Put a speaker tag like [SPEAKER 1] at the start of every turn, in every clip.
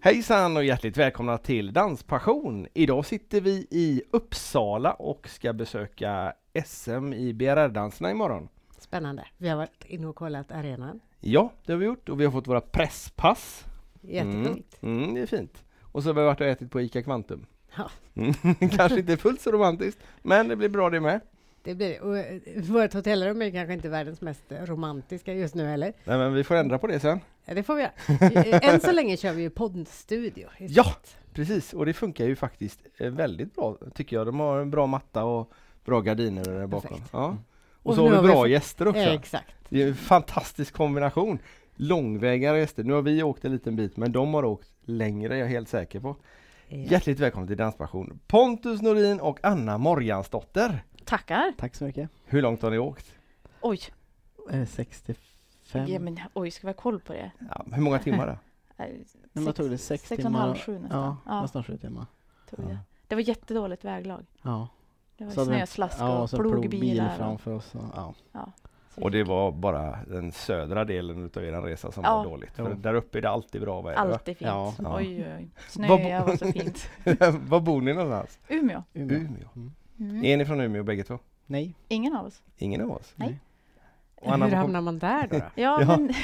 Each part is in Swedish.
[SPEAKER 1] Hejsan och hjärtligt välkomna till Danspassion! Idag sitter vi i Uppsala och ska besöka SM i BRR-danserna imorgon.
[SPEAKER 2] Spännande. Vi har varit inne och kollat arenan.
[SPEAKER 1] Ja, det har vi gjort och vi har fått våra presspass.
[SPEAKER 2] Jättefint.
[SPEAKER 1] Mm, mm, det är fint. Och så har vi varit och ätit på ICA Kvantum.
[SPEAKER 2] Ja.
[SPEAKER 1] Mm, Kanske inte fullt så romantiskt, men det blir bra det med.
[SPEAKER 2] Det blir, och eh, vårt hotellrum är kanske inte världens mest romantiska just nu heller.
[SPEAKER 1] Nej, men vi får ändra på det sen.
[SPEAKER 2] Ja, Det får vi göra. Eh, Än så länge kör vi ju poddstudio. istället.
[SPEAKER 1] Ja! Precis, och det funkar ju faktiskt eh, väldigt bra tycker jag. De har en bra matta och bra gardiner där bakom.
[SPEAKER 2] Perfekt. Mm.
[SPEAKER 1] Ja. Och,
[SPEAKER 2] Och
[SPEAKER 1] så har
[SPEAKER 2] nu
[SPEAKER 1] vi
[SPEAKER 2] har vi
[SPEAKER 1] bra
[SPEAKER 2] fått-
[SPEAKER 1] gäster också.
[SPEAKER 2] Eh, Exakt.
[SPEAKER 1] Det är en fantastisk kombination. Långväga gäster. Nu har vi åkt en liten bit, men de har åkt längre, jag är helt säker på.
[SPEAKER 2] Ja.
[SPEAKER 1] Hjärtligt välkommen till Danspassion! Pontus Norin och Anna Morjansdotter.
[SPEAKER 3] Tackar.
[SPEAKER 4] Tack så mycket.
[SPEAKER 1] Hur långt har ni åkt?
[SPEAKER 3] Oj,
[SPEAKER 4] Eh, 65.
[SPEAKER 3] ja, men, oj, ska vi ha koll på det?
[SPEAKER 1] Ja, hur många timmar då?
[SPEAKER 3] Nej,
[SPEAKER 4] Nej, man tog det sex,
[SPEAKER 3] sex och en
[SPEAKER 4] timmar.
[SPEAKER 3] halv, sju nästan.
[SPEAKER 4] Ja,
[SPEAKER 3] Ja.
[SPEAKER 4] nästan sju timmar.
[SPEAKER 3] tog det. det var jättedåligt väglag.
[SPEAKER 4] Ja.
[SPEAKER 3] Det var
[SPEAKER 4] Så hade vi en-
[SPEAKER 3] snö, slask
[SPEAKER 4] ja,
[SPEAKER 3] och
[SPEAKER 4] så en plogbil
[SPEAKER 3] plogbilar. och-
[SPEAKER 4] framför oss. Och, ja.
[SPEAKER 1] Och det var bara den södra delen utav er resa som
[SPEAKER 3] Ja.
[SPEAKER 1] var dåligt. För
[SPEAKER 4] Jo.
[SPEAKER 1] där uppe är det alltid bra väder. va?
[SPEAKER 3] Allt är fint.
[SPEAKER 4] Ja.
[SPEAKER 1] Ja.
[SPEAKER 3] Oj, oj, oj.
[SPEAKER 1] Vad bo-
[SPEAKER 3] Snöa var så fint.
[SPEAKER 1] Var bor ni någonstans?
[SPEAKER 3] Umeå.
[SPEAKER 4] Umeå.
[SPEAKER 1] Umeå.
[SPEAKER 4] Mm.
[SPEAKER 3] Mm.
[SPEAKER 1] Är ni från Umeå bägge två?
[SPEAKER 4] Nej.
[SPEAKER 3] Ingen av oss.
[SPEAKER 1] Ingen av oss?
[SPEAKER 3] Nej.
[SPEAKER 1] Och Anna,
[SPEAKER 2] Hur
[SPEAKER 1] var kom-
[SPEAKER 2] hamnar man där då? då?
[SPEAKER 3] Ja,
[SPEAKER 1] Ja.
[SPEAKER 3] men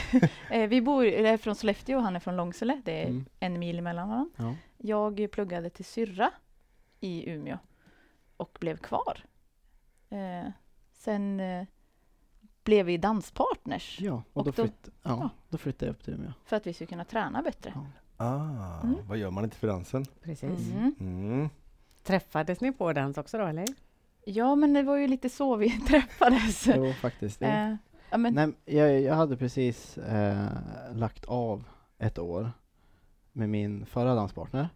[SPEAKER 3] eh, vi bor jag är från Sollefteå och han är från Långsele. Det är
[SPEAKER 4] Mm.
[SPEAKER 3] en mil emellan varandra.
[SPEAKER 4] Ja.
[SPEAKER 3] Jag pluggade till syrra i Umeå och blev kvar. Eh, sen eh, blev vi danspartners
[SPEAKER 4] ja. Och,
[SPEAKER 3] Och
[SPEAKER 4] då,
[SPEAKER 3] då-
[SPEAKER 4] flytt, ja,
[SPEAKER 3] ja.
[SPEAKER 4] då flyttade jag upp till Umeå.
[SPEAKER 3] för att vi skulle kunna träna bättre.
[SPEAKER 4] Ja.
[SPEAKER 1] Ah,
[SPEAKER 3] Mm.
[SPEAKER 1] vad gör man inte för dansen?
[SPEAKER 2] Precis.
[SPEAKER 3] Mm.
[SPEAKER 1] Mm.
[SPEAKER 2] Träffades ni på dans också då, eller?
[SPEAKER 3] Ja, men det var ju lite så vi träffades.
[SPEAKER 4] Jo, faktiskt. Jo.
[SPEAKER 3] Eh, ja, men,
[SPEAKER 4] Nej, jag, jag hade precis eh, lagt av ett år med min förra danspartner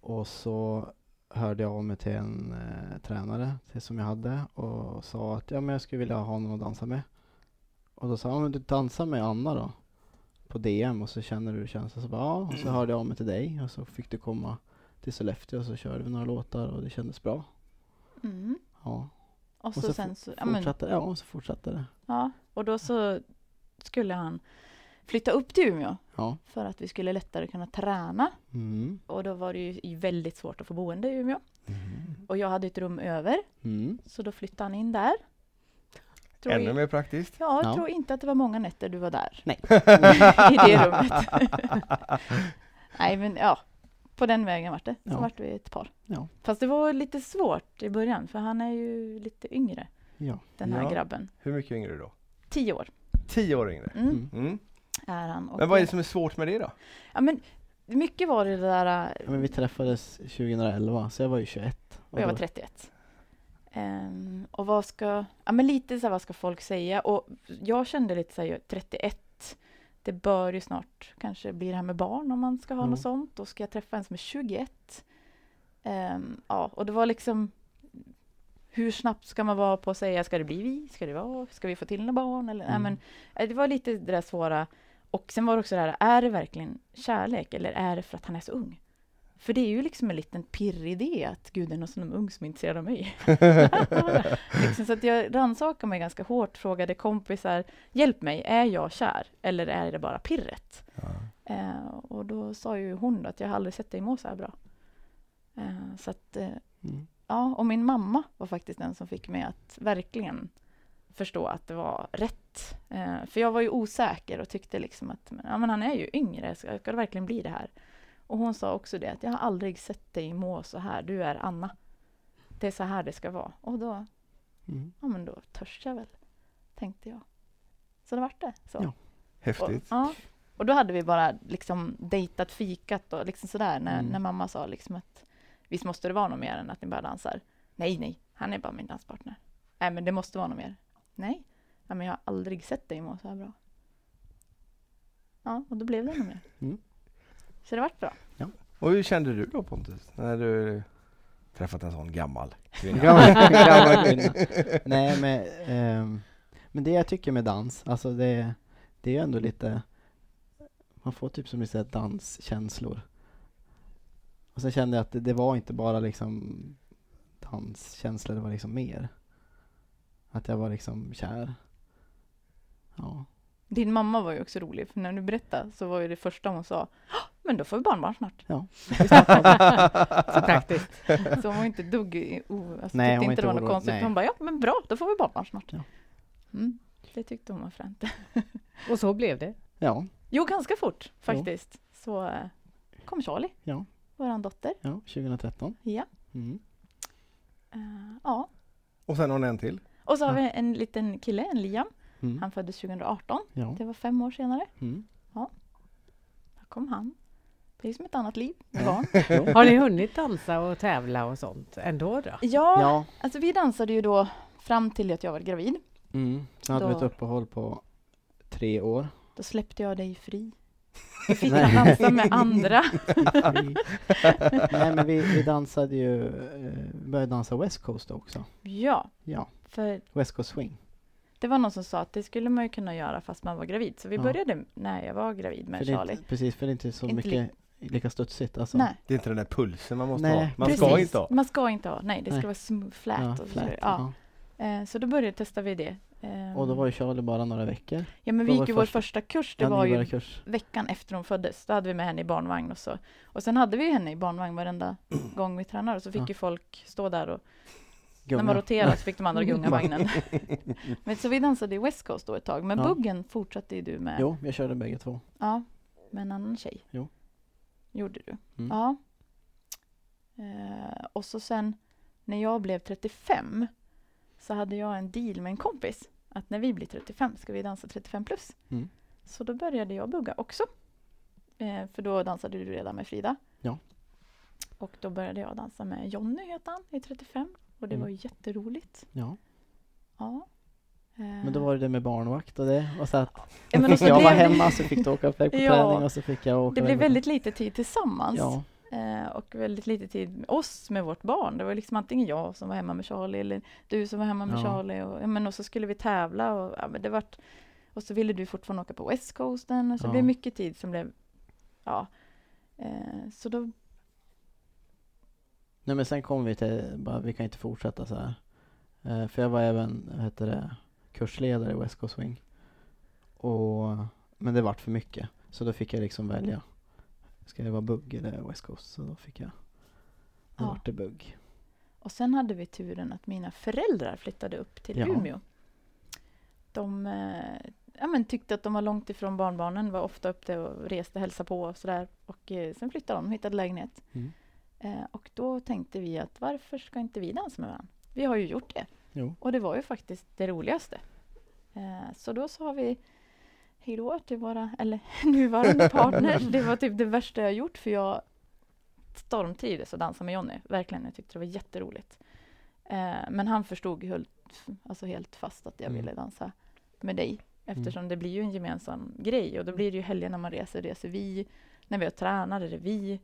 [SPEAKER 4] och så hörde jag av mig till en eh, tränare till, som jag hade och sa att ja, men jag skulle vilja ha någon att dansa med. Och då sa han, ja, men du dansar med Anna då på DM och så känner du hur det känns. Och så, bara, ja. och så hörde jag av mig till dig och så fick du komma till Sollefteå och så körde vi några låtar och det kändes bra.
[SPEAKER 3] mm.
[SPEAKER 4] Ja,
[SPEAKER 3] Och så,
[SPEAKER 4] så
[SPEAKER 3] sen så, ja, men,
[SPEAKER 4] fortsatte, ja, så fortsatte det.
[SPEAKER 3] ja, och då så skulle han flytta upp till Umeå
[SPEAKER 4] Ja.
[SPEAKER 3] för att vi skulle lättare kunna träna.
[SPEAKER 4] Mm.
[SPEAKER 3] Och då var det ju väldigt svårt att få boende i Umeå.
[SPEAKER 1] Mm.
[SPEAKER 3] Och jag hade ett rum över,
[SPEAKER 4] Mm.
[SPEAKER 3] så då flyttade han in där. Tror
[SPEAKER 1] Ännu
[SPEAKER 3] i-
[SPEAKER 1] mer praktiskt.
[SPEAKER 3] Ja, jag
[SPEAKER 4] Ja.
[SPEAKER 3] tror inte att det var många nätter du var där.
[SPEAKER 4] Nej.
[SPEAKER 3] I det rummet. Nej, men ja. På den vägen vart det. Så
[SPEAKER 4] Ja.
[SPEAKER 3] vart vi ett par.
[SPEAKER 4] Ja.
[SPEAKER 3] Fast det var lite svårt i början, för han är ju lite yngre,
[SPEAKER 4] Ja.
[SPEAKER 3] den här
[SPEAKER 1] Ja.
[SPEAKER 3] grabben.
[SPEAKER 1] Hur mycket yngre då?
[SPEAKER 3] Tio år
[SPEAKER 1] Tio år yngre.
[SPEAKER 3] mm,
[SPEAKER 4] Mm.
[SPEAKER 1] Mm.
[SPEAKER 3] är han. Och
[SPEAKER 1] Men vad är det som är svårt med det då?
[SPEAKER 3] ja, men, mycket var det där,
[SPEAKER 4] Ja, men vi träffades 2011, så jag var ju 21.
[SPEAKER 3] och jag var
[SPEAKER 4] då-
[SPEAKER 3] 31. Ehm, och vad ska, ja men lite så här, vad ska folk säga? Och jag kände lite så här, jag är 31, det bör ju snart kanske bli det här med barn om man ska ha
[SPEAKER 4] Ja.
[SPEAKER 3] något sånt. Då ska jag träffa en som är 21. Ehm, ja, och det var liksom, hur snabbt ska man vara på att säga, ska det bli vi? Ska det vara, ska vi få till några barn? Eller, nej,
[SPEAKER 4] Mm.
[SPEAKER 3] men, eh, det var lite det där svåra. Och sen var det också det här, är det verkligen kärlek eller är det för att han är så ung? För det är ju liksom en liten pirrig idé att gud, det är någon som är ung som är intresserad av mig. liksom, så att jag rannsakade mig ganska hårt, frågade kompisar, hjälp mig, är jag kär? Eller är det bara pirret? Eh, och då sa ju hon då att jag har aldrig sett dig må så här bra. Eh, så att, eh,
[SPEAKER 4] Mm.
[SPEAKER 3] ja, och min mamma var faktiskt den som fick mig att verkligen förstå att det var rätt. Eh, för jag var ju osäker och tyckte liksom att men, ja, men han är ju yngre, ska, ska det verkligen bli det här? Och hon sa också det att jag har aldrig sett dig må så här, du är Anna. Det är så här det ska vara. Och då,
[SPEAKER 4] Mm.
[SPEAKER 3] ja men då törs jag väl, tänkte jag. Så det vart det. Så.
[SPEAKER 4] Ja.
[SPEAKER 1] Häftigt.
[SPEAKER 3] Och, ja. och då hade vi bara liksom dejtat, fikat och liksom sådär när,
[SPEAKER 4] Mm.
[SPEAKER 3] när mamma sa liksom att visst måste det vara något mer än att ni bara dansar? Nej, nej, han är bara min danspartner. Nej, men det måste vara något mer. Nej, ja, men jag har aldrig sett dig må så här bra. Ja, och då blev det något mer.
[SPEAKER 4] Mm.
[SPEAKER 3] Så det vart bra.
[SPEAKER 1] Och hur kände du då Pontus? När du träffat en sån gammal kvinna?
[SPEAKER 4] Grabbar- grabbar och kvinnor. Nej, men, ehm, men det jag tycker med dans, alltså det, det är ju ändå lite, man får typ som ni säger danskänslor. Och sen kände jag att det, det var inte bara liksom danskänslor, det var liksom mer. Att jag var liksom kär. Ja,
[SPEAKER 3] Din mamma var ju också rolig, för när du berättade så var ju det första hon sa "Hå, men då får vi barnbarn snart.
[SPEAKER 4] Ja.
[SPEAKER 2] Så praktiskt.
[SPEAKER 3] Så hon var inte ett dugg i- o, alltså,
[SPEAKER 4] Nej,
[SPEAKER 3] nej,
[SPEAKER 4] hon
[SPEAKER 3] tyckte
[SPEAKER 4] var inte
[SPEAKER 3] inte det var något
[SPEAKER 4] orolig.
[SPEAKER 3] konstigt.
[SPEAKER 4] Nej.
[SPEAKER 3] Hon bara, ja men bra, då får vi barnbarn snart.
[SPEAKER 4] Ja.
[SPEAKER 3] Mm, det tyckte hon var fränt.
[SPEAKER 2] Och så blev det.
[SPEAKER 4] ja,
[SPEAKER 3] Jo, ganska fort faktiskt. Så eh, kom Charlie,
[SPEAKER 4] Ja.
[SPEAKER 3] våran dotter.
[SPEAKER 4] ja, 2013.
[SPEAKER 3] Ja.
[SPEAKER 4] Mm.
[SPEAKER 3] Eh, ja.
[SPEAKER 1] Och sen har ni en till.
[SPEAKER 3] Och så har
[SPEAKER 4] Ja.
[SPEAKER 3] vi en liten kille, en Liam.
[SPEAKER 4] Mm.
[SPEAKER 3] Han föddes 2018.
[SPEAKER 4] Ja.
[SPEAKER 3] Det var fem år senare.
[SPEAKER 4] Mm.
[SPEAKER 3] Där kom han. Det är som ett annat liv. med Barn.
[SPEAKER 4] Ja.
[SPEAKER 2] Har ni hunnit dansa och tävla och sånt ändå då?
[SPEAKER 3] Ja,
[SPEAKER 4] ja.
[SPEAKER 3] alltså vi dansade ju då fram till att jag var gravid.
[SPEAKER 4] Mm. Sen hade vi ett
[SPEAKER 3] Då-
[SPEAKER 4] uppehåll på tre år.
[SPEAKER 3] Då släppte jag dig fri. Du fick dansa med andra.
[SPEAKER 4] Nej, men vi, vi dansade ju, eh, vi började dansa West Coast också.
[SPEAKER 3] Ja,
[SPEAKER 4] Ja,
[SPEAKER 3] för
[SPEAKER 4] West Coast Swing.
[SPEAKER 3] det var någon som sa att det skulle man ju kunna göra fast man var gravid. Så vi
[SPEAKER 4] Ja.
[SPEAKER 3] började när jag var gravid med
[SPEAKER 4] För det är
[SPEAKER 3] Charlie.
[SPEAKER 4] inte, precis, för det är inte så
[SPEAKER 3] Inte li-
[SPEAKER 4] mycket lika studsigt. Alltså.
[SPEAKER 3] Nej,
[SPEAKER 1] Det är inte den där pulsen man måste
[SPEAKER 4] Nej,
[SPEAKER 1] ha. Man ska
[SPEAKER 3] precis.
[SPEAKER 1] inte ha.
[SPEAKER 3] Man ska inte ha. Nej, det ska
[SPEAKER 4] Nej.
[SPEAKER 3] vara smooth, flat.
[SPEAKER 4] Ja,
[SPEAKER 3] och så,
[SPEAKER 4] flat,
[SPEAKER 3] vidare. ja.
[SPEAKER 4] ja.
[SPEAKER 3] Eh, så då började testade vi det. Ehm,
[SPEAKER 4] Och då var ju Charlie bara några veckor.
[SPEAKER 3] ja, men
[SPEAKER 4] då
[SPEAKER 3] vi
[SPEAKER 4] var
[SPEAKER 3] gick ju vår
[SPEAKER 4] första-
[SPEAKER 3] första kurs. Det
[SPEAKER 4] Det
[SPEAKER 3] var ju
[SPEAKER 4] kurs.
[SPEAKER 3] veckan efter hon föddes. Då hade vi med henne i barnvagn och så. Och sen hade vi ju henne i barnvagn varenda gång vi tränade. Och så fick
[SPEAKER 4] Ja.
[SPEAKER 3] ju folk stå där och när man
[SPEAKER 4] Gunga.
[SPEAKER 3] roterade så fick de andra gunga vagnen. men, så vi dansade i West Coast då ett tag. Men
[SPEAKER 4] Ja.
[SPEAKER 3] buggen fortsatte ju du med.
[SPEAKER 4] Jo, jag körde bägge två.
[SPEAKER 3] Ja, med en annan tjej.
[SPEAKER 4] Jo.
[SPEAKER 3] Gjorde du.
[SPEAKER 4] Mm.
[SPEAKER 3] Ja. Eh, och så sen när jag blev 35 så hade jag en deal med en kompis att när vi blir 35 ska vi dansa 35 plus.
[SPEAKER 4] Mm.
[SPEAKER 3] Så då började jag bugga också. Eh, för då dansade du redan med Frida.
[SPEAKER 4] Ja.
[SPEAKER 3] Och då började jag dansa med Jonny, heter han, i 35. Och det
[SPEAKER 4] Mm.
[SPEAKER 3] var ju jätteroligt.
[SPEAKER 4] Ja.
[SPEAKER 3] Ja. Eh,
[SPEAKER 4] Men då var det det med barnvakt och det. Och så att
[SPEAKER 3] ja, men
[SPEAKER 4] fick
[SPEAKER 3] och så
[SPEAKER 4] jag
[SPEAKER 3] blev
[SPEAKER 4] vara
[SPEAKER 3] det-
[SPEAKER 4] hemma så fick du åka iväg på
[SPEAKER 3] Ja.
[SPEAKER 4] träning och så fick jag åka
[SPEAKER 3] Det blev
[SPEAKER 4] iväg på-
[SPEAKER 3] väldigt lite tid tillsammans.
[SPEAKER 4] Ja,
[SPEAKER 3] Eh, och väldigt lite tid med oss, med vårt barn. Det var liksom antingen jag som var hemma med Charlie eller du som var hemma med
[SPEAKER 4] Ja.
[SPEAKER 3] Charlie. Och, ja, men, och så skulle vi tävla och, ja, men det vart, och så ville du fortfarande åka på West Coasten. Och så
[SPEAKER 4] Ja.
[SPEAKER 3] blev mycket tid som blev, ja. Eh, så då,
[SPEAKER 4] Nej men sen kom vi till, bara, vi kan inte fortsätta så här. Eh, för jag var även, vad heter det, kursledare i West Coast Wing. Och, men det vart för mycket. Så då fick jag liksom välja. Ska det vara bugg eller West Coast? Så då fick jag, då
[SPEAKER 3] Ja.
[SPEAKER 4] vart det bugg.
[SPEAKER 3] och sen hade vi turen att mina föräldrar flyttade upp till
[SPEAKER 4] Ja.
[SPEAKER 3] Umeå. De eh, ja, men, tyckte att de var långt ifrån barnbarnen, var ofta uppe och reste, hälsade på och sådär. Och eh, sen flyttade de, hittade lägenhet.
[SPEAKER 4] Mm.
[SPEAKER 3] Eh, och då tänkte vi att varför ska inte vi dansa med varandra? Vi har ju gjort det.
[SPEAKER 4] Jo.
[SPEAKER 3] Och det var ju faktiskt det roligaste. Eh, så då sa vi hej då till våra eller, nuvarande partners. Det var typ det värsta jag gjort för jag stormtrivdes att dansa med Jonny. Verkligen, jag tyckte det var jätteroligt. Eh, men han förstod ju helt, alltså helt fast att jag
[SPEAKER 4] Mm.
[SPEAKER 3] ville dansa med dig. Eftersom det blir ju en gemensam grej och då blir det ju helger när man reser, reser vi. När vi har tränat, är det vi.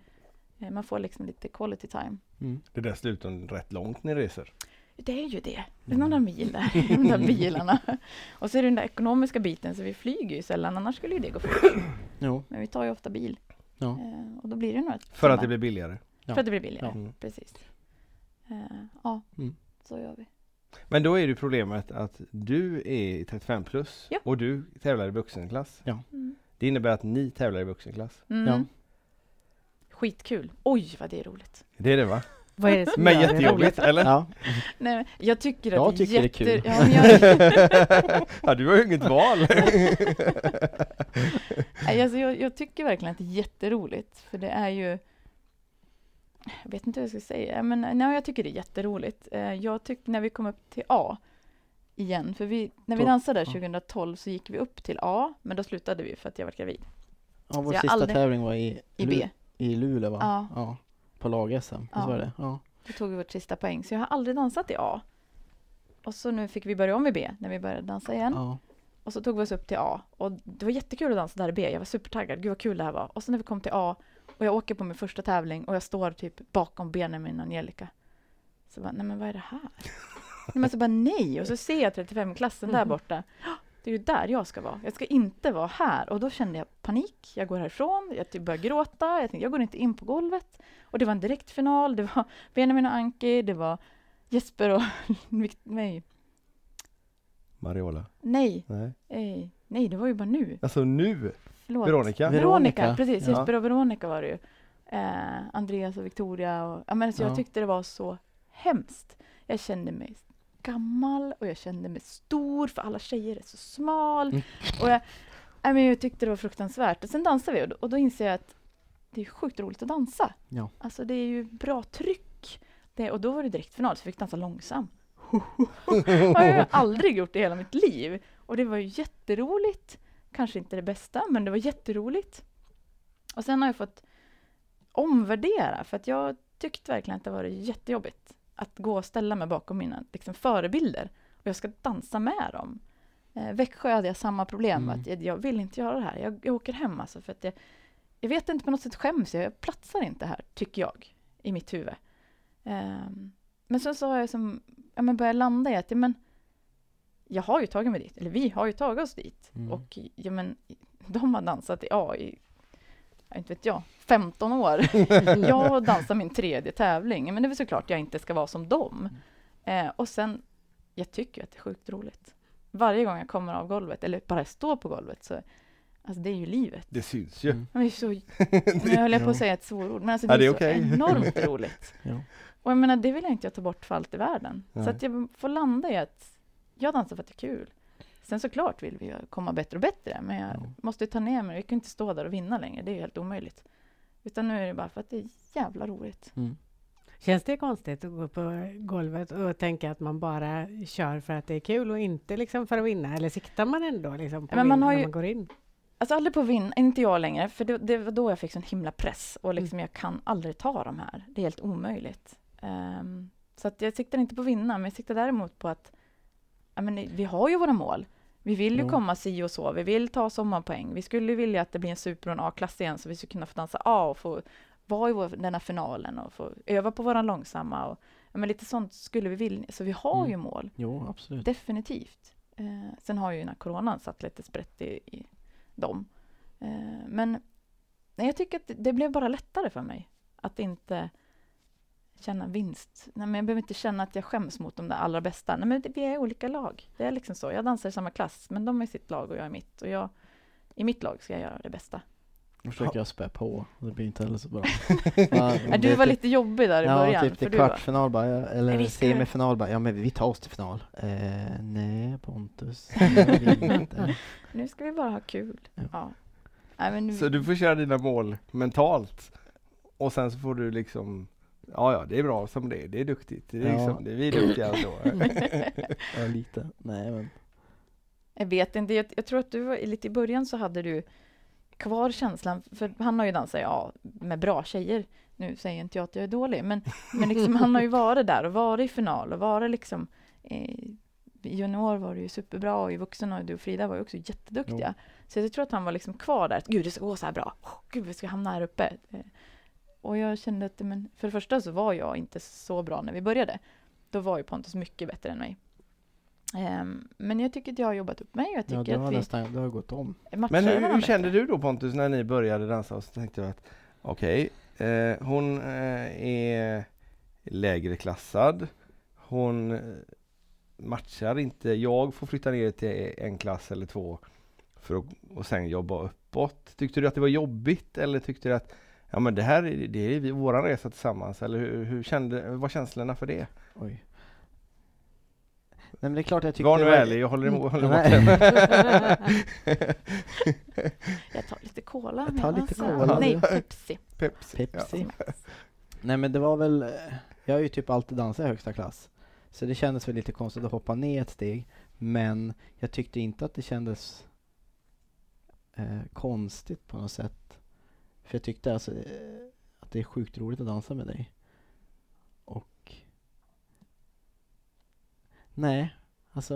[SPEAKER 3] Eh, Man får liksom lite quality time.
[SPEAKER 4] Mm.
[SPEAKER 1] Det är dessutom rätt långt ni reser.
[SPEAKER 3] Det är ju det. Det är
[SPEAKER 4] Mm.
[SPEAKER 3] några mil där, i de där bilarna. Och så är det den där ekonomiska biten, så vi flyger ju sällan, annars skulle ju det gå fort.
[SPEAKER 4] Jo.
[SPEAKER 3] Men vi tar ju ofta bil.
[SPEAKER 4] Ja.
[SPEAKER 3] Eh, och då blir det några
[SPEAKER 1] För
[SPEAKER 3] timmar.
[SPEAKER 1] att det blir billigare.
[SPEAKER 4] Ja.
[SPEAKER 3] För att det blir billigare,
[SPEAKER 4] Ja.
[SPEAKER 1] Mm.
[SPEAKER 3] precis. Eh, ja,
[SPEAKER 4] Mm.
[SPEAKER 3] så gör vi.
[SPEAKER 1] Men då är det problemet att du är i 35 plus
[SPEAKER 3] Ja.
[SPEAKER 1] och du tävlar i vuxenklass.
[SPEAKER 3] Mm.
[SPEAKER 1] Det innebär att ni tävlar i vuxenklass.
[SPEAKER 3] Mm.
[SPEAKER 4] Ja.
[SPEAKER 3] Skitkul. Oj, vad det är roligt.
[SPEAKER 1] Det är det va?
[SPEAKER 2] Vad är det som
[SPEAKER 1] Men
[SPEAKER 2] gör det roligt?
[SPEAKER 1] jättejobbigt eller?
[SPEAKER 4] Ja.
[SPEAKER 3] Nej, men jag tycker att
[SPEAKER 4] Jag tycker det är
[SPEAKER 3] jätte...
[SPEAKER 4] kul.
[SPEAKER 3] Ja, men jag,
[SPEAKER 1] ja, du har ju inget val.
[SPEAKER 3] Nej, alltså jag, jag tycker verkligen att det är jätteroligt, för det är ju... Jag vet inte hur jag ska säga, men nej, jag tycker det är jätteroligt. Eh, Jag tyckte när vi kom upp till A igen, för vi, när vi
[SPEAKER 4] Då-
[SPEAKER 3] dansade där
[SPEAKER 4] ja.
[SPEAKER 3] 2012 så gick vi upp till A, men då slutade vi för att jag var gravid.
[SPEAKER 4] ja vår
[SPEAKER 3] Jag har
[SPEAKER 4] sista
[SPEAKER 3] aldrig-
[SPEAKER 4] tävling var i,
[SPEAKER 3] I
[SPEAKER 4] Lu-
[SPEAKER 3] B,
[SPEAKER 4] i Luleå va?
[SPEAKER 3] Ja.
[SPEAKER 4] På lag-SM, Visst
[SPEAKER 3] Ja.
[SPEAKER 4] var det? Ja.
[SPEAKER 3] då tog vi vårt sista poäng, så jag har aldrig dansat i A. Och så nu fick vi börja om i B, när vi började dansa igen.
[SPEAKER 4] ja.
[SPEAKER 3] Och så tog vi oss upp till A. Och det var jättekul att dansa där i B. Jag var supertaggad. Gud vad kul det här var. Och sen när vi kom till A och jag åker på min första tävling och jag står typ bakom Benjamin och Angelica. Så bara, nej men vad är det här? nej men så bara nej. Och så ser jag 35-klassen där borta. Det är ju där jag ska vara. Jag ska inte vara här. Och då kände jag panik. Jag går härifrån. Jag typ börjar gråta. Jag tänkte, jag går inte in på golvet. Och det var en direktfinal. Det var Benjamin och Anki. Det var Jesper och... nej,
[SPEAKER 1] Mariola?
[SPEAKER 3] Nej,
[SPEAKER 1] Nej.
[SPEAKER 3] eh, nej, det var ju bara nu.
[SPEAKER 1] Alltså nu!
[SPEAKER 3] Förlåt.
[SPEAKER 1] Veronica?
[SPEAKER 4] Ver- Veronica.
[SPEAKER 3] Veronica, precis.
[SPEAKER 1] Ja.
[SPEAKER 3] Jesper och Veronica var det ju. Eh, Andreas och Victoria. Och, ja, men så
[SPEAKER 4] Ja.
[SPEAKER 3] Jag tyckte det var så hemskt. Jag kände mig gammal och jag kände mig stor för alla tjejer är så smal.
[SPEAKER 4] Mm.
[SPEAKER 3] Och jag, nej, men jag tyckte det var fruktansvärt. Och sen dansade vi och då, och då inser jag att det är sjukt roligt att dansa.
[SPEAKER 4] Ja.
[SPEAKER 3] Alltså det är ju bra tryck. Det, och då var det direktfinal så jag fick dansa långsam. Ja, jag har aldrig gjort det i hela mitt liv. Och det var ju jätteroligt. Kanske inte det bästa, men det var jätteroligt. Och sen har jag fått omvärdera, för att jag tyckte verkligen att det var jättejobbigt att gå och ställa mig bakom mina liksom, förebilder. Och jag ska dansa med dem. Eh, Växjö hade jag samma problem,
[SPEAKER 4] Mm.
[SPEAKER 3] att jag, jag vill inte göra det här. Jag, jag åker hem alltså, för att jag, jag vet inte, på något sätt skäms jag. Jag platsar inte här, tycker jag, i mitt huvud. Ehm, men sen så har jag som, ja, men börjat landa i att, ja, men, jag har ju tagit mig dit, eller vi har ju tagit oss dit.
[SPEAKER 4] Mm.
[SPEAKER 3] Och ja, men, de har dansat i, ja, i jag inte vet jag, 15 år. jag dansar min tredje tävling. Men det är väl såklart jag inte ska vara som dem.
[SPEAKER 1] Mm.
[SPEAKER 3] Eh, och sen, jag tycker ju att det är sjukt roligt. Varje gång jag kommer av golvet, eller bara står på golvet, så alltså, det är ju livet.
[SPEAKER 1] Det syns ju.
[SPEAKER 4] Mm.
[SPEAKER 3] Men det är så, nu höll jag på att säga ett svårord, men alltså, det
[SPEAKER 1] Ja,
[SPEAKER 3] är,
[SPEAKER 1] det är
[SPEAKER 3] så
[SPEAKER 1] okej.
[SPEAKER 3] enormt roligt.
[SPEAKER 4] Ja.
[SPEAKER 3] Och jag menar, det vill jag inte jag ta bort för allt i världen.
[SPEAKER 1] Nej.
[SPEAKER 3] Så att jag får landa i att jag dansar för att det är kul. Sen såklart vill vi ju komma bättre och bättre, men jag
[SPEAKER 4] Ja.
[SPEAKER 3] måste ju ta ner mig. Vi kan ju inte stå där och vinna längre, det är ju helt omöjligt. Utan nu är det bara för att det är jävla roligt.
[SPEAKER 4] Mm.
[SPEAKER 2] Känns det konstigt att gå på golvet och tänka att man bara kör för att det är kul och inte liksom för att vinna? Eller siktar man ändå liksom på
[SPEAKER 3] Men man
[SPEAKER 2] vinna
[SPEAKER 3] har
[SPEAKER 2] när
[SPEAKER 3] ju-
[SPEAKER 2] man går in?
[SPEAKER 3] Alltså aldrig på vinn, inte jag längre, för det, det var då jag fick sån himla press och liksom
[SPEAKER 4] Mm.
[SPEAKER 3] jag kan aldrig ta de här. Det är helt omöjligt. Ehm, så att jag siktar inte på vinna, men jag siktar däremot på att ja, men vi har ju våra mål. Vi vill ju
[SPEAKER 4] Jo.
[SPEAKER 3] komma si och så, vi vill ta sommarpoäng. Vi skulle ju vilja att det blir en super och en A-klass igen, så vi skulle kunna få dansa A och få vara i vår, den här finalen och få öva på våran långsamma. Och, ja, men lite sånt skulle vi vilja, så vi har
[SPEAKER 4] Mm.
[SPEAKER 3] ju mål.
[SPEAKER 4] Jo, absolut.
[SPEAKER 3] Definitivt. Eh, sen har ju den här coronan satt lite sprätt i, i dem. Eh, men nej, jag tycker att det, det blev bara lättare för mig att inte känna vinst. Nej, men jag behöver inte känna att jag skäms mot de där allra bästa. Nej, men det, vi är olika lag. Det är liksom så. Jag dansar i samma klass, men de är i sitt lag och jag är mitt. Och jag, i mitt lag ska jag göra det bästa.
[SPEAKER 4] Då försöker jag spä på, det blir inte heller så bra.
[SPEAKER 3] Nej, du var lite jobbig där i
[SPEAKER 4] Mm, Ja,
[SPEAKER 3] början.
[SPEAKER 4] typ
[SPEAKER 3] för
[SPEAKER 4] till
[SPEAKER 3] du var,
[SPEAKER 4] kvartsfinal bara, ja, eller
[SPEAKER 3] Nej, vi ska-
[SPEAKER 4] semifinal bara, ja men vi tar oss till final. Eh, nej Pontus, det blir inte.
[SPEAKER 3] nu ska vi bara ha kul.
[SPEAKER 4] Ja.
[SPEAKER 3] Ja. Nej, men nu,
[SPEAKER 1] Så du får köra dina mål mentalt. Och sen så får du liksom Ja, ja, det är bra som det är. Det är duktigt. Det är,
[SPEAKER 4] Ja.
[SPEAKER 1] liksom, det är vi är duktiga då.
[SPEAKER 4] ja, lite. Nej men.
[SPEAKER 3] Jag vet inte, jag, jag tror att du var lite i början så hade du kvar känslan, för han har ju dansat ja, med bra tjejer. Nu säger inte jag att jag är dålig, men, men liksom, han har ju varit där och varit i final och varit liksom eh, i junior var du ju superbra och i vuxen och du och Frida var ju också jätteduktiga. Så jag tror att han var liksom kvar där, att gud det ska gå så här bra, Åh, gud vi ska hamna här uppe. Eh, Och jag kände att, men för det första så var jag inte så bra när vi började. Då var ju Pontus mycket bättre än mig. Ehm, men jag tycker att jag har jobbat upp mig och jag
[SPEAKER 4] Ja,
[SPEAKER 3] tycker
[SPEAKER 4] du har
[SPEAKER 3] att vi
[SPEAKER 4] nästan, du har gått om.
[SPEAKER 3] matchar
[SPEAKER 1] Men hur, hur
[SPEAKER 3] varandra.
[SPEAKER 1] kände du då Pontus när ni började dansa? Och så tänkte du att okej, eh, hon eh, är lägre klassad. Hon eh, matchar inte. Jag får flytta ner till en klass eller två för att, och sen jobba uppåt. Tyckte du att det var jobbigt eller tyckte du att ja, men det här är, det är vi- våran resa tillsammans? Eller hur, hur kände, vad var känslorna för det?
[SPEAKER 4] Oj. Nej men det är klart jag tyckte
[SPEAKER 1] Var nu
[SPEAKER 4] det
[SPEAKER 1] ärlig, jag håller emot. Håller emot.
[SPEAKER 3] Jag tar lite cola
[SPEAKER 4] Jag tar
[SPEAKER 3] medan,
[SPEAKER 4] lite
[SPEAKER 3] så-
[SPEAKER 1] cola.
[SPEAKER 3] Nej, Pepsi.
[SPEAKER 1] Pepsi.
[SPEAKER 4] Pepsi.
[SPEAKER 1] Ja.
[SPEAKER 4] Nej men det var väl, eh, jag har ju typ alltid dansat i högsta klass. Så det kändes väl lite konstigt att hoppa ner ett steg. Men jag tyckte inte att det kändes eh, konstigt på något sätt. För jag tyckte alltså eh, att det är sjukt roligt att dansa med dig. Och... Nej, alltså...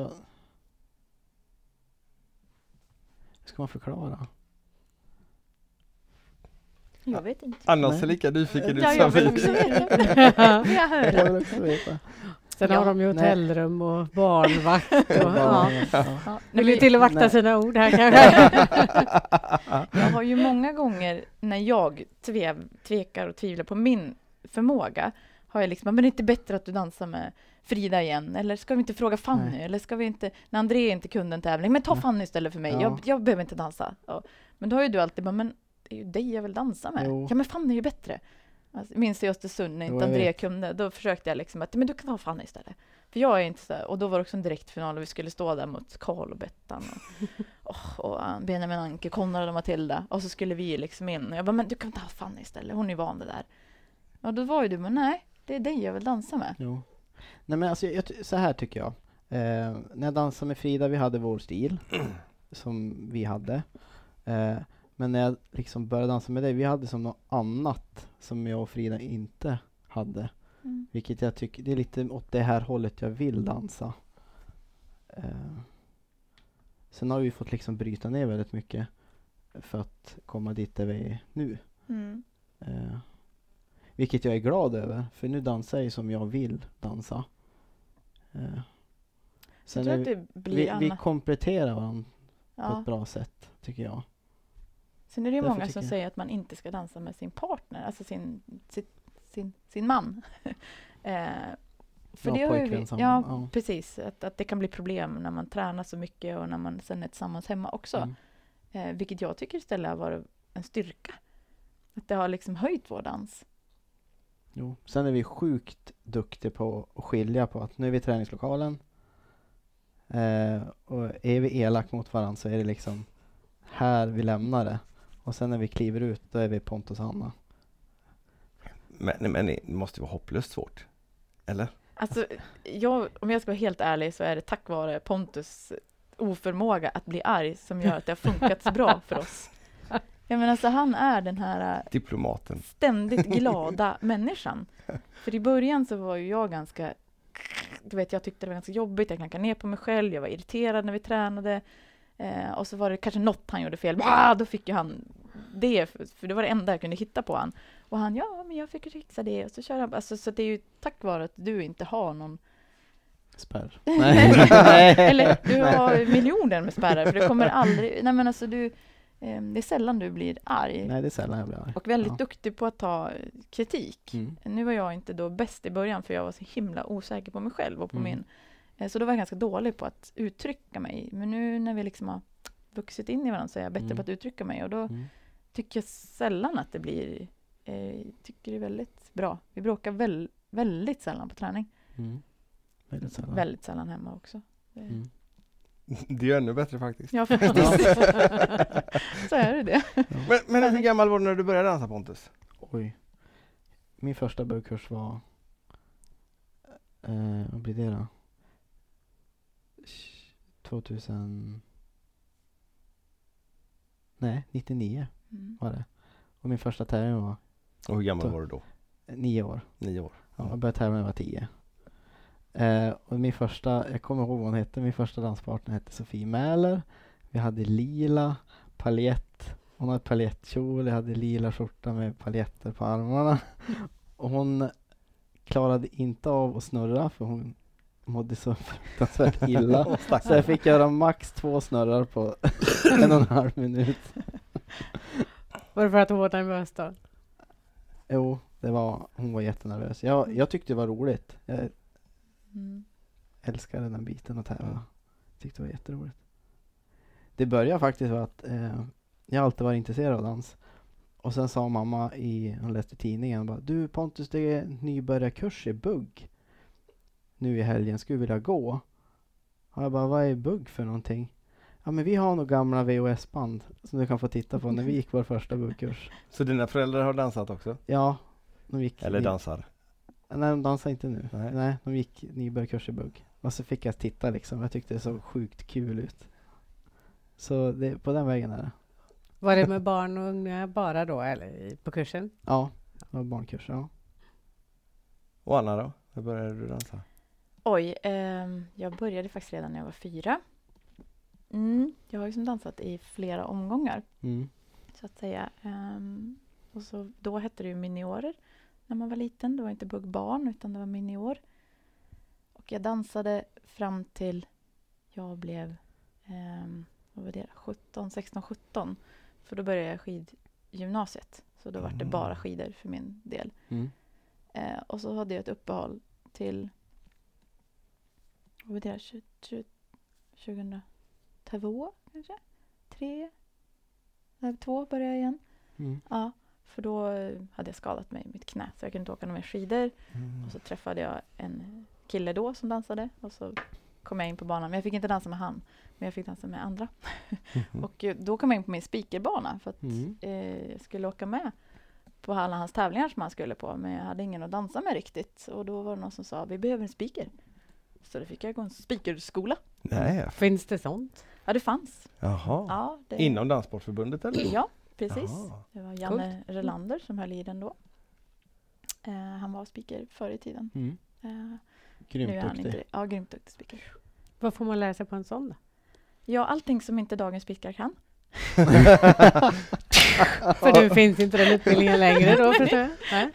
[SPEAKER 4] Hur ska man förklara?
[SPEAKER 3] Jag vet inte.
[SPEAKER 1] Annars
[SPEAKER 4] Nej.
[SPEAKER 1] är lika nyfiken ut
[SPEAKER 3] Ja, jag
[SPEAKER 1] som
[SPEAKER 3] vill
[SPEAKER 1] vi.
[SPEAKER 3] också veta. Vill jag höra?
[SPEAKER 4] Jag vill också veta.
[SPEAKER 2] Sen
[SPEAKER 3] Ja,
[SPEAKER 2] har de ju
[SPEAKER 4] nej.
[SPEAKER 2] hotellrum och barnvakt. Och, ja.
[SPEAKER 4] Bara- ja.
[SPEAKER 3] Ja,
[SPEAKER 2] Nu
[SPEAKER 3] nej,
[SPEAKER 2] vill
[SPEAKER 3] men-
[SPEAKER 2] till och vakta
[SPEAKER 4] Nej.
[SPEAKER 2] sina ord här kanske.
[SPEAKER 3] Jag har ju många gånger när jag tvev, tvekar och tvivlar på min förmåga har jag liksom, men det är inte bättre att du dansar med Frida igen? Eller ska vi inte fråga Fanny?
[SPEAKER 4] Nej.
[SPEAKER 3] Eller ska vi inte, när André inte kunde en tävling, men ta
[SPEAKER 4] Nej.
[SPEAKER 3] Fanny istället för mig,
[SPEAKER 4] Ja.
[SPEAKER 3] jag, jag behöver inte dansa. Ja. Men då har ju du alltid bara, men det är ju dig jag vill dansa med.
[SPEAKER 4] Jo.
[SPEAKER 3] Ja men Fanny är ju bättre. Alltså, minns jag i Östersund när
[SPEAKER 4] Jo,
[SPEAKER 3] inte
[SPEAKER 4] jag
[SPEAKER 3] André
[SPEAKER 4] vet.
[SPEAKER 3] kunde, då försökte jag liksom att, men du kan ta Fanny istället. För jag är inte så här- och då var det också en direktfinal och vi skulle stå där mot Karl och Bettan och, och, och An- Benjamin Anke, Konrad och Matilda. Och så skulle vi liksom in och jag bara, men du kan ta Fanny istället, hon är ju van vid det där. Och då var ju du, men nej, det är dig jag vill dansa med.
[SPEAKER 4] Jo. Nej men alltså, jag, ty- så här tycker jag. Eh, när jag dansade med Frida, vi hade vår stil som vi hade. Eh, men när jag liksom började dansa med dig, vi hade som något annat som jag och Frida inte hade.
[SPEAKER 3] Mm.
[SPEAKER 4] Vilket jag tycker, det är lite åt det här hållet jag vill dansa. Eh, sen har vi fått liksom bryta ner väldigt mycket för att komma dit där vi är nu.
[SPEAKER 3] Mm.
[SPEAKER 4] Eh, vilket jag är glad över, för nu dansar jag ju som jag vill dansa. Eh,
[SPEAKER 3] Så jag
[SPEAKER 4] sen
[SPEAKER 3] tror
[SPEAKER 4] är
[SPEAKER 3] att
[SPEAKER 4] vi,
[SPEAKER 3] det blir
[SPEAKER 4] vi, vi
[SPEAKER 3] annat.
[SPEAKER 4] kompletterar varandra på
[SPEAKER 3] Ja.
[SPEAKER 4] ett bra sätt, tycker jag.
[SPEAKER 3] Sen är det ju
[SPEAKER 4] därför
[SPEAKER 3] många
[SPEAKER 4] tycker
[SPEAKER 3] som
[SPEAKER 4] jag-
[SPEAKER 3] säger att man inte ska dansa med sin partner, alltså sin, sin, sin, sin man. eh, för
[SPEAKER 4] Ja,
[SPEAKER 3] det har ju vi,
[SPEAKER 4] pojkvän som-
[SPEAKER 3] ja,
[SPEAKER 4] ja.
[SPEAKER 3] precis. Att, att det kan bli problem när man tränar så mycket och när man sen är tillsammans hemma också.
[SPEAKER 4] Mm.
[SPEAKER 3] Eh, vilket jag tycker istället har varit en styrka. Att det har liksom höjt vår dans.
[SPEAKER 4] Jo. Sen är vi sjukt duktiga på att skilja på att nu är vi i träningslokalen eh, och är vi elak mot varandra så är det liksom här vi lämnar det. Och sen när vi kliver ut, då är vi Pontus och Hanna.
[SPEAKER 1] Men, men det måste ju vara hopplöst svårt. Eller?
[SPEAKER 3] Alltså, jag, om jag ska vara helt ärlig så är det tack vare Pontus oförmåga att bli arg som gör att det har funkat så bra för oss. Jag menar, så han är den här eh,
[SPEAKER 1] Diplomaten.
[SPEAKER 3] ständigt glada människan. För i början så var ju jag ganska, du vet jag tyckte det var ganska jobbigt, jag klankade ner på mig själv, jag var irriterad när vi tränade. Eh, och så var det kanske något han gjorde fel, ah, då fick ju han det, för för det var det enda jag kunde hitta på han. Och han, ja men jag fick fixa det, och så kör han, alltså, så det är ju tack vare att du inte har någon
[SPEAKER 4] Spärr.
[SPEAKER 3] eller du har miljoner med spärrar, för du kommer aldrig, nej men alltså du, eh, det är sällan du blir arg.
[SPEAKER 4] Nej, det är sällan jag blir arg.
[SPEAKER 3] Och väldigt
[SPEAKER 4] Ja.
[SPEAKER 3] duktig på att ta eh, kritik.
[SPEAKER 4] Mm.
[SPEAKER 3] Nu var jag inte då bäst i början för jag var så himla osäker på mig själv och på
[SPEAKER 4] Mm.
[SPEAKER 3] min... eh, Så då var jag ganska dålig på att uttrycka mig. Men nu när vi liksom har vuxit in i varandra så är jag bättre
[SPEAKER 4] Mm.
[SPEAKER 3] på att uttrycka mig och då
[SPEAKER 4] Mm.
[SPEAKER 3] tycker jag sällan att det blir... Eh, tycker det är väldigt bra. Vi bråkar väl, väldigt sällan på träning.
[SPEAKER 4] Mm. Väldigt sällan.
[SPEAKER 3] Väldigt sällan hemma också. Det-
[SPEAKER 4] Mm.
[SPEAKER 1] Det är ju ännu bättre faktiskt.
[SPEAKER 3] Ja, faktiskt. så är det det.
[SPEAKER 1] Men, men hur gammal var du när du började dansa Pontus?
[SPEAKER 4] Oj. Min första bögkurs var... Eh, vad blir det då? 2000... Nej, 99
[SPEAKER 3] Mm.
[SPEAKER 4] var det. Och min första tävling var
[SPEAKER 1] Och hur gammal
[SPEAKER 4] Då.
[SPEAKER 1] var du då?
[SPEAKER 4] eh, nio år.
[SPEAKER 1] Nio år.
[SPEAKER 4] Ja, jag började tävla när jag var tio. Eh, och min första, jag kommer ihåg vad hon hette, min första danspartner hette Sofie Mäler. Vi hade lila paljett, hon hade paljettkjol, jag hade lila skjorta med paljetter på armarna. Och hon klarade inte av att snurra för hon mådde så fruktansvärt illa. Så jag fick göra max två snurrar på en och en halv minut.
[SPEAKER 2] Var det för att hon var nervös då?
[SPEAKER 4] Jo, det var, hon var jättenervös. Jag, jag tyckte det var roligt. Jag
[SPEAKER 3] Mm.
[SPEAKER 4] älskade den biten att tävla.
[SPEAKER 1] Mm.
[SPEAKER 4] Tyckte det var jätteroligt. Det började faktiskt med att eh, jag alltid var intresserad av dans. Och sen sa mamma, i, hon läste i tidningen, bara, du Pontus det är en nybörjarkurs i bugg nu i helgen, skulle du vilja gå? Och jag bara, vad är bugg för någonting? Ja men vi har nog gamla VHS-band som du kan få titta på när vi gick vår första buggkurs.
[SPEAKER 1] Så dina föräldrar har dansat också?
[SPEAKER 4] Ja, de gick
[SPEAKER 1] Eller
[SPEAKER 4] vi-
[SPEAKER 1] dansar?
[SPEAKER 4] Nej, de dansar inte nu.
[SPEAKER 1] Nej.
[SPEAKER 4] Nej. de gick nybörjarkurs i bugg. Och så fick jag titta liksom. Jag tyckte det såg sjukt kul ut. Så det, på den vägen är det.
[SPEAKER 2] Var det med barn och unga bara då, eller i- på kursen?
[SPEAKER 4] Ja, det var barnkurs. Ja.
[SPEAKER 1] Och Anna då? Hur började du dansa?
[SPEAKER 3] Oj, ehm, jag började faktiskt redan när jag var fyra. Mm, jag har liksom dansat i flera omgångar,
[SPEAKER 4] Mm.
[SPEAKER 3] så att säga. Ehm, och så, då hette det ju miniorer när man var liten. Det var inte buggbarn, utan det var minior. Och jag dansade fram till jag blev, ehm, vad var det, 17, 16, 17. För då började jag skidgymnasiet. Så då var det
[SPEAKER 1] Mm.
[SPEAKER 4] Mm.
[SPEAKER 3] bara skidor för min del. Eh, och så hade jag ett uppehåll till vad blir det, 20, 20, 2002 kanske? Tre? Nej, två började jag igen.
[SPEAKER 4] Mm.
[SPEAKER 3] Ja, för då eh, hade jag skadat mig i mitt knä så jag kunde inte åka några mer skidor.
[SPEAKER 1] Mm.
[SPEAKER 3] Och så träffade jag en kille då som dansade och så kom jag in på banan. Men jag fick inte dansa med han, men jag fick dansa med andra. Och eh, då kom jag in på min speakerbana för att
[SPEAKER 4] Mm.
[SPEAKER 3] eh, jag skulle åka med på alla hans tävlingar som han skulle på, men jag hade ingen att dansa med riktigt. Och då var det någon som sa, vi behöver en speaker. Så då fick jag gå en speakerskola.
[SPEAKER 1] Nej,
[SPEAKER 2] Finns det sånt?
[SPEAKER 3] Ja, det fanns.
[SPEAKER 1] jaha.
[SPEAKER 3] Ja, det,
[SPEAKER 1] Inom Danssportförbundet eller?
[SPEAKER 3] ja precis.
[SPEAKER 1] Jaha.
[SPEAKER 3] Det var Janne Relander som höll i den då. Eh, han var speaker förr i tiden.
[SPEAKER 4] Mm.
[SPEAKER 3] Eh,
[SPEAKER 4] Grymt
[SPEAKER 3] nu är han
[SPEAKER 4] duktig.
[SPEAKER 3] inte det. Ja, grymt duktig speaker.
[SPEAKER 2] Vad får man lära sig på en sån då?
[SPEAKER 3] Ja, allting som inte dagens speaker kan.
[SPEAKER 2] För nu finns inte den utbildningen längre då förstår jag. Nej.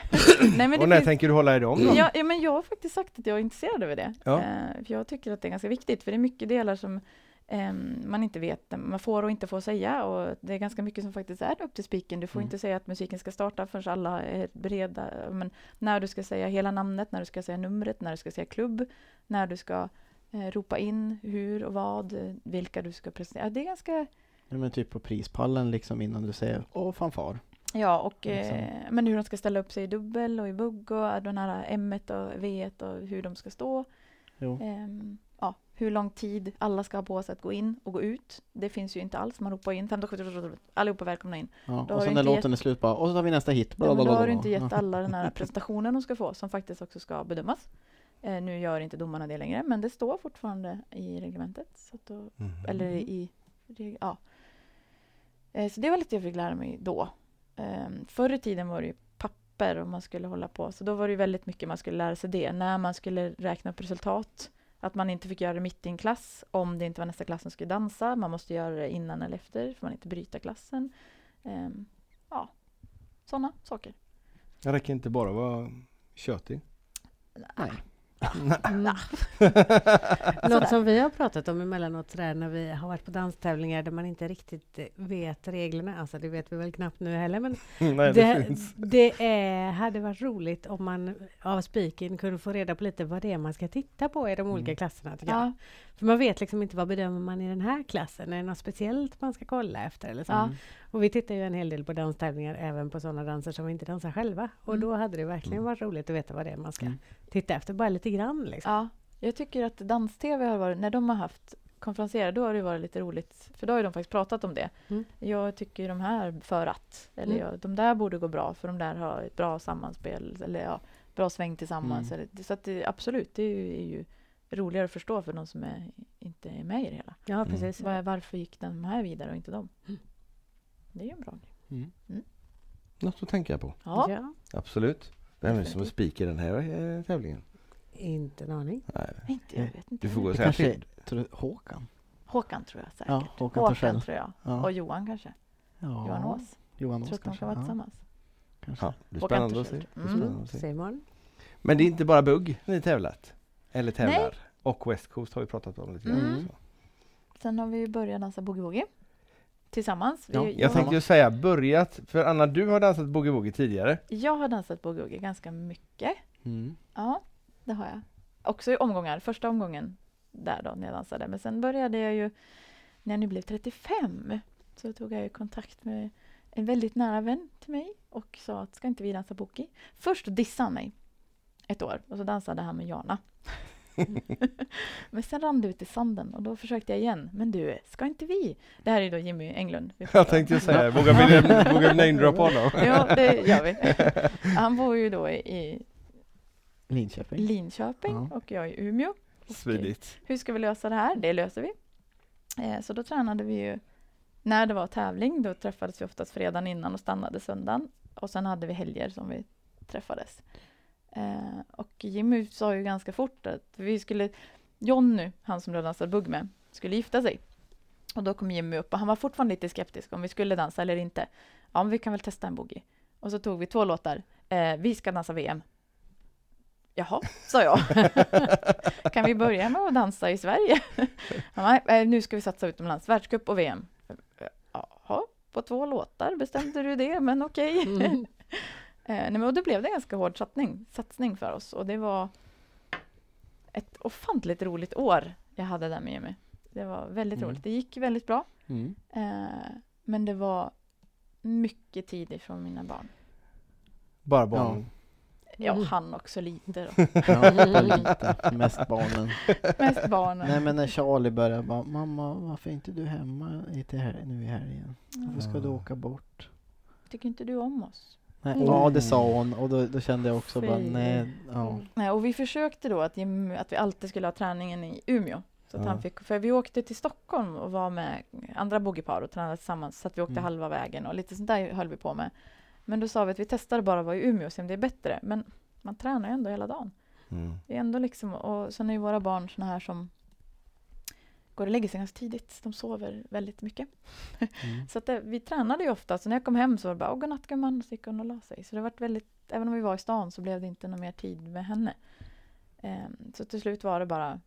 [SPEAKER 3] Nej, men det
[SPEAKER 1] Och när
[SPEAKER 3] finns-
[SPEAKER 1] tänker du hålla i
[SPEAKER 4] Mm.
[SPEAKER 1] dem då?
[SPEAKER 3] Ja, ja, men jag har faktiskt sagt att jag är intresserad över det.
[SPEAKER 1] Ja.
[SPEAKER 3] Eh, för jag tycker att det är ganska viktigt, för det är mycket delar som ehm, man inte vet, man får och inte får säga. Och det är ganska mycket som faktiskt är upp till spiken. Du får
[SPEAKER 4] Mm.
[SPEAKER 3] inte säga att musiken ska starta förrän alla är beredda. Men när du ska säga hela namnet, när du ska säga numret, när du ska säga klubb, när du ska eh, ropa in hur och vad, eh, vilka du ska presentera. Ja, Det är ganska
[SPEAKER 4] Ja, men typ på prispallen liksom innan du säger åh fanfar.
[SPEAKER 3] Ja, och
[SPEAKER 4] Liksom.
[SPEAKER 3] eh, men hur de ska ställa upp sig i dubbel och i bugg och eh, den här M och V och hur de ska stå.
[SPEAKER 4] Jo.
[SPEAKER 3] Ehm, ja, hur lång tid alla ska ha på sig att gå in och gå ut. Det finns ju inte alls. Man ropar in 15, allihopa välkomna in.
[SPEAKER 4] Ja.
[SPEAKER 3] har
[SPEAKER 4] Och
[SPEAKER 3] du
[SPEAKER 4] sen när
[SPEAKER 3] inte
[SPEAKER 4] låten är slut bara, och så tar vi nästa hit.
[SPEAKER 3] Ja, men då har du
[SPEAKER 4] blablabla.
[SPEAKER 3] inte gett
[SPEAKER 4] Ja.
[SPEAKER 3] alla den här presentationen de ska få som faktiskt också ska bedömas. Eh, nu gör inte domarna det längre, men det står fortfarande i reglementet. Så att då
[SPEAKER 1] Mhm.
[SPEAKER 3] Eller
[SPEAKER 4] Mhm.
[SPEAKER 3] i... reg- Ja. Eh, Så det var lite jag fick lära mig då. Ehm, Förr i tiden var det ju papper och man skulle hålla på. Så då var det ju väldigt mycket man skulle lära sig det. När man skulle räkna upp resultat. Att man inte fick göra det mitt i en klass. Om det inte var nästa klass som skulle dansa. Man måste göra det innan eller efter. Får man inte bryta klassen. Ehm, Ja, sådana saker.
[SPEAKER 1] Jag räcker inte bara vara tjötig.
[SPEAKER 4] Nej.
[SPEAKER 2] Mm. Något som vi har pratat om emellanåt sådär när vi har varit på danstävlingar där man inte riktigt eh, vet reglerna, alltså det vet vi väl knappt nu heller, men
[SPEAKER 1] Nej, det,
[SPEAKER 2] det,
[SPEAKER 1] finns.
[SPEAKER 2] det är, hade varit roligt om man av spiken kunde få reda på lite vad det är man ska titta på i de olika
[SPEAKER 4] Mm.
[SPEAKER 2] klasserna. Tycker jag.
[SPEAKER 3] Ja,
[SPEAKER 2] För man vet liksom inte vad bedömer man i den här klassen, är det något speciellt man ska kolla efter? Eller så.
[SPEAKER 3] Ja.
[SPEAKER 4] Mm.
[SPEAKER 2] Och vi tittar ju en hel del på danstävlingar, även på sådana danser som vi inte dansar själva. Och
[SPEAKER 3] Mm.
[SPEAKER 2] då hade det verkligen
[SPEAKER 1] Mm.
[SPEAKER 2] varit roligt att veta vad det är man ska
[SPEAKER 4] Mm.
[SPEAKER 2] titta efter, bara lite grann. Liksom.
[SPEAKER 3] ja. Jag tycker att dans-tv har varit, när de har haft konferenser, då har det varit lite roligt. För då har ju de faktiskt pratat om det.
[SPEAKER 4] Mm.
[SPEAKER 3] Jag tycker de här för att. Eller
[SPEAKER 2] Mm.
[SPEAKER 3] jag, de där borde gå bra för de där har ett bra sammanspel. Eller ja, bra sväng tillsammans.
[SPEAKER 4] Mm.
[SPEAKER 3] Eller, så att det, absolut, det är ju, är ju roligare att förstå för de som är, inte är med i det hela.
[SPEAKER 2] Ja,
[SPEAKER 1] Mm.
[SPEAKER 2] precis.
[SPEAKER 3] Var, varför gick de här vidare och inte de? Det är ju en bra grej.
[SPEAKER 4] Mm.
[SPEAKER 1] Något att tänka på.
[SPEAKER 3] Ja,
[SPEAKER 2] Ja,
[SPEAKER 1] Absolut. Vem är det som är
[SPEAKER 3] Definitivt.
[SPEAKER 1] speaker den här eh, tävlingen?
[SPEAKER 2] inte en
[SPEAKER 4] Mm.
[SPEAKER 2] aning.
[SPEAKER 1] Nej.
[SPEAKER 3] inte
[SPEAKER 4] Eh,
[SPEAKER 3] jag vet inte.
[SPEAKER 1] Du får gå och
[SPEAKER 4] Det
[SPEAKER 1] säga
[SPEAKER 4] kanske
[SPEAKER 1] till.
[SPEAKER 4] är tror du, Håkan?
[SPEAKER 3] Håkan tror jag säkert.
[SPEAKER 4] Ja, Håkan Torssell.
[SPEAKER 3] tror jag.
[SPEAKER 4] Ja.
[SPEAKER 3] Och Johan kanske.
[SPEAKER 4] Ja.
[SPEAKER 3] Johan Ås.
[SPEAKER 4] Johan
[SPEAKER 3] Tror
[SPEAKER 4] Ås
[SPEAKER 3] att de
[SPEAKER 4] kanske.
[SPEAKER 3] kan vara
[SPEAKER 4] Ja,
[SPEAKER 3] tillsammans.
[SPEAKER 4] kanske.
[SPEAKER 1] Ja, det är
[SPEAKER 3] Håkan
[SPEAKER 1] spännande att se.
[SPEAKER 3] Torssell.
[SPEAKER 1] Det är
[SPEAKER 3] Mm.
[SPEAKER 1] spännande att se.
[SPEAKER 2] Simon?
[SPEAKER 1] Men det är inte bara bugg ni tävlat? Eller tävlar? Och West Coast har vi pratat om lite grann.
[SPEAKER 3] Mm.
[SPEAKER 1] också.
[SPEAKER 3] Sen har vi ju börjat dansa boogie-woogie. Tillsammans. Vi-
[SPEAKER 4] Ja,
[SPEAKER 3] jag,
[SPEAKER 1] Jag tänkte ju säga börjat, för Anna du har dansat boogie-woogie tidigare.
[SPEAKER 3] jag har dansat boogie-woogie ganska mycket.
[SPEAKER 4] Mm.
[SPEAKER 3] Ja, det har jag. Också i omgångar. Första omgången där då, när jag dansade. Men sen började jag ju, när jag nu blev 35, så tog jag ju kontakt med en väldigt nära vän till mig och sa att ska inte vi dansa boogie? Först dissade han mig ett år och så dansade han med Jana. men sen rann det ut i sanden och då försökte jag igen. Men du, ska inte vi? Det här är då Jimmy Englund. vi pratar
[SPEAKER 1] Jag
[SPEAKER 3] om.
[SPEAKER 1] tänkte ju säga, vågar vi vågar vi namedroppa honom?
[SPEAKER 3] Ja, det gör vi. Han bor ju då i
[SPEAKER 4] Linköping.
[SPEAKER 3] Linköping
[SPEAKER 4] Ja.
[SPEAKER 3] och jag i Umeå.
[SPEAKER 1] Smidigt.
[SPEAKER 3] hur ska vi lösa det här? Det löser vi. Eh, så då tränade vi ju, när det var tävling, då träffades vi oftast fredagen innan och stannade söndagen. Och sen hade vi helger som vi träffades. Eh, och Jimmy sa ju ganska fort att vi skulle, Jonny, han som då dansade bugg med, skulle gifta sig. Och då kom Jimmy upp och han var fortfarande lite skeptisk om vi skulle dansa eller inte. Ja, men vi kan väl testa en boogie. Och så tog vi två låtar. Eh, vi ska dansa VM. Jaha, sa jag. kan vi börja med att dansa i Sverige? Han bara, "Nej, nu ska vi satsa utomlands, världscup och VM. Jaha, på två låtar bestämde du det, men okej.
[SPEAKER 2] Mm.
[SPEAKER 3] Eh, nej, men och då blev det en ganska hård satsning, satsning för oss och det var ett ofantligt roligt år jag hade där med Jimmy. Det var väldigt
[SPEAKER 4] Mm.
[SPEAKER 3] roligt. Det gick väldigt bra.
[SPEAKER 4] Mm.
[SPEAKER 3] Eh, men det var mycket tid ifrån mina barn.
[SPEAKER 1] Bara barn.
[SPEAKER 3] Ja,
[SPEAKER 2] Mm.
[SPEAKER 3] han också lite då.
[SPEAKER 4] Ja, och lite. Mest barnen.
[SPEAKER 3] Mest barnen.
[SPEAKER 4] Nej men när Charlie började bara, mamma varför är inte du hemma i till här, nu i helgen? Varför ska du
[SPEAKER 1] Ja.
[SPEAKER 4] åka bort?
[SPEAKER 3] Tycker inte du om oss?
[SPEAKER 4] Nej,
[SPEAKER 2] Mm.
[SPEAKER 4] Ja det sa hon och då, då kände jag också bara
[SPEAKER 3] Fy. Mm.
[SPEAKER 4] nej, ja.
[SPEAKER 3] Nej, och vi försökte då att, Jim, att vi alltid skulle ha träningen i Umeå. Så att
[SPEAKER 1] Ja.
[SPEAKER 3] han fick, för vi åkte till Stockholm och var med andra bogeypar och tränade tillsammans så att vi åkte
[SPEAKER 4] Mm.
[SPEAKER 3] halva vägen och lite sånt där höll vi på med. Men då sa vi att vi testar bara att vara i Umeå och se om det är bättre. Men man tränar ju ändå hela dagen.
[SPEAKER 1] Mm.
[SPEAKER 3] Det är ändå liksom, och sen är ju våra barn såna här som går och lägger sig ganska tidigt. De sover väldigt mycket.
[SPEAKER 4] Mm.
[SPEAKER 3] Så att det, vi tränade ju ofta, så när jag kom hem så var det bara "Åh, godnatt gumman, och så gick hon och la sig. Så det var väldigt, även om vi var i stan så blev det inte någon mer tid med henne. Ehm, så till slut var det bara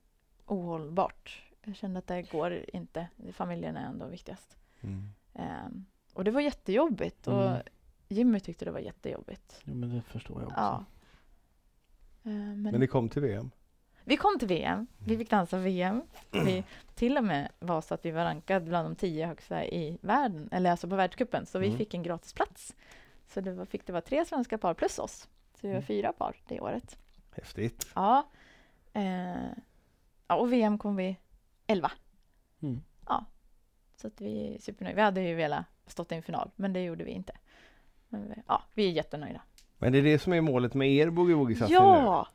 [SPEAKER 3] ohållbart. Jag kände att det går inte, familjen är ändå viktigast.
[SPEAKER 1] Mm.
[SPEAKER 3] Ehm, och det var jättejobbigt och
[SPEAKER 4] Mm.
[SPEAKER 3] Jimmy tyckte det var jättejobbigt.
[SPEAKER 4] Jo, men det förstår jag också.
[SPEAKER 3] Ja. Ehm, men
[SPEAKER 1] Men det kom till VM.
[SPEAKER 3] vi kom till VM, vi fick dansa VM. Vi till och med var så att vi var rankade bland de tio högsta i världen, eller alltså på världscupen, så vi
[SPEAKER 1] Mm.
[SPEAKER 3] fick en gratisplats. Så det var, fick det vara tre svenska par plus oss, så vi var
[SPEAKER 4] Mm.
[SPEAKER 3] fyra par det året.
[SPEAKER 1] Häftigt.
[SPEAKER 3] Ja, eh, ja och VM kom vi elva,
[SPEAKER 4] Mm.
[SPEAKER 3] så att vi är supernöjda. Vi hade ju velat stått i en final, men det gjorde vi inte. Men vi, ja, vi är jättenöjda.
[SPEAKER 1] Men det är det som är målet med er boogie woogie satsning nu.
[SPEAKER 3] Ja!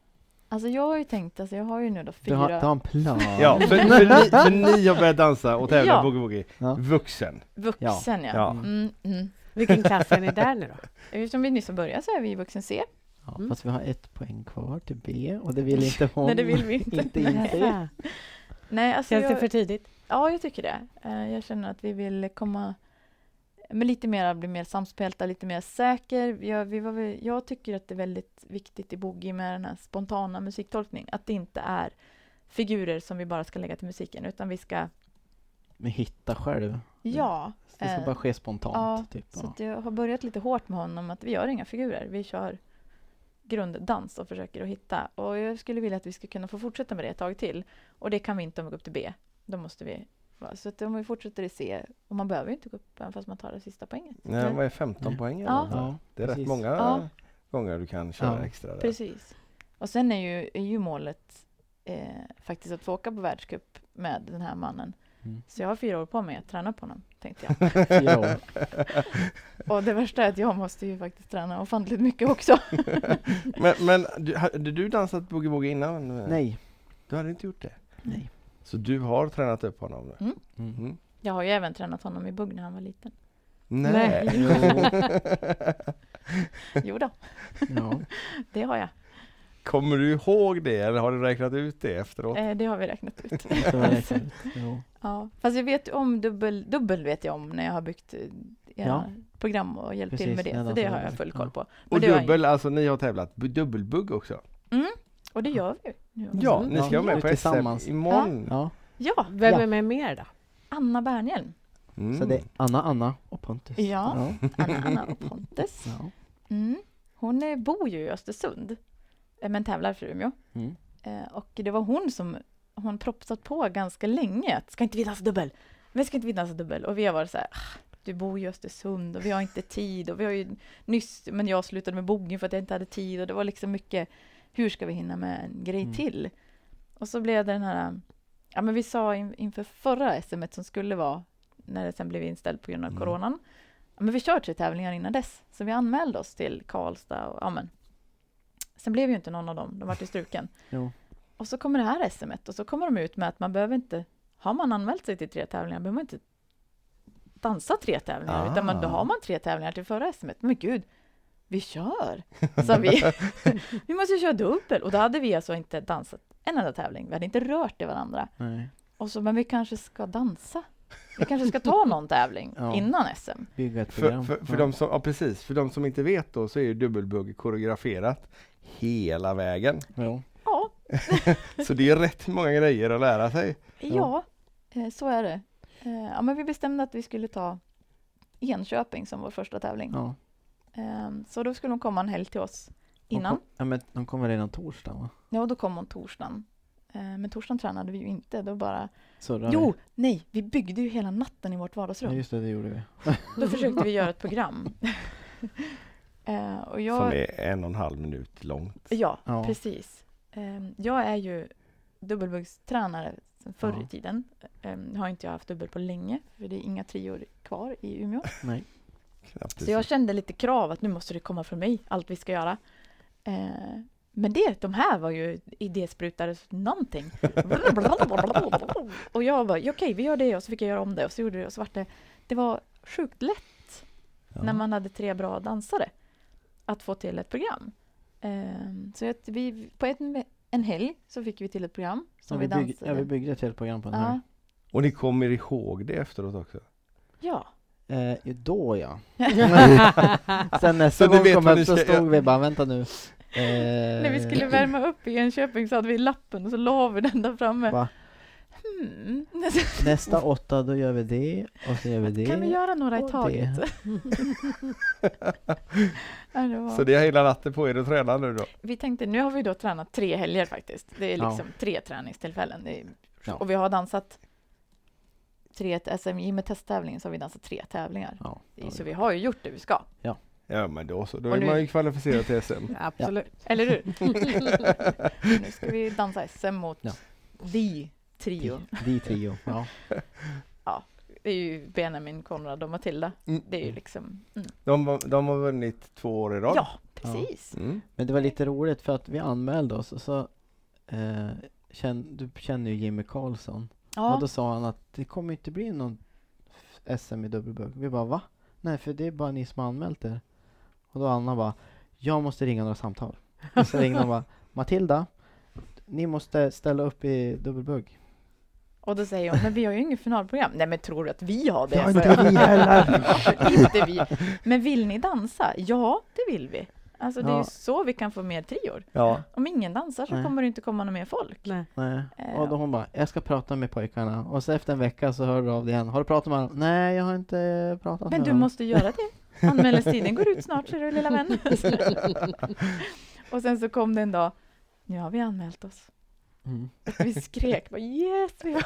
[SPEAKER 3] Alltså jag har ju tänkt, alltså jag har ju nu då
[SPEAKER 4] Du
[SPEAKER 3] fyra...
[SPEAKER 4] har, du har en plan.
[SPEAKER 1] Ja, för, för, ni, för ni har börjat dansa och tävla
[SPEAKER 3] Ja.
[SPEAKER 1] boogie woogie.
[SPEAKER 4] Ja.
[SPEAKER 1] Vuxen.
[SPEAKER 3] Vuxen ja.
[SPEAKER 1] Mm. Ja.
[SPEAKER 3] Mm, mm.
[SPEAKER 2] Vilken klass är ni där nu då?
[SPEAKER 3] Eftersom vi nyss har börjat så är vi i vuxen C.
[SPEAKER 4] Ja,
[SPEAKER 2] Mm.
[SPEAKER 4] Fast vi har ett poäng kvar till B och det vill inte hon.
[SPEAKER 3] Nej, det vill vi inte.
[SPEAKER 4] inte inse.
[SPEAKER 2] Ja.
[SPEAKER 3] Nej, alltså
[SPEAKER 2] Känns det för
[SPEAKER 3] jag,
[SPEAKER 2] tidigt?
[SPEAKER 3] ja, jag tycker det. Eh, Jag känner att vi vill komma med lite mer, bli mer samspelta, lite mer säker. Jag, vi var, väl- jag tycker att det är väldigt viktigt i boogie med den här spontana musiktolkning, att det inte är figurer som vi bara ska lägga till musiken, utan vi ska,
[SPEAKER 4] Men hitta själv.
[SPEAKER 3] ja.
[SPEAKER 4] Det ska
[SPEAKER 3] Eh,
[SPEAKER 4] bara ske spontant.
[SPEAKER 3] ja,
[SPEAKER 4] typ.
[SPEAKER 3] Så
[SPEAKER 4] ja.
[SPEAKER 3] att jag har börjat lite hårt med honom att vi gör inga figurer. Vi kör grunddans och försöker att hitta. Och jag skulle vilja att vi skulle kunna få fortsätta med det ett tag till. Och det kan vi inte om vi går upp till B. Då måste vi... va, Så att om vi fortsätter i C, och man behöver ju inte gå upp även fast man tar det sista poänget.
[SPEAKER 1] Nej, vad är 15 poäng? eller
[SPEAKER 3] Ja.
[SPEAKER 1] något sånt? Det är rätt
[SPEAKER 4] precis.
[SPEAKER 1] många
[SPEAKER 3] Ja.
[SPEAKER 1] gånger du kan köra
[SPEAKER 4] Ja.
[SPEAKER 1] extra där.
[SPEAKER 3] Precis. Och sen är ju, är ju målet eh, faktiskt att få åka på världscup med den här mannen.
[SPEAKER 4] Mm.
[SPEAKER 3] Så jag har fyra år på mig att träna på honom, tänkte jag.
[SPEAKER 4] Fyra år.
[SPEAKER 3] Och det värsta är att jag måste ju faktiskt träna ofantligt mycket också.
[SPEAKER 1] Men, men du, hade du dansat boogie woogie innan?
[SPEAKER 4] Nej.
[SPEAKER 1] Du hade inte gjort det?
[SPEAKER 4] Nej.
[SPEAKER 1] Så du har tränat upp honom nu?
[SPEAKER 4] Mm.
[SPEAKER 1] Mm.
[SPEAKER 3] Jag har ju även tränat honom i bugg när han var liten.
[SPEAKER 1] Nej.
[SPEAKER 4] Jo.
[SPEAKER 3] Jo då,
[SPEAKER 4] Ja.
[SPEAKER 3] det har jag.
[SPEAKER 1] Kommer du ihåg det eller har du räknat ut det efteråt?
[SPEAKER 3] Eh, det har vi räknat ut.
[SPEAKER 4] Så var det räknat. Jo.
[SPEAKER 3] ja. Fast jag vet ju om dubbel, dubbel vet jag om när jag har byggt eh, era
[SPEAKER 4] Ja.
[SPEAKER 3] program och hjälpt till
[SPEAKER 4] Precis,
[SPEAKER 3] med
[SPEAKER 4] när
[SPEAKER 3] det. Så
[SPEAKER 4] de
[SPEAKER 3] det
[SPEAKER 4] får
[SPEAKER 3] har
[SPEAKER 4] dubbel.
[SPEAKER 3] jag full
[SPEAKER 4] Ja.
[SPEAKER 3] koll på. Men
[SPEAKER 1] Och
[SPEAKER 3] det har jag
[SPEAKER 1] dubbel, alltså ni har tävlat bu- dubbelbugg också?
[SPEAKER 3] inte. Och det gör vi ju. nu.
[SPEAKER 1] Ja, ni ska
[SPEAKER 4] Ja,
[SPEAKER 1] vara med på
[SPEAKER 4] tillsammans.
[SPEAKER 1] SM imorgon.
[SPEAKER 4] Ja.
[SPEAKER 3] Ja,
[SPEAKER 2] Vem
[SPEAKER 4] Ja.
[SPEAKER 2] är med mer då?
[SPEAKER 3] Anna Bernhjelm.
[SPEAKER 1] Mm.
[SPEAKER 4] Så det är Anna, Anna och Pontus.
[SPEAKER 3] Ja.
[SPEAKER 4] ja.
[SPEAKER 3] Anna, Anna och Pontes.
[SPEAKER 4] ja.
[SPEAKER 3] Mm. Hon eh, bor ju i Östersund, eh, men tävlar för Umeå.
[SPEAKER 4] Mm.
[SPEAKER 3] Eh, och det var hon som hon propsat på ganska länge. att, Ska inte vi dansa dubbel? Men ska inte vi dansa dubbel? Och vi har varit så här, "Ah, du bor ju i Östersund och vi har inte tid och vi har ju nyss, men jag slutade med boggen för att jag inte hade tid och det var liksom mycket, hur ska vi hinna med en grej
[SPEAKER 4] Mm.
[SPEAKER 3] till? Och så blev det den här, ja men vi sa in, inför förra SM som skulle vara, när det sen blev inställt på grund av
[SPEAKER 1] Mm.
[SPEAKER 3] coronan, ja, men vi kör tre tävlingar innan dess, så vi anmälde oss till Karlstad och ja men. Sen blev ju inte någon av dem, de vart ju struken.
[SPEAKER 4] Jo.
[SPEAKER 3] Och så kommer det här SMet och så kommer de ut med att man behöver inte, har man anmält sig till tre tävlingar behöver man inte dansa tre tävlingar,
[SPEAKER 1] Ah.
[SPEAKER 3] utan man, då har man tre tävlingar till förra SMet. Men gud, vi kör! Så vi, vi måste ju köra dubbel! Och då hade vi alltså inte dansat en enda tävling, vi hade inte rört i varandra.
[SPEAKER 4] Nej.
[SPEAKER 3] Och så, men vi kanske ska dansa? Vi kanske ska ta någon tävling
[SPEAKER 4] Ja.
[SPEAKER 3] innan SM?
[SPEAKER 4] Bygga ett
[SPEAKER 1] För,
[SPEAKER 4] program.
[SPEAKER 1] för, för,
[SPEAKER 4] ja.
[SPEAKER 1] de som, ja, precis. för de som inte vet då så är ju dubbelbugg koreograferat hela vägen.
[SPEAKER 4] Jo.
[SPEAKER 3] Ja,
[SPEAKER 1] Så det är rätt många grejer att lära sig.
[SPEAKER 3] ja, eh, så är det. Eh, Ja, men vi bestämde att vi skulle ta Enköping som vår första tävling.
[SPEAKER 4] Ja.
[SPEAKER 3] Ehm, Så då skulle hon komma en helg till oss innan.
[SPEAKER 4] De, kom, ja, men de kommer redan torsdag va?
[SPEAKER 3] Ja, och då kom hon torsdagen. Ehm, Men torsdagen tränade vi ju inte. Då bara...
[SPEAKER 4] Surrar
[SPEAKER 3] Jo,
[SPEAKER 4] vi.
[SPEAKER 3] nej, vi byggde ju hela natten i vårt
[SPEAKER 4] Ja,
[SPEAKER 3] vardagsrum.
[SPEAKER 4] just det, det gjorde vi.
[SPEAKER 3] Då försökte vi göra ett program. Ehm, och jag...
[SPEAKER 1] Som är en och en halv minut långt.
[SPEAKER 3] Ja,
[SPEAKER 4] Ja.
[SPEAKER 3] precis. Ehm, Jag är ju dubbelbuggstränare sedan förr i
[SPEAKER 4] Ja.
[SPEAKER 3] tiden. Ehm, Nu har inte jag haft dubbel på länge, för det är inga trior kvar i Umeå.
[SPEAKER 4] Nej.
[SPEAKER 1] Knappt
[SPEAKER 3] Så jag kände lite krav att nu måste det komma från mig, allt vi ska göra. Eh, men det, de här var ju idésprutare så någonting. och jag bara, "Ja, okej vi gör det och så fick jag göra om det och så gjorde det och så vart det. Det var sjukt lätt
[SPEAKER 1] Ja.
[SPEAKER 3] när man hade tre bra dansare att få till ett program. Eh, så att vi, på en, en helg så fick vi till ett program som vi,
[SPEAKER 4] Ja, vi, bygg,
[SPEAKER 3] dansade.
[SPEAKER 4] ja, vi byggde ett helt program på den
[SPEAKER 3] ja,
[SPEAKER 4] här.
[SPEAKER 1] Och ni kommer ihåg det efteråt också?
[SPEAKER 3] ja.
[SPEAKER 4] Eh, ju då ja. Sen nästa
[SPEAKER 1] Så ni
[SPEAKER 4] gång
[SPEAKER 1] vet
[SPEAKER 4] vi kom
[SPEAKER 1] vad
[SPEAKER 4] upp
[SPEAKER 1] ni
[SPEAKER 4] så
[SPEAKER 1] ska göra.
[SPEAKER 4] stod vi bara, vänta nu. Eh,
[SPEAKER 3] När vi skulle värma upp i Enköping så hade vi lappen och så la vi den där framme.
[SPEAKER 4] Va?
[SPEAKER 3] Hmm.
[SPEAKER 4] Nästa åtta, då gör vi det och så gör vi det.
[SPEAKER 3] Kan vi göra några i
[SPEAKER 4] och
[SPEAKER 3] taget? ja, det var...
[SPEAKER 1] Så det är hela natten på er att träna nu då?
[SPEAKER 3] Vi tänkte, nu har vi då tränat tre helger faktiskt. Det är
[SPEAKER 4] Ja.
[SPEAKER 3] liksom tre träningstillfällen. Det är...
[SPEAKER 4] Ja.
[SPEAKER 3] Och vi har dansat tre SMJ med testtävlingen så har vi dansat tre tävlingar.
[SPEAKER 4] Ja, då
[SPEAKER 3] Så
[SPEAKER 4] gör
[SPEAKER 3] vi har ju gjort det vi ska.
[SPEAKER 1] Ja men då så, då
[SPEAKER 3] Och
[SPEAKER 1] är
[SPEAKER 3] nu-
[SPEAKER 1] man ju kvalificerad till SM.
[SPEAKER 2] Absolut.
[SPEAKER 3] Eller hur? nu ska vi dansa SM mot
[SPEAKER 4] Ja.
[SPEAKER 3] The Trio.
[SPEAKER 4] vi. Vi trio. Ja.
[SPEAKER 3] Det är ju Benjamin, Konrad och Matilda.
[SPEAKER 1] Mm.
[SPEAKER 3] Det är ju liksom... Mm.
[SPEAKER 1] De, var- de har vunnit två år i rad?
[SPEAKER 3] Ja, precis.
[SPEAKER 1] Mm.
[SPEAKER 4] Men det var lite roligt för att vi anmälde oss och så eh, känn, Du känner ju Jimmy Karlsson. Och
[SPEAKER 3] Ja.
[SPEAKER 4] då sa han att det kommer inte bli någon SM i dubbelbugg. Vi bara va? Nej för det är bara ni som har anmält er. Och då Anna bara, jag måste ringa några samtal. Och så ringde hon bara, Matilda, ni måste ställa upp i dubbelbugg.
[SPEAKER 3] Och då säger hon, men vi har ju inget finalprogram. Nej men tror du att vi har det?
[SPEAKER 4] Ja,
[SPEAKER 3] sa
[SPEAKER 4] inte
[SPEAKER 3] jag.
[SPEAKER 4] vi heller.
[SPEAKER 3] inte vi. Men vill ni dansa? Ja, det vill vi. Alltså det är ju
[SPEAKER 4] Ja.
[SPEAKER 3] så vi kan få mer trior.
[SPEAKER 1] Ja.
[SPEAKER 3] Om ingen dansar så
[SPEAKER 4] Nej.
[SPEAKER 3] kommer det inte komma någon mer folk.
[SPEAKER 2] Nej.
[SPEAKER 4] Nej.
[SPEAKER 3] Eh,
[SPEAKER 4] Och då hon bara, jag ska prata med pojkarna. Och så efter en vecka så hör du av dig igen. Har du pratat med honom? Nej, jag har inte pratat
[SPEAKER 3] Men
[SPEAKER 4] med
[SPEAKER 3] du
[SPEAKER 4] honom.
[SPEAKER 3] måste göra det. Anmälningstiden går ut snart, ser du lilla vän. och sen så kom det en dag, nu har vi anmält oss.
[SPEAKER 4] Mm.
[SPEAKER 3] Och vi skrek bara yes! Vi var...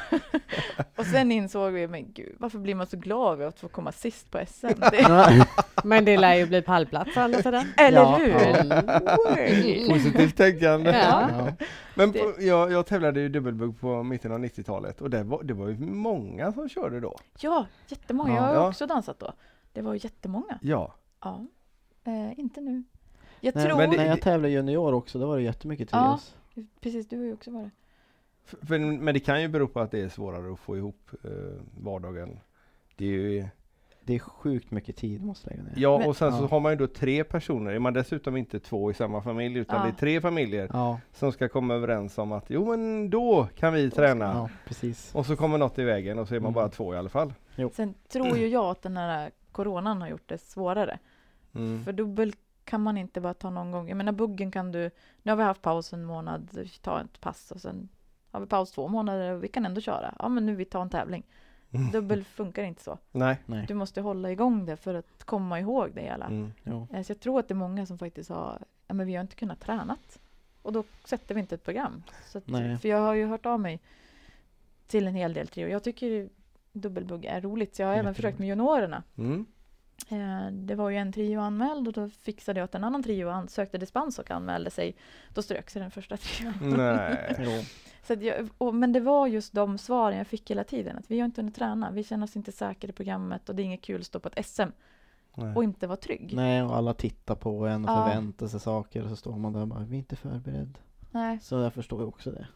[SPEAKER 3] och sen insåg vi, men gud, varför blir man så glad över att få komma sist på SM? Det...
[SPEAKER 2] Men det lär ju bli pallplats å andra sidan.
[SPEAKER 3] Eller
[SPEAKER 4] Ja,
[SPEAKER 3] hur?
[SPEAKER 2] Mm.
[SPEAKER 4] ja.
[SPEAKER 3] Word.
[SPEAKER 1] Positivt tänkande.
[SPEAKER 2] Ja.
[SPEAKER 4] Ja.
[SPEAKER 1] Men
[SPEAKER 3] Det-
[SPEAKER 1] på, jag, jag tävlade ju dubbelbugg på mitten av 90-talet och det var, det var ju många som körde då.
[SPEAKER 3] Ja, jättemånga. Jag har ju
[SPEAKER 1] Ja.
[SPEAKER 3] också dansat då. Det var jättemånga.
[SPEAKER 1] Ja.
[SPEAKER 3] Ja. Eh, inte nu. Jag
[SPEAKER 4] Nej,
[SPEAKER 3] tror...
[SPEAKER 1] men det-
[SPEAKER 4] När jag tävlade junior också, då var det jättemycket
[SPEAKER 3] Ja.
[SPEAKER 4] trios.
[SPEAKER 3] Precis, du har ju också varit.
[SPEAKER 1] F- För, men det kan ju bero på att det är svårare att få ihop eh, vardagen. Det är ju,
[SPEAKER 4] Det är sjukt mycket tid man måste lägga ner.
[SPEAKER 1] ja,
[SPEAKER 3] Men-
[SPEAKER 1] och sen så
[SPEAKER 4] Ja.
[SPEAKER 1] har man ju då tre personer. Är man dessutom inte två i samma familj utan
[SPEAKER 3] Ja.
[SPEAKER 1] det är tre familjer
[SPEAKER 4] Ja,
[SPEAKER 1] som ska komma överens om att jo men då kan vi
[SPEAKER 4] ja.
[SPEAKER 1] träna.
[SPEAKER 4] precis.
[SPEAKER 1] Och så kommer något i vägen och så är man
[SPEAKER 4] Mm.
[SPEAKER 1] bara två i alla fall.
[SPEAKER 3] Sen tror ju jag att den här coronan har gjort det svårare.
[SPEAKER 1] Mm.
[SPEAKER 3] För dubbel kan man inte bara ta någon gång. Jag menar buggen kan du... Nu har vi haft paus en månad, ta ett pass och sen har vi paus två månader och vi kan ändå köra. Ja men nu vi tar en tävling.
[SPEAKER 1] Mm.
[SPEAKER 3] Dubbel funkar inte så.
[SPEAKER 1] Nej.
[SPEAKER 4] Nej.
[SPEAKER 3] Du måste hålla igång det för att komma ihåg det hela.
[SPEAKER 1] Mm.
[SPEAKER 4] Jo.
[SPEAKER 3] Eh, Så jag tror att det är många som faktiskt har, ja men vi har inte kunnat tränat. Och då sätter vi inte ett program. Så att,
[SPEAKER 4] Nej.
[SPEAKER 3] för jag har ju hört av mig till en hel del trio. Jag tycker dubbelbugg är roligt, så jag har
[SPEAKER 4] Det är
[SPEAKER 3] även försökt med juniorerna.
[SPEAKER 1] Mm.
[SPEAKER 3] Eh, Det var ju en trio anmäld och då fixade jag att en annan trio an- sökte dispens och anmälde sig. Då strök sig den första trion.
[SPEAKER 4] Mm.
[SPEAKER 1] Nej.
[SPEAKER 4] Jo.
[SPEAKER 3] Så att jag, och, men det var just de svaren jag fick hela tiden. Att vi har inte hunnit träna, vi känner oss inte säkra i programmet och det är inget kul att stå på ett SM
[SPEAKER 1] Nej.
[SPEAKER 3] och inte vara trygg.
[SPEAKER 4] Nej, och alla tittar på en och
[SPEAKER 3] Ja.
[SPEAKER 4] förväntar sig saker och så står man där och bara, vi är inte förberedd.
[SPEAKER 3] Nej.
[SPEAKER 4] Så jag förstår ju också det.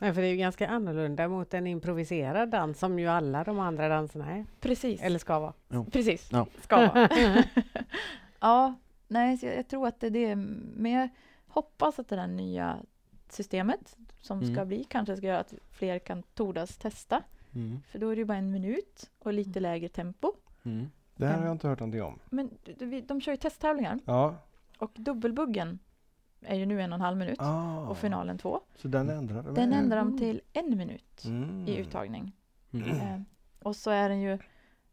[SPEAKER 2] Nej, för det är ju ganska annorlunda mot en improviserad dans som ju alla de andra danserna är.
[SPEAKER 3] Precis.
[SPEAKER 2] Eller ska vara.
[SPEAKER 3] Precis,
[SPEAKER 4] Ja.
[SPEAKER 3] ska vara. ja, nej, så jag, jag tror att det är det. Men jag hoppas att det där nya systemet som ska
[SPEAKER 4] Mm.
[SPEAKER 3] bli kanske ska göra att fler kan tordas testa.
[SPEAKER 4] Mm.
[SPEAKER 3] För då är det ju bara en minut och lite lägre tempo.
[SPEAKER 4] Mm.
[SPEAKER 1] Det här har jag inte hört någonting om.
[SPEAKER 3] Men du- du- vi- de kör ju testtävlingar
[SPEAKER 1] Ja.
[SPEAKER 3] och dubbelbuggen är ju nu en och en halv minut
[SPEAKER 1] Ah.
[SPEAKER 3] och finalen två.
[SPEAKER 1] Så den ändrade
[SPEAKER 3] Den
[SPEAKER 1] med.
[SPEAKER 3] ändrar de till en minut
[SPEAKER 1] Mm.
[SPEAKER 3] i uttagning.
[SPEAKER 4] Mm.
[SPEAKER 3] Eh, och så är den ju,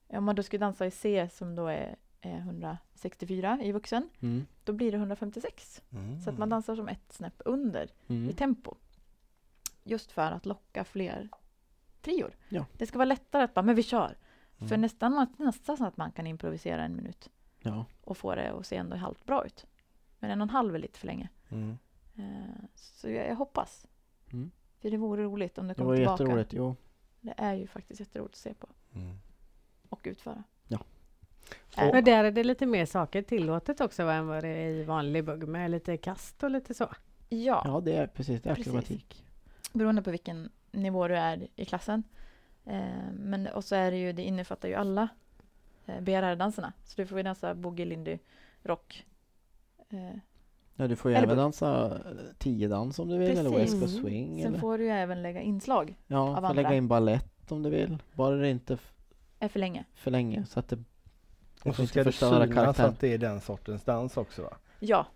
[SPEAKER 3] om man då skulle dansa i C som då är eh, 164 i vuxen,
[SPEAKER 4] Mm.
[SPEAKER 3] då blir det 156.
[SPEAKER 1] Mm.
[SPEAKER 3] Så att man dansar som ett snäpp under i
[SPEAKER 4] Mm.
[SPEAKER 3] tempo. Just för att locka fler trior.
[SPEAKER 4] Ja.
[SPEAKER 3] Det ska vara lättare att bara, men vi kör. För
[SPEAKER 1] Mm.
[SPEAKER 3] nästan, man- nästan så att man kan improvisera en minut
[SPEAKER 4] Ja.
[SPEAKER 3] och få det att se ändå halvt bra ut. Men en och en halv är lite för länge.
[SPEAKER 1] Mm.
[SPEAKER 3] Eh, Så jag, jag hoppas.
[SPEAKER 4] Mm.
[SPEAKER 3] För det vore roligt om det
[SPEAKER 4] Det
[SPEAKER 3] kom
[SPEAKER 4] var
[SPEAKER 3] tillbaka.
[SPEAKER 4] jätteroligt. Jo.
[SPEAKER 3] Det är ju faktiskt jätteroligt att se på
[SPEAKER 1] Mm.
[SPEAKER 3] och utföra. Äh.
[SPEAKER 1] Och-
[SPEAKER 2] Men där är det lite mer saker tillåtet också va, än vad det är i vanlig bugg med lite kast och lite så.
[SPEAKER 3] Ja,
[SPEAKER 4] Ja, det är precis. Det är
[SPEAKER 3] Precis.
[SPEAKER 4] akrobatik.
[SPEAKER 3] beroende på vilken nivå du är i klassen. Eh, men och så är det ju, det innefattar ju alla eh, BRR-danserna. Så du får ju dansa boogie, lindy, rock. Eh,
[SPEAKER 4] Ja, du får ju
[SPEAKER 3] Eller
[SPEAKER 4] även
[SPEAKER 3] både-
[SPEAKER 4] dansa eh, tiodans om du vill, eller
[SPEAKER 3] Precis.
[SPEAKER 4] west coast
[SPEAKER 2] Mm.
[SPEAKER 4] swing.
[SPEAKER 3] sen
[SPEAKER 4] eller,
[SPEAKER 3] får du ju även lägga inslag,
[SPEAKER 4] ja,
[SPEAKER 3] av
[SPEAKER 4] får lägga
[SPEAKER 3] andra.
[SPEAKER 4] in ballett om du vill. Bara det inte f-
[SPEAKER 3] är för länge.
[SPEAKER 4] för länge så att det
[SPEAKER 1] Och så
[SPEAKER 4] inte
[SPEAKER 1] ska det
[SPEAKER 4] förstöra
[SPEAKER 1] synas
[SPEAKER 4] karaktären.
[SPEAKER 1] att det är den sortens dans också va?
[SPEAKER 3] Ja,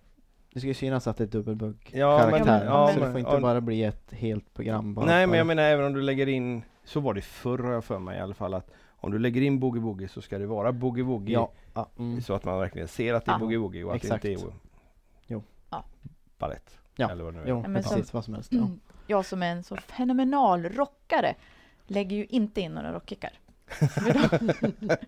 [SPEAKER 4] Det ska ju synas att det är dubbelbugg
[SPEAKER 1] Ja,
[SPEAKER 4] karaktär.
[SPEAKER 1] men-
[SPEAKER 3] ja,
[SPEAKER 4] så det
[SPEAKER 1] men-
[SPEAKER 4] får inte
[SPEAKER 1] ja.
[SPEAKER 4] bara bli ett helt program bara
[SPEAKER 1] Nej men
[SPEAKER 4] för-
[SPEAKER 1] jag menar även om du lägger in, så var det förr har jag för mig i alla fall att om du lägger in boogie woogie så ska det vara boogie woogie
[SPEAKER 4] Ja, ja, mm.
[SPEAKER 1] så att man verkligen ser att det är
[SPEAKER 3] Ja,
[SPEAKER 1] boogie woogie och att det
[SPEAKER 4] exakt.
[SPEAKER 1] inte är
[SPEAKER 4] Jo.
[SPEAKER 3] Ja.
[SPEAKER 1] balett.
[SPEAKER 4] Ja,
[SPEAKER 1] Eller vad det nu är.
[SPEAKER 4] jo,
[SPEAKER 3] men
[SPEAKER 4] precis vad som helst. Ja.
[SPEAKER 3] mm, jag som är en så fenomenal rockare lägger ju inte in några rockkickar. För då,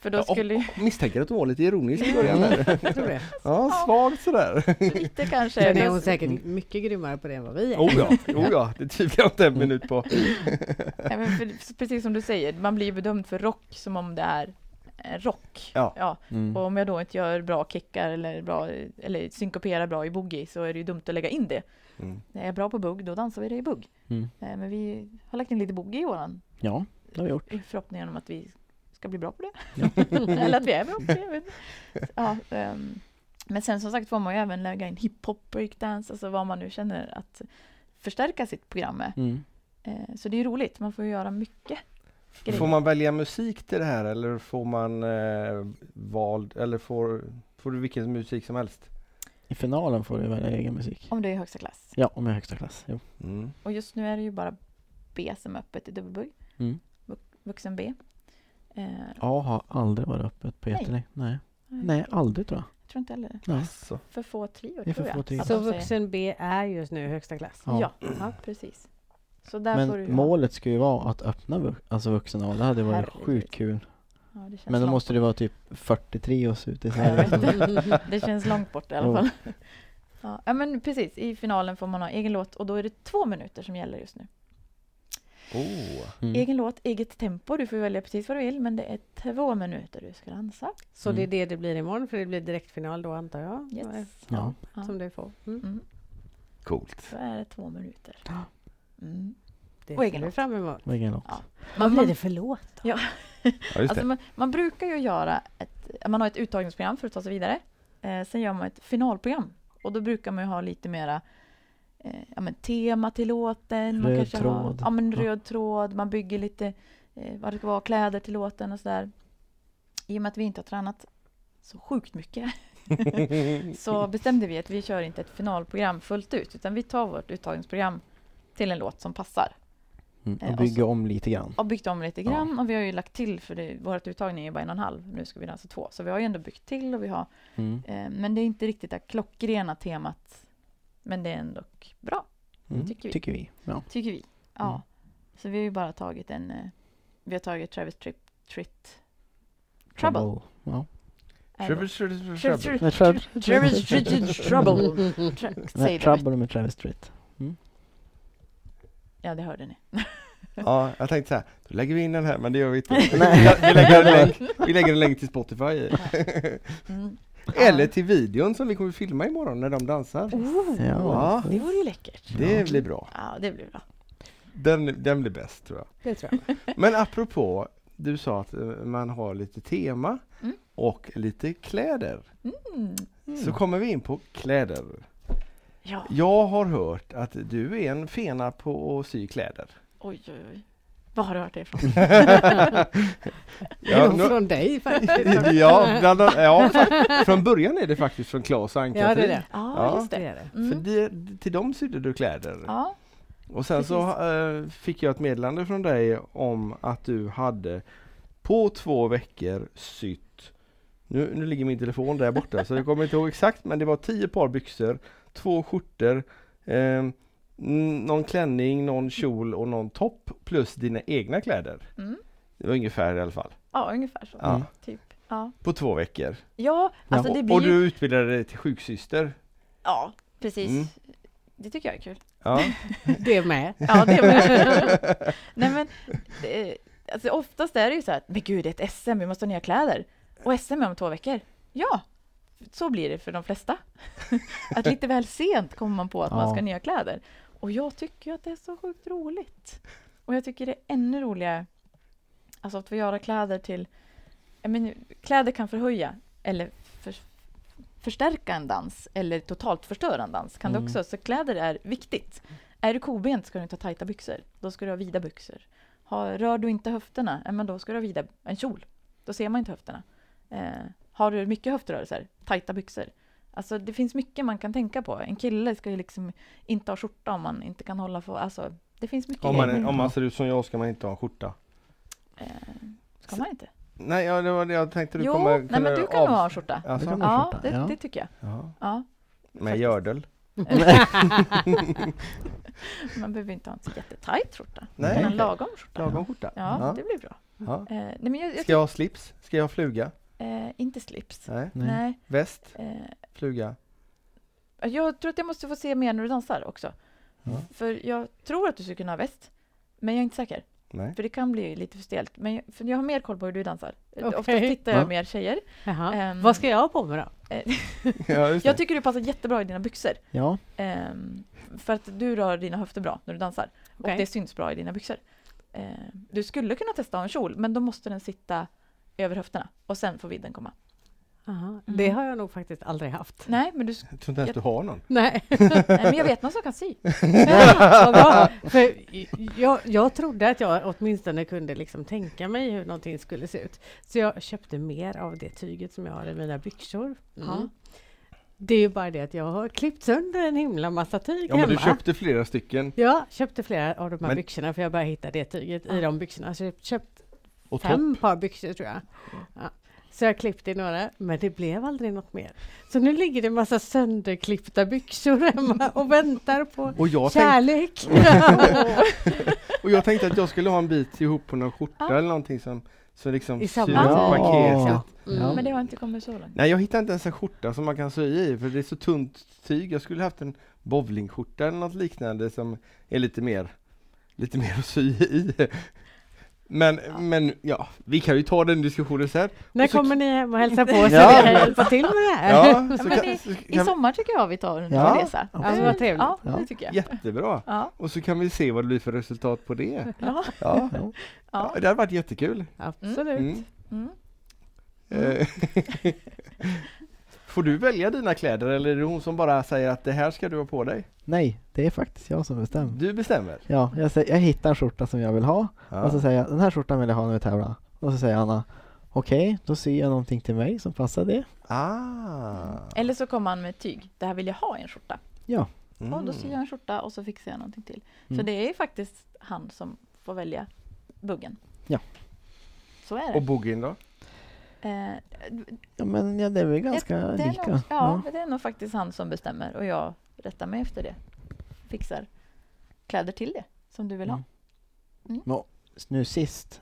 [SPEAKER 3] för då
[SPEAKER 1] Ja,
[SPEAKER 3] skulle ju
[SPEAKER 1] Misstänker att du var lite ironisk i början där.
[SPEAKER 2] Jag tror det.
[SPEAKER 1] Ja, svagt sådär.
[SPEAKER 3] lite kanske...
[SPEAKER 2] Sen är hon säkert mycket grymmare på det än vad vi är.
[SPEAKER 1] Oh ja, oh ja, det tvivlar jag inte en minut på.
[SPEAKER 3] Nej, men för, precis som du säger, man blir ju bedömd för rock som om det är eh, rock.
[SPEAKER 1] Ja.
[SPEAKER 4] Mm.
[SPEAKER 3] Och om jag då inte gör bra kickar eller, bra, eller synkoperar bra i boogie så är det ju dumt att lägga in det.
[SPEAKER 1] Mm.
[SPEAKER 3] När jag är bra på bugg, då dansar vi det i bugg.
[SPEAKER 4] Mm.
[SPEAKER 3] Eh, Men vi har lagt in lite boogie i våran
[SPEAKER 4] ja, det har vi gjort.
[SPEAKER 3] i förhoppningen om att vi ska bli bra på det. eller att vi är bra på det. jag vet inte. Ja, ehm, men sen som sagt får man ju även lägga in hiphop, breakdance, alltså vad man nu känner att förstärka sitt program med.
[SPEAKER 4] Mm.
[SPEAKER 3] Eh, Så det är ju roligt, man får ju göra mycket grejer.
[SPEAKER 1] Får man välja musik till det här eller får man eh, vald, eller får, får du vilken musik som helst?
[SPEAKER 4] I finalen får du välja egen musik.
[SPEAKER 3] Om du är i högsta klass.
[SPEAKER 4] Ja, om jag är högsta klass. Jo.
[SPEAKER 1] Mm.
[SPEAKER 3] Och just nu är det ju bara B som är öppet i dubbelbugg,
[SPEAKER 4] Mm.
[SPEAKER 3] vux- vuxen B. Eh,
[SPEAKER 4] A har aldrig varit öppet på
[SPEAKER 3] Nej. Mm.
[SPEAKER 4] jättelänge. Nej.
[SPEAKER 3] nej,
[SPEAKER 4] Nej, aldrig tror jag.
[SPEAKER 3] Jag tror inte heller
[SPEAKER 4] Nej.
[SPEAKER 1] Alltså.
[SPEAKER 3] För få trior
[SPEAKER 4] Det är för
[SPEAKER 3] tror
[SPEAKER 4] få
[SPEAKER 3] jag.
[SPEAKER 4] trior.
[SPEAKER 3] att
[SPEAKER 2] Så
[SPEAKER 3] de säger.
[SPEAKER 2] vuxen B är just nu högsta klass.
[SPEAKER 4] Ja.
[SPEAKER 3] Ja,
[SPEAKER 2] Ja.
[SPEAKER 3] precis. Så där får du
[SPEAKER 4] Men målet ska ju vara att öppna vux- alltså vuxen A. Det hade varit
[SPEAKER 3] Herregud.
[SPEAKER 4] sjukt kul.
[SPEAKER 3] Ja, det känns
[SPEAKER 4] Men då
[SPEAKER 3] långt
[SPEAKER 4] måste det vara typ 43 oss ute i
[SPEAKER 3] bort. Jag vet
[SPEAKER 4] Sverige.
[SPEAKER 3] inte. Det känns långt bort i alla
[SPEAKER 4] Jo.
[SPEAKER 3] fall. Ja, ja, men precis. I finalen får man ha egen låt och då är det två minuter som gäller just nu.
[SPEAKER 1] Oh.
[SPEAKER 4] Mm.
[SPEAKER 3] Egen låt, eget tempo. Du får välja precis vad du vill, men det är två minuter du ska dansa.
[SPEAKER 2] Så det är
[SPEAKER 4] Mm.
[SPEAKER 2] det det blir imorgon, för det blir direktfinal då antar jag. eh,
[SPEAKER 3] Yes.
[SPEAKER 4] Ja.
[SPEAKER 3] Ja.
[SPEAKER 2] Som du får. Mm.
[SPEAKER 3] Mm.
[SPEAKER 1] Coolt.
[SPEAKER 3] Så är det två minuter.
[SPEAKER 4] Ja.
[SPEAKER 3] Mm.
[SPEAKER 2] Det
[SPEAKER 3] Och
[SPEAKER 2] ser
[SPEAKER 3] egen
[SPEAKER 2] vi
[SPEAKER 3] låt.
[SPEAKER 2] fram emot.
[SPEAKER 4] Vad är egen låt?
[SPEAKER 3] Ja.
[SPEAKER 2] Vad
[SPEAKER 3] man-
[SPEAKER 2] blir det för låt? då?
[SPEAKER 1] Ja, just det.
[SPEAKER 3] Alltså man, man brukar ju göra ett, man har ett uttagningsprogram för att ta sig vidare. Eh, sen gör man ett finalprogram. Och då brukar man ju ha lite mera eh, ja, men tema till låten. man
[SPEAKER 4] Röd
[SPEAKER 3] kanske Har,
[SPEAKER 4] tråd.
[SPEAKER 3] ja, men
[SPEAKER 4] Ja.
[SPEAKER 3] röd tråd. Man bygger lite eh, vad det ska vara, kläder till låten och sådär. I och med att vi inte har tränat så sjukt mycket så bestämde vi att vi kör inte ett finalprogram fullt ut utan vi tar vårt uttagningsprogram till en låt som passar. Eh,
[SPEAKER 4] Mm.
[SPEAKER 3] och
[SPEAKER 4] Och bygga om lite grann.
[SPEAKER 3] och byggt om lite grann och vi har ju lagt till för det, vårt uttagning är bara en och en halv. Nu ska vi dansa två. Så vi har ju ändå byggt till och vi har,
[SPEAKER 4] Mm.
[SPEAKER 3] eh, men det är inte riktigt det här klockrena temat. Men det är ändå bra,
[SPEAKER 4] Mm.
[SPEAKER 3] Tycker vi.
[SPEAKER 4] Tycker vi. Ja.
[SPEAKER 3] tycker vi. Ja.
[SPEAKER 4] Mm.
[SPEAKER 3] Så vi har ju bara tagit en, eh, vi har tagit Travis Tripp, Tritt, Trouble.
[SPEAKER 4] Ja.
[SPEAKER 3] är
[SPEAKER 1] Trouble,
[SPEAKER 3] det.
[SPEAKER 1] trouble,
[SPEAKER 3] Travis
[SPEAKER 1] trouble.
[SPEAKER 4] Nej, Trouble.
[SPEAKER 3] Tritt- Travis Tritt Trouble. Tra-
[SPEAKER 4] Nej,
[SPEAKER 3] Säg det.
[SPEAKER 4] Trouble med Travis Tritt.
[SPEAKER 3] Ja, det hörde ni.
[SPEAKER 1] Ja, jag tänkte så här, då lägger vi in den här, men det gör vi inte.
[SPEAKER 4] Nej.
[SPEAKER 1] Vi, lägger en länk, vi lägger en länk till Spotify.
[SPEAKER 3] Mm.
[SPEAKER 1] Eller till videon som vi kommer filma imorgon när de dansar.
[SPEAKER 3] Oh,
[SPEAKER 2] Mm.
[SPEAKER 4] Ja. Mm.
[SPEAKER 3] Det vore ju läckert.
[SPEAKER 1] Det blir bra.
[SPEAKER 3] Ja, det blir bra.
[SPEAKER 1] Den, den blir bäst tror jag.
[SPEAKER 2] Det tror jag. med.
[SPEAKER 1] Men apropå, du sa att eh, man har lite tema
[SPEAKER 3] Mm.
[SPEAKER 1] och lite kläder.
[SPEAKER 3] Mm.
[SPEAKER 1] Så kommer vi in på kläder.
[SPEAKER 3] Ja,
[SPEAKER 1] Jag har hört att du är en fena på att sy kläder.
[SPEAKER 3] oj, oj, oj. Vad har du hört det ifrån?
[SPEAKER 1] Ja,
[SPEAKER 2] Någon
[SPEAKER 1] nu-
[SPEAKER 2] Från dig faktiskt.
[SPEAKER 1] ja, bland annat, ja, fa- från början är det faktiskt från Claes och
[SPEAKER 2] Ja, det är
[SPEAKER 1] Ann-Katrin.
[SPEAKER 2] det.
[SPEAKER 3] Ja,
[SPEAKER 1] Ja.
[SPEAKER 3] just
[SPEAKER 2] det
[SPEAKER 3] det.
[SPEAKER 2] är det.
[SPEAKER 3] Mm.
[SPEAKER 1] För det, till dem sydde du kläder.
[SPEAKER 3] Ja,
[SPEAKER 1] och sen så eh, fick jag ett meddelande från dig om att du hade på två veckor sytt Nu, nu ligger min telefon där borta så jag kommer inte ihåg exakt men det var tio par byxor, två skjortor, eh, n- någon klänning, någon kjol och någon topp plus dina egna kläder.
[SPEAKER 3] Mm.
[SPEAKER 1] Det var ungefär i alla fall.
[SPEAKER 3] Ja, ungefär så.
[SPEAKER 1] Ja.
[SPEAKER 4] Mm.
[SPEAKER 3] Typ. Ja.
[SPEAKER 1] På två veckor.
[SPEAKER 3] ja, alltså det
[SPEAKER 1] och,
[SPEAKER 3] blir
[SPEAKER 1] och
[SPEAKER 3] ju...
[SPEAKER 1] du utbildade dig till sjuksyster.
[SPEAKER 3] Ja, precis.
[SPEAKER 1] Mm.
[SPEAKER 3] Det tycker jag är kul.
[SPEAKER 1] Ja.
[SPEAKER 2] Det med.
[SPEAKER 3] Ja, det med. Nej men, det, alltså oftast är det ju så här att, men gud det är ett SM, vi måste ha nya kläder. Och SM är om två veckor. Ja, så blir det för de flesta. att lite väl sent kommer man på att man
[SPEAKER 4] Ja.
[SPEAKER 3] ska ha nya kläder. Och jag tycker ju att det är så sjukt roligt. Och jag tycker det är ännu roligare, alltså att få göra kläder till, jag menar, kläder kan förhöja eller för, förstärka en dans eller totalt förstöra en dans. Kan
[SPEAKER 4] Mm.
[SPEAKER 3] det också, så kläder är viktigt. Är du kobent ska du inte ha tajta byxor. Då ska du ha vida byxor. Har, rör du inte höfterna, ja, men då ska du ha vida, en kjol. Då ser man inte höfterna. Eh, har du mycket höftrörelser, tajta byxor. Alltså det finns mycket man kan tänka på. En kille ska ju liksom inte ha skjorta om man inte kan hålla för, alltså det finns mycket
[SPEAKER 1] Om, man,
[SPEAKER 3] grejer.
[SPEAKER 1] om man ser ut som jag ska man inte ha en skjorta.
[SPEAKER 3] Eh, ska man inte?
[SPEAKER 1] Nej, ja, det var det jag tänkte du
[SPEAKER 3] Jo,
[SPEAKER 1] kommer
[SPEAKER 3] nej men du kan nog ha en skjorta.
[SPEAKER 4] Det kan
[SPEAKER 1] Alltså,
[SPEAKER 4] man ha
[SPEAKER 3] Ja,
[SPEAKER 4] skjorta,
[SPEAKER 3] det,
[SPEAKER 4] ja.
[SPEAKER 3] det tycker jag.
[SPEAKER 1] ja.
[SPEAKER 3] Ja.
[SPEAKER 1] Med gördel.
[SPEAKER 3] Man behöver inte ha en så jättetajt skjorta.
[SPEAKER 1] Nej.
[SPEAKER 3] Nej. En
[SPEAKER 1] okej.
[SPEAKER 3] lagom skjorta.
[SPEAKER 1] Lagom skjorta.
[SPEAKER 3] Ja,
[SPEAKER 1] Ja.
[SPEAKER 3] det blir bra.
[SPEAKER 1] Ja.
[SPEAKER 3] Eh, nej, men jag, jag
[SPEAKER 1] Ska jag ha slips? Ska jag ha fluga?
[SPEAKER 3] Eh, inte slips.
[SPEAKER 1] Nej.
[SPEAKER 4] Nej.
[SPEAKER 3] Nej.
[SPEAKER 1] Väst?
[SPEAKER 3] Eh,
[SPEAKER 1] Fluga?
[SPEAKER 3] jag tror att jag måste få se mer när du dansar också.
[SPEAKER 1] Ja.
[SPEAKER 3] För jag tror att du skulle kunna ha väst. Men jag är inte säker.
[SPEAKER 1] Nej.
[SPEAKER 3] För det kan bli lite för stelt. Men jag, för jag har mer koll på hur du dansar.
[SPEAKER 2] Okej.
[SPEAKER 3] Ofta tittar jag
[SPEAKER 4] Ja.
[SPEAKER 3] mer tjejer.
[SPEAKER 2] Jaha.
[SPEAKER 3] Ehm,
[SPEAKER 2] Vad ska jag ha på mig då?
[SPEAKER 1] Ja, just det.
[SPEAKER 3] jag tycker du passar jättebra i dina byxor.
[SPEAKER 4] Ja.
[SPEAKER 3] Ehm, för att du rör dina höfter bra när du dansar.
[SPEAKER 2] Okej.
[SPEAKER 3] Och det syns bra i dina byxor. Ehm, du skulle kunna testa att ha en kjol, men då måste den sitta över höfterna. Och sen får vidden komma.
[SPEAKER 2] Jaha.
[SPEAKER 3] Mm.
[SPEAKER 2] Det har jag nog faktiskt aldrig haft.
[SPEAKER 3] Nej, men du, s-
[SPEAKER 1] Jag tror inte ens du har någon.
[SPEAKER 2] Nej.
[SPEAKER 3] nej, men jag vet någon som kan sy.
[SPEAKER 2] Ja, vad bra. För jag, jag trodde att jag åtminstone kunde liksom tänka mig hur någonting skulle se ut. Så jag köpte mer av det tyget som jag har i mina byxor. Mm.
[SPEAKER 3] Ja.
[SPEAKER 2] Det är ju bara det att jag har klippt sönder en himla massa tyg
[SPEAKER 1] Ja, men
[SPEAKER 2] hemma.
[SPEAKER 1] du köpte flera stycken.
[SPEAKER 2] Jag köpte flera av de här
[SPEAKER 1] Men-
[SPEAKER 2] byxorna för jag bara hittade det tyget i
[SPEAKER 3] Ja.
[SPEAKER 2] de byxorna. Så jag köpte
[SPEAKER 1] Och topp.
[SPEAKER 2] fem par byxor tror jag. Ja. Så jag klippte i några, men det blev aldrig något mer. Så nu ligger det en massa sönderklippta byxor hemma och väntar på
[SPEAKER 1] Och jag, tänkte,
[SPEAKER 2] kärlek.
[SPEAKER 1] och jag tänkte att jag skulle ha en bit ihop på någon skjorta
[SPEAKER 3] Ja. typ.
[SPEAKER 1] eller någonting som, som liksom
[SPEAKER 2] I
[SPEAKER 1] syr
[SPEAKER 2] samma Mm.
[SPEAKER 1] ihop
[SPEAKER 3] Ja.
[SPEAKER 1] paketet.
[SPEAKER 4] Ja.
[SPEAKER 3] Men det har inte kommit så långt.
[SPEAKER 1] Nej, jag hittar inte ens en skjorta som man kan sy i för det är så tunt tyg. Jag skulle haft en bowlingskjorta eller något liknande som är lite mer, lite mer att sy i. Men, men ja, vi kan ju ta den diskussionen sen.
[SPEAKER 2] När
[SPEAKER 1] Och så-
[SPEAKER 2] kommer ni hem och hälsar på så
[SPEAKER 1] Ja.
[SPEAKER 2] vi kan hjälpa till med det här?
[SPEAKER 1] Ja, så
[SPEAKER 3] men
[SPEAKER 1] kan,
[SPEAKER 3] det-
[SPEAKER 1] så
[SPEAKER 3] I
[SPEAKER 1] kan
[SPEAKER 3] sommar tycker jag vi tar en
[SPEAKER 4] Ja.
[SPEAKER 3] resa.
[SPEAKER 2] Ja, men vad trevligt.
[SPEAKER 3] Ja,
[SPEAKER 4] Ja.
[SPEAKER 3] det tycker jag.
[SPEAKER 1] jättebra!
[SPEAKER 3] Ja,
[SPEAKER 1] Och så kan vi se vad det blir för resultat på det.
[SPEAKER 3] ja,
[SPEAKER 1] Ja,
[SPEAKER 4] Ja.
[SPEAKER 1] ja
[SPEAKER 3] ja.
[SPEAKER 1] det hade varit jättekul.
[SPEAKER 2] Absolut.
[SPEAKER 1] Mm.
[SPEAKER 3] Mm.
[SPEAKER 1] Eh, Får du välja dina kläder eller är det hon som bara säger att det här ska du ha på dig?
[SPEAKER 4] Nej, det är faktiskt jag som bestämmer.
[SPEAKER 1] Du bestämmer.
[SPEAKER 4] Ja, jag, sä- jag hittar en skjorta som jag vill ha och så
[SPEAKER 1] Ja.
[SPEAKER 4] säger jag den här skjortan vill jag ha när vi tävlar. Och så säger Anna okej, då syr jag någonting till mig som passar det.
[SPEAKER 1] Ah.
[SPEAKER 3] Eller så kommer han med tyg. Det här vill jag ha i en skjorta.
[SPEAKER 4] Ja,
[SPEAKER 3] Och då syr jag
[SPEAKER 1] Mm.
[SPEAKER 3] en skjorta och så fixar jag någonting till. Så
[SPEAKER 4] Mm.
[SPEAKER 3] det är faktiskt han som får välja buggen.
[SPEAKER 4] Ja.
[SPEAKER 3] Så är det.
[SPEAKER 1] Och boogien då?
[SPEAKER 3] Eh,
[SPEAKER 4] ja men ja, det är väl ganska
[SPEAKER 3] det är
[SPEAKER 4] lika.
[SPEAKER 3] nog, ja,
[SPEAKER 4] Ja.
[SPEAKER 3] men det är nog faktiskt han som bestämmer och jag rättar mig efter det. Fixar kläder till det som du vill ha.
[SPEAKER 4] Mm. Nu sist,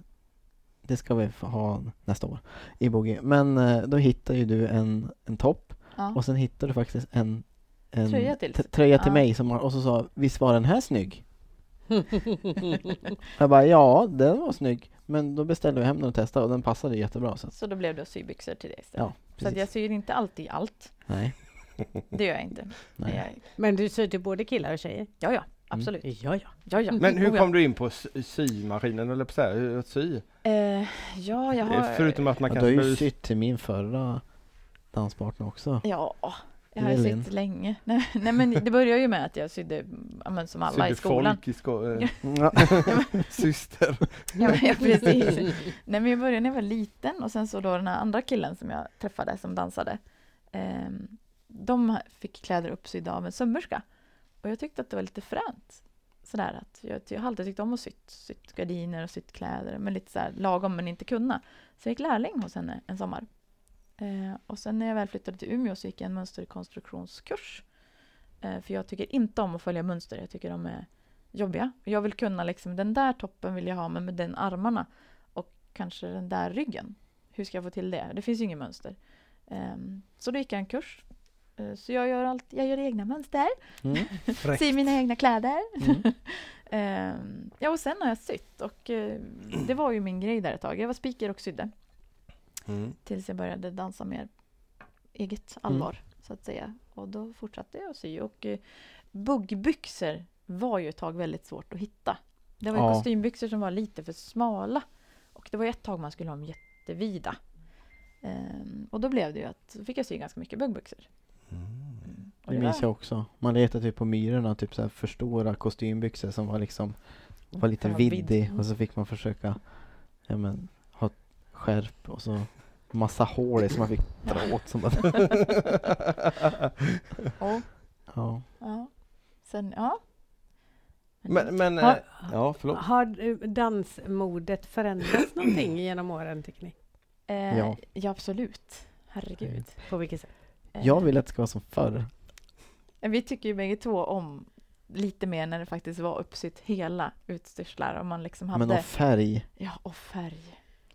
[SPEAKER 4] det ska vi få ha nästa år i boogie, men eh, då hittar ju du en, en topp
[SPEAKER 3] Ja.
[SPEAKER 4] och sen hittar du faktiskt en, en
[SPEAKER 3] Tröja till.
[SPEAKER 4] t- tröja till
[SPEAKER 3] Ja.
[SPEAKER 4] mig som har, och så sa visst var den här snygg?
[SPEAKER 1] Mm.
[SPEAKER 4] Jag bara ja, den var snygg. Men då beställde vi hem den och testade och den passade jättebra. Så att,
[SPEAKER 3] Så då blev det att sy byxor till det istället.
[SPEAKER 4] ja,
[SPEAKER 3] så att
[SPEAKER 4] precis.
[SPEAKER 3] jag syr inte alltid allt.
[SPEAKER 4] Nej,
[SPEAKER 3] Det gör jag inte. Men
[SPEAKER 4] Mm. nej.
[SPEAKER 3] jag-
[SPEAKER 2] Men du syr till både killar och tjejer?
[SPEAKER 3] Ja, ja, absolut.
[SPEAKER 2] Ja, ja.
[SPEAKER 3] Ja, ja.
[SPEAKER 1] Mm. Men
[SPEAKER 3] Oh,
[SPEAKER 1] hur
[SPEAKER 3] ja.
[SPEAKER 1] kom du in på sy- symaskinen eller på så här, hur- att sy?
[SPEAKER 3] Eh, ja, jag har...
[SPEAKER 1] Eh, Förutom att man
[SPEAKER 4] Ja, du
[SPEAKER 1] kanske
[SPEAKER 4] har ju
[SPEAKER 1] behöver-
[SPEAKER 4] sytt till min förra danspartner också.
[SPEAKER 3] Ja, jag har
[SPEAKER 4] Elin.
[SPEAKER 3] sytt länge. Nej, nej, men det började ju med att jag sydde, ja, men som alla i
[SPEAKER 1] sydde
[SPEAKER 3] skolan.
[SPEAKER 1] folk i sko- eh,
[SPEAKER 3] Ja.
[SPEAKER 4] Ja.
[SPEAKER 1] syster.
[SPEAKER 3] Ja, men, ja, precis. Nej, men jag började när jag var liten och sen så då den här andra killen som jag träffade som dansade. ehm, de fick kläder uppsydda av en sömmerska. Och jag tyckte att det var lite fränt. Sådär att jag, jag har alltid tyckt om att sytt, sytt gardiner och sytt kläder. Men lite sådär lagom men inte kunna. Så jag gick lärling hos henne en sommar. Eh, och sen när jag väl flyttade till Umeå så gick jag en mönsterkonstruktionskurs. Eh, för jag tycker inte om att följa mönster, jag tycker de är jobbiga. Jag vill kunna liksom, den där toppen vill jag ha, men med den armarna. Och kanske den där ryggen. Hur ska jag få till det? Det finns ju inget mönster. Eh, så då gick jag en kurs. Eh, så jag gör, allt, jag gör egna mönster,
[SPEAKER 4] Mm.
[SPEAKER 3] syr mina egna kläder.
[SPEAKER 4] Mm.
[SPEAKER 3] Ehm, ja, och sen har jag sytt och eh, det var ju min grej där ett tag. Jag var spiker och sydde
[SPEAKER 1] Mm.
[SPEAKER 3] tills jag började dansa mer eget allvar
[SPEAKER 4] Mm.
[SPEAKER 3] så att säga. Och då fortsatte jag att sy och eh, buggbyxor var ju ett tag väldigt svårt att hitta. Det var ju
[SPEAKER 4] Ja.
[SPEAKER 3] kostymbyxor som var lite för smala och det var ju ett tag man skulle ha dem jättevida. Ehm, och då blev det ju att då fick jag sy ganska mycket buggbyxor.
[SPEAKER 1] Mm.
[SPEAKER 3] Och
[SPEAKER 4] Det
[SPEAKER 3] var-
[SPEAKER 4] minns jag också. Man letade typ på Myrorna, typ så här för stora kostymbyxor som var liksom var lite
[SPEAKER 3] Ja,
[SPEAKER 4] viddig
[SPEAKER 3] Mm.
[SPEAKER 4] och så fick man försöka ja, men, ha ett skärp och så massa hål i som man fick dra åt. Som man,
[SPEAKER 3] Och,
[SPEAKER 4] ja.
[SPEAKER 3] ja. Sen, ja.
[SPEAKER 1] Men, men
[SPEAKER 2] Har-
[SPEAKER 1] eh, ja, förlåt.
[SPEAKER 2] Har eh, dansmodet förändrats någonting genom åren tycker ni?
[SPEAKER 3] Eh,
[SPEAKER 4] Ja.
[SPEAKER 3] ja. absolut. Herregud.
[SPEAKER 2] På vilket sätt?
[SPEAKER 3] Eh,
[SPEAKER 4] Jag vill att det ska vara som förr.
[SPEAKER 3] Vi tycker ju bägge två om lite mer när det faktiskt var uppsytt hela utstyrslar och man liksom hade...
[SPEAKER 4] Men någon färg.
[SPEAKER 3] Ja, och färg.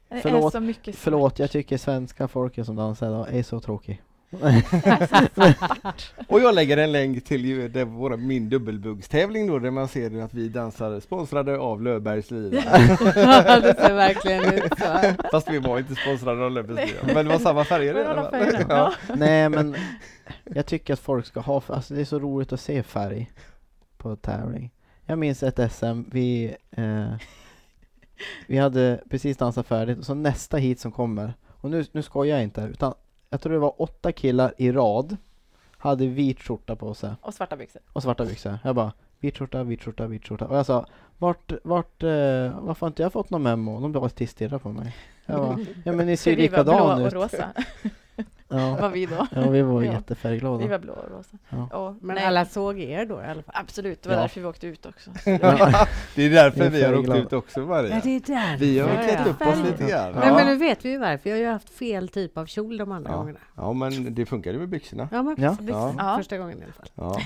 [SPEAKER 3] Det är
[SPEAKER 4] Förlåt,
[SPEAKER 3] så mycket svart.
[SPEAKER 4] Förlåt, jag tycker svenska folket som dansar idag är så tråkig.
[SPEAKER 1] Och jag lägger en länk till ju det, våra, min dubbelbuggstävling då där man ser ju att vi dansar sponsrade av Löfbergs Lila.
[SPEAKER 2] det ser verkligen ut så.
[SPEAKER 1] Fast vi var inte sponsrade av Löfbergs Lila. Men det var samma färger. i
[SPEAKER 3] Men
[SPEAKER 1] alla
[SPEAKER 3] alla
[SPEAKER 1] fall.
[SPEAKER 3] färger.
[SPEAKER 1] Ja.
[SPEAKER 3] Ja.
[SPEAKER 4] Nej men jag tycker att folk ska ha, alltså det är så roligt att se färg på tävling. Jag minns ett SM, vi, eh, vi hade precis dansat färdigt och så nästa hit som kommer, och nu, nu skojar jag inte, utan jag tror det var åtta killar i rad, hade vit skjorta på sig
[SPEAKER 3] Och svarta byxor.
[SPEAKER 4] och svarta byxor. Jag bara, vit skjorta, vit skjorta, vit skjorta. Och jag sa, vart, vart, eh, varför har inte jag fått någon memo? De bara stirrade på mig. Jag bara, ja men ni ser ju
[SPEAKER 3] vi var
[SPEAKER 4] likadan
[SPEAKER 3] blå och
[SPEAKER 4] ut.
[SPEAKER 3] rosa.
[SPEAKER 4] Ja.
[SPEAKER 3] var vi då.
[SPEAKER 4] ja, vi var
[SPEAKER 3] Ja.
[SPEAKER 4] jättefärgglada.
[SPEAKER 3] Vi var blå och rosa.
[SPEAKER 4] Ja.
[SPEAKER 3] Och,
[SPEAKER 2] Men
[SPEAKER 3] nej,
[SPEAKER 2] alla såg er då i alla fall?
[SPEAKER 3] Absolut, det var
[SPEAKER 4] Ja.
[SPEAKER 3] därför vi åkte ut också.
[SPEAKER 1] Det är därför
[SPEAKER 4] Jag är
[SPEAKER 1] vi har åkt
[SPEAKER 4] färgglad.
[SPEAKER 1] ut också Maria.
[SPEAKER 2] är där.
[SPEAKER 1] Vi har
[SPEAKER 2] Ja,
[SPEAKER 1] klätt
[SPEAKER 2] ja.
[SPEAKER 1] upp oss lite grann.
[SPEAKER 2] Nej men
[SPEAKER 1] Ja.
[SPEAKER 2] nu vet vi ju varför. Jag har ju haft fel typ av kjol de andra
[SPEAKER 1] Ja.
[SPEAKER 2] gångerna.
[SPEAKER 1] ja men det funkade ju med byxorna.
[SPEAKER 2] Ja, men
[SPEAKER 4] Ja.
[SPEAKER 2] precis.
[SPEAKER 1] Ja.
[SPEAKER 3] Ja.
[SPEAKER 2] Första gången i alla fall.
[SPEAKER 1] Ja,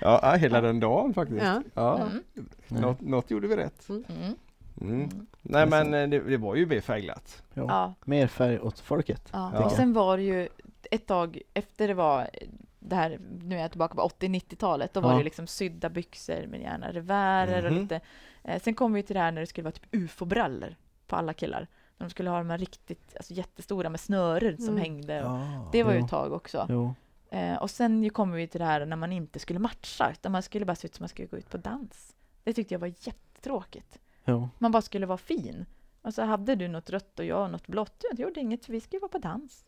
[SPEAKER 1] ja hela den dagen faktiskt.
[SPEAKER 2] Ja.
[SPEAKER 1] Ja.
[SPEAKER 3] Mm.
[SPEAKER 4] Nej.
[SPEAKER 1] Något, något gjorde vi rätt.
[SPEAKER 3] Mm.
[SPEAKER 1] Mm.
[SPEAKER 3] Mm.
[SPEAKER 1] Nej
[SPEAKER 4] Det är
[SPEAKER 1] men eh, det, det var ju mer färgglatt.
[SPEAKER 4] Ja.
[SPEAKER 3] Ja.
[SPEAKER 4] Mer färg åt folket.
[SPEAKER 3] Ja.
[SPEAKER 1] Ja.
[SPEAKER 3] Och sen var det ju ett tag efter det var det här, nu är jag tillbaka på 80-90-talet, då var
[SPEAKER 4] Ja.
[SPEAKER 3] det ju liksom sydda byxor med gärna revärer och
[SPEAKER 1] Mhm.
[SPEAKER 3] lite. Eh, sen kom vi till det här när det skulle vara typ ufo-brallor på alla killar. När de skulle ha de här riktigt alltså, jättestora med snören som
[SPEAKER 2] Mm.
[SPEAKER 3] hängde. Och, det var ju
[SPEAKER 4] Jo.
[SPEAKER 3] ett tag också.
[SPEAKER 4] Jo.
[SPEAKER 3] Eh, och sen ju kom vi till det här när man inte skulle matcha, utan man skulle bara se ut som man skulle gå ut på dans. Det tyckte jag var jättetråkigt.
[SPEAKER 4] Jo.
[SPEAKER 3] Man bara skulle vara fin. Och så hade du något rött och jag något blått. Ja, det gjorde inget, för vi skulle vara på dans.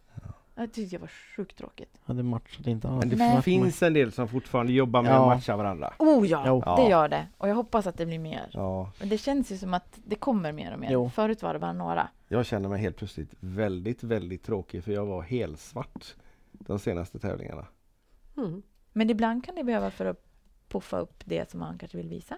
[SPEAKER 3] Jag tyckte jag var sjukt tråkigt.
[SPEAKER 4] Ja, det matchade inte alls.
[SPEAKER 1] Men det
[SPEAKER 3] Nej.
[SPEAKER 1] finns en del som fortfarande jobbar med
[SPEAKER 4] Ja.
[SPEAKER 1] att matcha varandra.
[SPEAKER 3] Oh ja!
[SPEAKER 4] Jo.
[SPEAKER 1] Ja.
[SPEAKER 3] Det gör det. Och jag hoppas att det blir mer.
[SPEAKER 1] Ja.
[SPEAKER 3] Men det känns ju som att det kommer mer och mer.
[SPEAKER 4] Jo.
[SPEAKER 3] Förut var det bara några.
[SPEAKER 1] Jag känner mig helt plötsligt väldigt, väldigt tråkig för jag var helsvart de senaste tävlingarna.
[SPEAKER 2] Mm.
[SPEAKER 3] Men ibland kan det behöva för att puffa upp det som man kanske vill visa.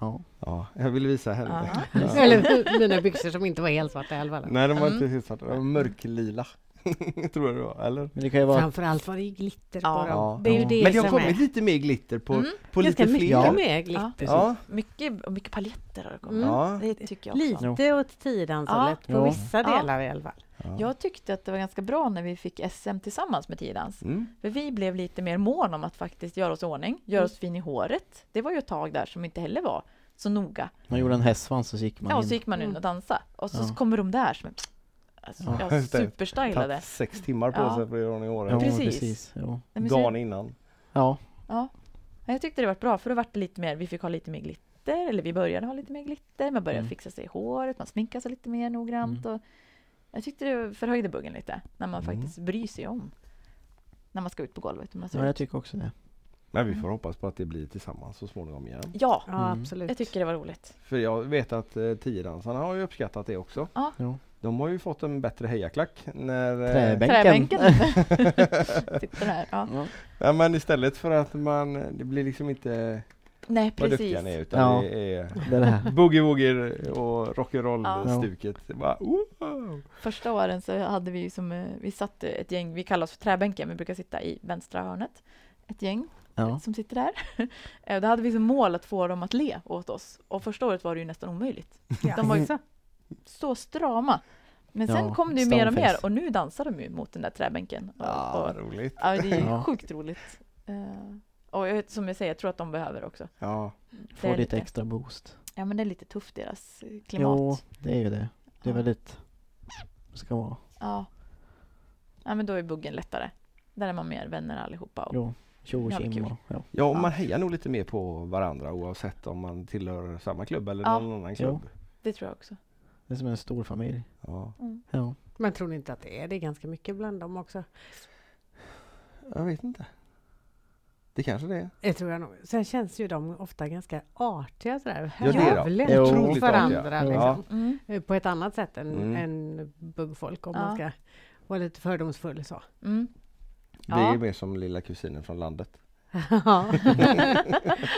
[SPEAKER 4] Ja.
[SPEAKER 1] Ja, jag vill visa henne.
[SPEAKER 3] Ja.
[SPEAKER 1] Ja.
[SPEAKER 2] Eller mina byxor som inte var helt svarta i alla fall.
[SPEAKER 1] Nej, de var
[SPEAKER 3] Mm.
[SPEAKER 1] inte helt svarta. De var mörklila. Tror jag det var, eller?
[SPEAKER 4] Men det kan ju vara...
[SPEAKER 2] Framförallt var det ju glitter
[SPEAKER 3] Ja.
[SPEAKER 2] på dem.
[SPEAKER 1] Ja.
[SPEAKER 2] Det är ju
[SPEAKER 4] Ja.
[SPEAKER 2] det
[SPEAKER 1] Men det har
[SPEAKER 2] som
[SPEAKER 1] kommit
[SPEAKER 2] är.
[SPEAKER 1] lite mer glitter på,
[SPEAKER 3] Mm.
[SPEAKER 1] på lite
[SPEAKER 2] Ganska
[SPEAKER 1] fler.
[SPEAKER 2] mycket
[SPEAKER 4] Ja.
[SPEAKER 2] mer glitter.
[SPEAKER 1] Ja.
[SPEAKER 3] Mycket, och mycket paletter har det kommit.
[SPEAKER 2] Mm.
[SPEAKER 1] Ja.
[SPEAKER 3] Det tycker jag också.
[SPEAKER 2] Lite åt tiodanshållet på
[SPEAKER 4] Ja.
[SPEAKER 2] vissa
[SPEAKER 3] Ja.
[SPEAKER 2] delar i alla fall.
[SPEAKER 1] Ja.
[SPEAKER 3] Jag tyckte att det var ganska bra när vi fick SM tillsammans med Tidans.
[SPEAKER 1] Mm.
[SPEAKER 3] För vi blev lite mer mån om att faktiskt göra oss i ordning, göra oss fin i håret. Det var ju ett tag där som inte heller var så noga.
[SPEAKER 4] Man gjorde en hästsvans och så gick man
[SPEAKER 3] Ja, och
[SPEAKER 4] in.
[SPEAKER 3] så gick man in
[SPEAKER 2] Mm.
[SPEAKER 3] och dansade. Och så
[SPEAKER 4] Ja.
[SPEAKER 3] kommer de där som är alltså,
[SPEAKER 4] Ja,
[SPEAKER 3] ja,
[SPEAKER 1] just det.
[SPEAKER 3] superstylade.
[SPEAKER 1] Tagit sex timmar på
[SPEAKER 3] Ja.
[SPEAKER 1] sig för att göra ordning i
[SPEAKER 4] Ja,
[SPEAKER 1] året.
[SPEAKER 3] precis.
[SPEAKER 4] precis. Jo.
[SPEAKER 3] Nej, men så-
[SPEAKER 1] Dagen innan.
[SPEAKER 4] Ja.
[SPEAKER 3] Ja. Ja, Jag tyckte det var bra, för då var det lite mer, vi fick ha lite mer glitter, eller vi började ha lite mer glitter, man började
[SPEAKER 4] Mm.
[SPEAKER 3] fixa sig i håret, man sminkade sig lite mer noggrant. Och jag tyckte det förhöjde buggen lite, när man
[SPEAKER 1] Mm.
[SPEAKER 3] faktiskt bryr sig om när man ska ut på golvet. hur Man ser
[SPEAKER 4] ja,
[SPEAKER 3] ut.
[SPEAKER 4] jag tycker också det.
[SPEAKER 1] Men vi får
[SPEAKER 3] Mm.
[SPEAKER 1] hoppas på att det blir tillsammans så småningom igen.
[SPEAKER 3] ja,
[SPEAKER 2] Ja,
[SPEAKER 4] Mm.
[SPEAKER 2] absolut.
[SPEAKER 3] jag tycker det var roligt.
[SPEAKER 1] För jag vet att eh, tiodansarna har ju uppskattat det också.
[SPEAKER 4] Jo.
[SPEAKER 1] De har ju fått en bättre hejaklack när... eh,
[SPEAKER 4] Träbänk. Bänken.
[SPEAKER 3] Träbänken. Sitter här. Ja.
[SPEAKER 4] Ja.
[SPEAKER 1] Mm. Ja, men istället för att man, det blir liksom inte
[SPEAKER 3] Nej,
[SPEAKER 1] vad
[SPEAKER 3] precis.
[SPEAKER 1] duktiga ni är utan
[SPEAKER 4] Ja.
[SPEAKER 1] det är
[SPEAKER 4] Det är det här.
[SPEAKER 1] boogie-woogie och Oh, rock'n'roll
[SPEAKER 3] Ja.
[SPEAKER 1] stuket. Det är Bara, wow.
[SPEAKER 3] Första åren så hade vi ju som, eh, vi satt eh, ett gäng, vi kallar oss för träbänken, vi brukar sitta i vänstra hörnet. Ett gäng
[SPEAKER 4] Ja.
[SPEAKER 3] som sitter där. Eh, Då hade vi som mål att få dem att le åt oss. Och första året var det ju nästan omöjligt. De var ju
[SPEAKER 2] Jaså?
[SPEAKER 3] så strama. Men sen
[SPEAKER 4] Ja,
[SPEAKER 3] kom det ju mer och mer
[SPEAKER 4] stoneface.
[SPEAKER 3] och nu dansar de ju mot den där träbänken. Och,
[SPEAKER 1] Ja,
[SPEAKER 3] och,
[SPEAKER 1] vad roligt.
[SPEAKER 3] ja, det är ju
[SPEAKER 4] Ja.
[SPEAKER 3] sjukt roligt. Eh, Och jag, som jag säger, jag tror att de behöver också.
[SPEAKER 1] Ja,
[SPEAKER 3] Det är
[SPEAKER 4] Får lite
[SPEAKER 3] lite-
[SPEAKER 4] extra boost.
[SPEAKER 3] Ja men det är lite tufft deras eh, klimat.
[SPEAKER 4] Jo, det är ju det. Det är
[SPEAKER 3] Ja.
[SPEAKER 4] väldigt... Ska vara.
[SPEAKER 3] Ja. ja men då är buggen lättare. Där är man mer vänner allihopa. Och,
[SPEAKER 4] Jo, tjo och
[SPEAKER 3] Ja, men
[SPEAKER 4] tjim
[SPEAKER 3] kul.
[SPEAKER 4] och... Ja.
[SPEAKER 1] ja och
[SPEAKER 3] Ja.
[SPEAKER 1] man hejar nog lite mer på varandra oavsett om man tillhör samma klubb eller
[SPEAKER 3] Ja.
[SPEAKER 1] någon annan klubb.
[SPEAKER 3] det tror jag också.
[SPEAKER 4] Det är som en stor familj.
[SPEAKER 1] Ja.
[SPEAKER 3] Mm.
[SPEAKER 4] Ja.
[SPEAKER 2] Men tror ni inte att det är det? är ganska mycket bland dem också.
[SPEAKER 1] Jag vet inte. Det kanske det är.
[SPEAKER 2] Det tror jag nog. Sen känns ju de ofta ganska artiga sådär.
[SPEAKER 1] Ja, det är de.
[SPEAKER 2] Hövliga
[SPEAKER 4] Jo.
[SPEAKER 2] mot
[SPEAKER 4] Otroligt
[SPEAKER 2] varandra
[SPEAKER 1] artiga.
[SPEAKER 2] liksom.
[SPEAKER 3] Mm.
[SPEAKER 2] På ett annat sätt än,
[SPEAKER 1] Mm.
[SPEAKER 2] än buggfolk om
[SPEAKER 3] Ja.
[SPEAKER 2] man ska vara lite fördomsfull så.
[SPEAKER 3] Mm.
[SPEAKER 1] Vi är
[SPEAKER 3] Ja.
[SPEAKER 1] mer som lilla kusinen från landet.
[SPEAKER 2] Ja.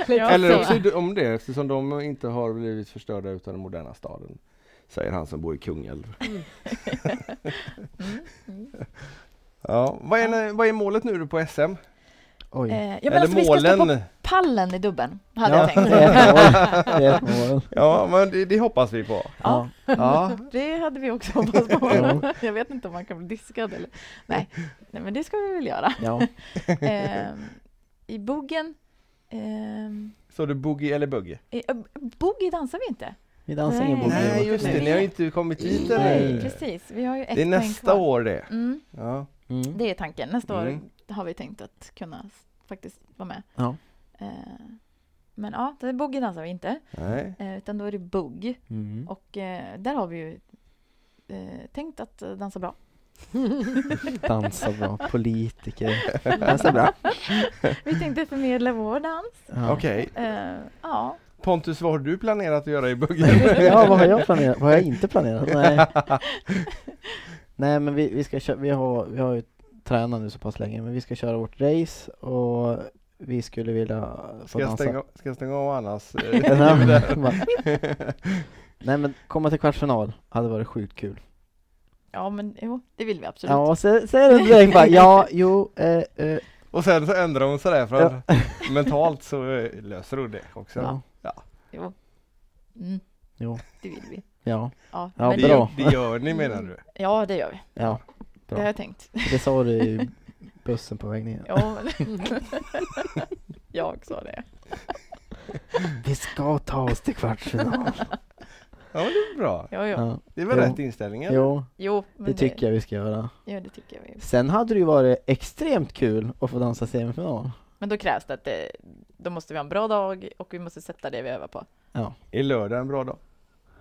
[SPEAKER 3] Ja,
[SPEAKER 1] Eller
[SPEAKER 3] så.
[SPEAKER 1] också d- om det, eftersom de inte har blivit förstörda utan den moderna staden. Säger han som bor i Kungälv.
[SPEAKER 3] Mm. Mm.
[SPEAKER 1] Ja, vad, är, vad är målet nu då på SM?
[SPEAKER 4] Oj.
[SPEAKER 3] Eh, ja, men
[SPEAKER 1] Eller
[SPEAKER 3] alltså, vi ska stå på
[SPEAKER 1] målen?
[SPEAKER 3] pallen i dubben, hade jag
[SPEAKER 4] ja.
[SPEAKER 3] tänkt.
[SPEAKER 4] det är ett mål. Det är ett mål.
[SPEAKER 1] Ja, men det, det hoppas vi på.
[SPEAKER 3] Ja.
[SPEAKER 1] Ja,
[SPEAKER 3] Mm. Det hade vi också hoppats på.
[SPEAKER 4] Ja.
[SPEAKER 3] jag vet inte om man kan bli diskad eller... Nej, Nej men det ska vi väl göra.
[SPEAKER 4] Ja.
[SPEAKER 3] Ehm, I buggen... ehm,
[SPEAKER 1] så du boogie eller buggy?
[SPEAKER 3] i- ö, boogie dansar vi inte.
[SPEAKER 4] Vi dansar ingen
[SPEAKER 3] Nej.
[SPEAKER 4] boogie.
[SPEAKER 1] Nej, just det, ni har ju inte kommit dit
[SPEAKER 4] Nej,
[SPEAKER 1] ännu.
[SPEAKER 3] precis. Vi har ju ett
[SPEAKER 1] Det är
[SPEAKER 3] poäng
[SPEAKER 1] nästa
[SPEAKER 3] kvar.
[SPEAKER 1] år det.
[SPEAKER 3] Mm,
[SPEAKER 1] Ja.
[SPEAKER 4] Mm.
[SPEAKER 3] det är tanken. Nästa
[SPEAKER 1] Mm.
[SPEAKER 3] år har vi tänkt att kunna s- faktiskt vara med.
[SPEAKER 4] Ja.
[SPEAKER 3] Ehm, men ja, det är boogie dansar vi inte.
[SPEAKER 1] Nej.
[SPEAKER 3] eh, Utan då är det bugg.
[SPEAKER 4] Mm.
[SPEAKER 3] Och eh, där har vi ju eh, tänkt att eh, dansa bra.
[SPEAKER 4] Dansar bra. Politiker. Dansar bra.
[SPEAKER 3] Vi tänkte förmedla vår dans.
[SPEAKER 4] Ja.
[SPEAKER 1] Okej.
[SPEAKER 3] Eh, ja,
[SPEAKER 1] Pontus, vad har du planerat att göra i buggen?
[SPEAKER 4] ja, vad har jag planerat? Vad har jag inte planerat? Nej, Nej men vi, vi ska köra, vi har, vi har ju tränat nu så pass länge, men vi ska köra vårt race och vi skulle vilja få
[SPEAKER 1] Ska jag
[SPEAKER 4] dansa.
[SPEAKER 1] stänga, ska jag stänga av eh, annars?
[SPEAKER 4] Nej men komma till kvartsfinal hade varit sjukt kul.
[SPEAKER 3] ja men jo, det vill vi absolut.
[SPEAKER 4] Ja, sä- säger du direkt bara ja, jo, eh, eh,
[SPEAKER 1] Och sen så ändrar hon sig där för att mentalt så eh, löser hon det också.
[SPEAKER 4] ja,
[SPEAKER 3] Jo. Mm,
[SPEAKER 4] jo,
[SPEAKER 3] det vill vi.
[SPEAKER 4] ja,
[SPEAKER 3] Ja,
[SPEAKER 4] Ja,
[SPEAKER 1] Det,
[SPEAKER 3] men-
[SPEAKER 4] bra.
[SPEAKER 1] det gör ni menar du?
[SPEAKER 3] Ja, det gör vi.
[SPEAKER 4] ja.
[SPEAKER 3] Det har
[SPEAKER 4] Bra.
[SPEAKER 3] jag tänkt.
[SPEAKER 4] Det sa du i bussen på väg ner.
[SPEAKER 3] Ja, men... jag sa det.
[SPEAKER 4] Vi ska ta oss till kvartsfinal.
[SPEAKER 1] Ja men det är bra.
[SPEAKER 3] Jo, jo.
[SPEAKER 4] Ja,
[SPEAKER 1] Det är väl
[SPEAKER 4] Jo.
[SPEAKER 1] rätt inställning? eller?
[SPEAKER 4] jo,
[SPEAKER 3] jo men
[SPEAKER 4] det tycker jag vi ska göra.
[SPEAKER 3] Ja, det tycker jag. vi.
[SPEAKER 4] Sen hade det ju varit extremt kul att få dansa semifinal.
[SPEAKER 3] Men då krävs det att det, då måste vi ha en bra dag och vi måste sätta det vi övar på.
[SPEAKER 1] Är lördag en bra dag?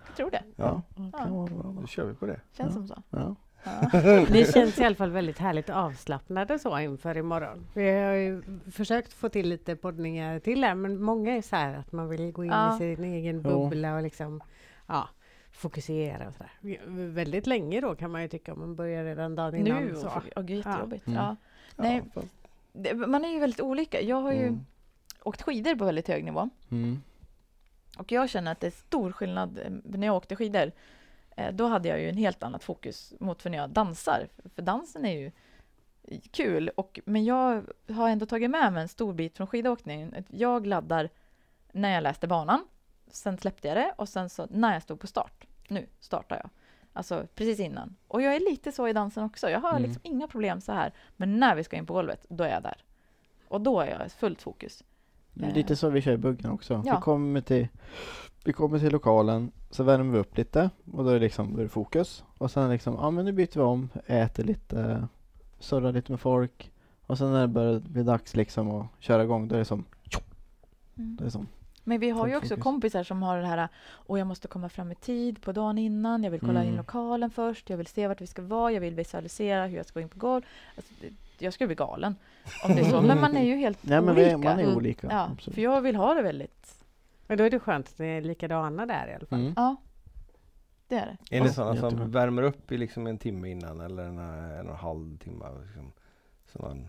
[SPEAKER 3] Jag tror det.
[SPEAKER 1] Ja,
[SPEAKER 3] Mm,
[SPEAKER 4] Kan vara bra då.
[SPEAKER 1] då kör vi på det.
[SPEAKER 3] Känns
[SPEAKER 4] Ja.
[SPEAKER 3] som så.
[SPEAKER 4] Ja.
[SPEAKER 3] Ja.
[SPEAKER 2] Ni känns i alla fall väldigt härligt avslappnade så inför imorgon. Vi har ju försökt få till lite poddningar till här, men många är så här att man vill gå in
[SPEAKER 3] Ja.
[SPEAKER 2] i sin egen
[SPEAKER 4] Jo.
[SPEAKER 2] bubbla och liksom ja, fokusera och så där. Vi- Väldigt länge då kan man ju tycka om man börjar redan dagen innan.
[SPEAKER 3] Nu?
[SPEAKER 2] så.
[SPEAKER 3] Åh oh, gud, jättejobbigt.
[SPEAKER 4] Ja.
[SPEAKER 3] Ja. Nej,
[SPEAKER 1] Ja, fast-
[SPEAKER 3] Det, man är ju väldigt olika. Jag har ju
[SPEAKER 1] Mm.
[SPEAKER 3] åkt skidor på väldigt hög nivå.
[SPEAKER 4] Mm.
[SPEAKER 3] Och jag känner att det är stor skillnad eh, när jag åkte skidor. eh, Då hade jag ju en helt annat fokus mot för när jag dansar. För dansen är ju kul. Och, men jag har ändå tagit med mig en stor bit från skidåkningen. Att Jag laddar när jag läste banan. Sen släppte jag det och sen så när jag stod på start. Nu startar jag. Alltså precis innan. Och jag är lite så i dansen också. Jag har
[SPEAKER 4] Mm.
[SPEAKER 3] liksom inga problem så här. Men när vi ska in på golvet, då är jag där. Och då är jag fullt fokus.
[SPEAKER 4] Det är Lite så vi kör i buggen också.
[SPEAKER 3] Eh. Ja.
[SPEAKER 4] Vi, kommer till, vi kommer till lokalen, så värmer vi upp lite och då är det liksom då är det fokus. Och sen liksom, ja men nu byter vi om, äter lite, surrar lite med folk. Och sen när det börjar bli dags liksom att köra igång, då är det som,
[SPEAKER 3] Mm.
[SPEAKER 4] då är det som
[SPEAKER 3] Men vi har ju
[SPEAKER 4] Fullt
[SPEAKER 3] också
[SPEAKER 4] fokus.
[SPEAKER 3] kompisar som har det här och jag måste komma fram i tid på dagen innan, jag vill kolla in
[SPEAKER 4] Mm.
[SPEAKER 3] lokalen först, jag vill se vart vi ska vara, jag vill visualisera hur jag ska gå in på golv. Alltså, det- jag skulle bli galen om det är så, men man är ju helt
[SPEAKER 4] Nej men
[SPEAKER 3] olika.
[SPEAKER 4] vi, man
[SPEAKER 2] Mm.
[SPEAKER 4] är olika.
[SPEAKER 3] ja,
[SPEAKER 4] absolut.
[SPEAKER 3] för jag vill ha det väldigt...
[SPEAKER 2] Men då är det skönt att ni är likadana där i alla fall.
[SPEAKER 4] Mm.
[SPEAKER 3] Ja, det är det.
[SPEAKER 1] Är ni sådana
[SPEAKER 4] Jättebra.
[SPEAKER 1] som värmer eh, upp i liksom en timme innan eller en, en och en halv timme? Liksom, så man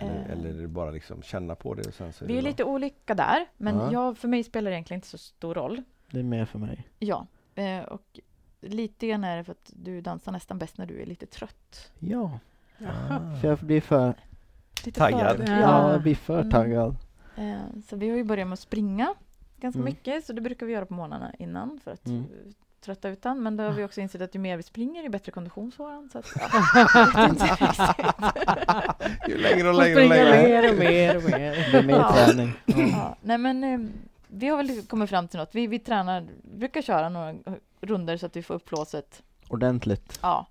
[SPEAKER 1] Eller,
[SPEAKER 3] Eh.
[SPEAKER 1] eller är det bara liksom känna på det och sen så är
[SPEAKER 3] Vi
[SPEAKER 1] det
[SPEAKER 3] är
[SPEAKER 1] bra?
[SPEAKER 3] lite olika där, men
[SPEAKER 1] Ja.
[SPEAKER 3] jag, för mig spelar det egentligen inte så stor roll.
[SPEAKER 4] Det är mer för mig.
[SPEAKER 3] Ja, eh, och lite grann är det för att du dansar nästan bäst när du är lite trött.
[SPEAKER 4] Ja,
[SPEAKER 2] Jaha.
[SPEAKER 3] Ah.
[SPEAKER 4] för jag blir för,
[SPEAKER 3] Lite
[SPEAKER 1] Taggad.
[SPEAKER 3] för-
[SPEAKER 2] Ja.
[SPEAKER 4] ja, jag blir för
[SPEAKER 3] Mm.
[SPEAKER 4] taggad.
[SPEAKER 3] Eh, Så vi har ju börjat med att springa ganska
[SPEAKER 4] Mm.
[SPEAKER 3] mycket, så det brukar vi göra på morgnarna innan för att
[SPEAKER 4] Mm.
[SPEAKER 3] eh, trötta ut den. Men då har vi också insett att ju mer vi springer, ju bättre kondition får han. Så att, ja, jag vet inte riktigt.
[SPEAKER 1] Ju längre och
[SPEAKER 2] Och
[SPEAKER 1] längre och
[SPEAKER 2] springa
[SPEAKER 1] längre.
[SPEAKER 2] mer och mer och mer.
[SPEAKER 4] Det blir mer
[SPEAKER 3] Ja.
[SPEAKER 4] träning. Mm.
[SPEAKER 3] ja, nej men eh, vi har väl kommit fram till något. Vi, vi tränar, brukar köra några eh, runder så att vi får upp flåset.
[SPEAKER 4] Ordentligt.
[SPEAKER 3] Ja.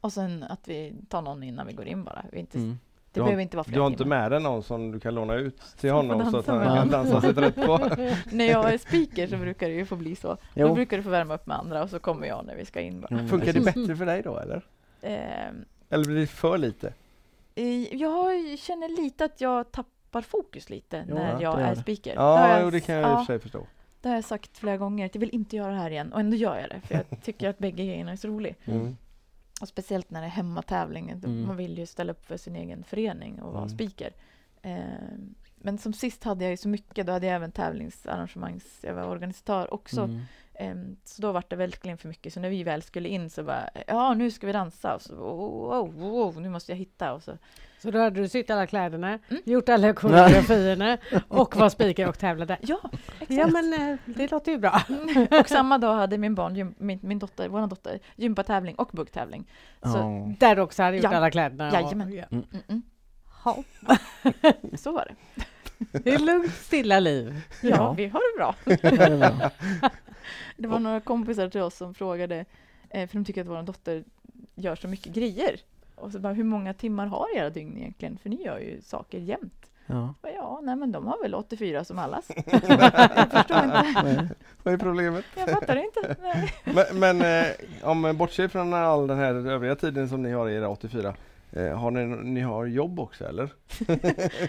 [SPEAKER 3] Och sen att vi tar någon innan vi går in bara. Vi inte,
[SPEAKER 4] Mm.
[SPEAKER 3] Det
[SPEAKER 1] Du har-
[SPEAKER 3] behöver inte vara flera
[SPEAKER 1] Du har inte
[SPEAKER 3] timmar.
[SPEAKER 1] med dig någon som du kan låna ut till
[SPEAKER 3] får
[SPEAKER 1] honom så att
[SPEAKER 3] dansa
[SPEAKER 1] han
[SPEAKER 4] med.
[SPEAKER 1] kan dansa sig trött på?
[SPEAKER 3] När jag är speaker så brukar det ju få bli så. Då
[SPEAKER 4] Jo.
[SPEAKER 3] brukar du få värma upp med andra och så kommer jag när vi ska in bara.
[SPEAKER 4] Jo, men
[SPEAKER 1] Funkar det
[SPEAKER 4] precis.
[SPEAKER 1] bättre för dig då eller?
[SPEAKER 3] Ehm,
[SPEAKER 1] Eller blir det för lite?
[SPEAKER 3] Eh, Jag känner lite att jag tappar fokus lite
[SPEAKER 4] Jo,
[SPEAKER 3] när
[SPEAKER 4] ja,
[SPEAKER 3] jag
[SPEAKER 4] det gör
[SPEAKER 3] är
[SPEAKER 4] det.
[SPEAKER 3] speaker. har
[SPEAKER 1] Ja,
[SPEAKER 3] jag,
[SPEAKER 1] jo, det kan jag i och för
[SPEAKER 3] ja,
[SPEAKER 1] sig förstå.
[SPEAKER 3] det har jag sagt flera gånger, att jag vill inte göra det här igen. Och ändå gör jag det, för jag tycker att bägge grejerna är så roliga.
[SPEAKER 1] Mm.
[SPEAKER 3] Och speciellt när det är hemmatävling, då-
[SPEAKER 4] Mm.
[SPEAKER 3] man vill ju ställa upp för sin egen förening och vara
[SPEAKER 1] Mm.
[SPEAKER 3] speaker. Eh, men som sist hade jag ju så mycket, då hade jag även tävlingsarrangemangs, jag var organisatör också.
[SPEAKER 4] Mm.
[SPEAKER 3] Ehm, Så då var det verkligen för mycket. Så när vi väl skulle in så bara, ja nu ska vi dansa. Och så, oh, oh, oh, oh, nu måste jag hitta. Och så,
[SPEAKER 2] Så då hade du sytt alla kläderna,
[SPEAKER 3] Mm.
[SPEAKER 2] gjort alla koreografierna och var speaker och tävlade.
[SPEAKER 3] ja, exakt.
[SPEAKER 2] Ja men eh, det låter ju bra.
[SPEAKER 3] Och samma dag hade min barn, gym, min, min dotter, vår dotter, gympatävling och buggtävling. Så,
[SPEAKER 4] Ja.
[SPEAKER 2] Där du också hade gjort
[SPEAKER 3] Ja.
[SPEAKER 2] alla kläderna. och-
[SPEAKER 3] Jajamän.
[SPEAKER 2] Ja.
[SPEAKER 3] mm, mm,
[SPEAKER 2] Ja.
[SPEAKER 3] så var det.
[SPEAKER 2] Det är lugnt stilla liv.
[SPEAKER 3] Ja,
[SPEAKER 4] Ja.
[SPEAKER 3] vi har det bra.
[SPEAKER 4] det är bra.
[SPEAKER 3] Det var några kompisar till oss som frågade, eh, för de tycker att vår dotter gör så mycket grejer. Och så bara, hur många timmar har era dygn egentligen? För ni gör ju saker jämt.
[SPEAKER 4] Ja.
[SPEAKER 3] Och ja, nej men de har väl 84 som allas. jag förstår inte.
[SPEAKER 4] Nej.
[SPEAKER 1] Vad är problemet?
[SPEAKER 3] Jag fattar inte. Nej.
[SPEAKER 1] Men, men eh, om man bortser från all den här övriga tiden som ni har i era 84, eh, har ni, ni har jobb också eller?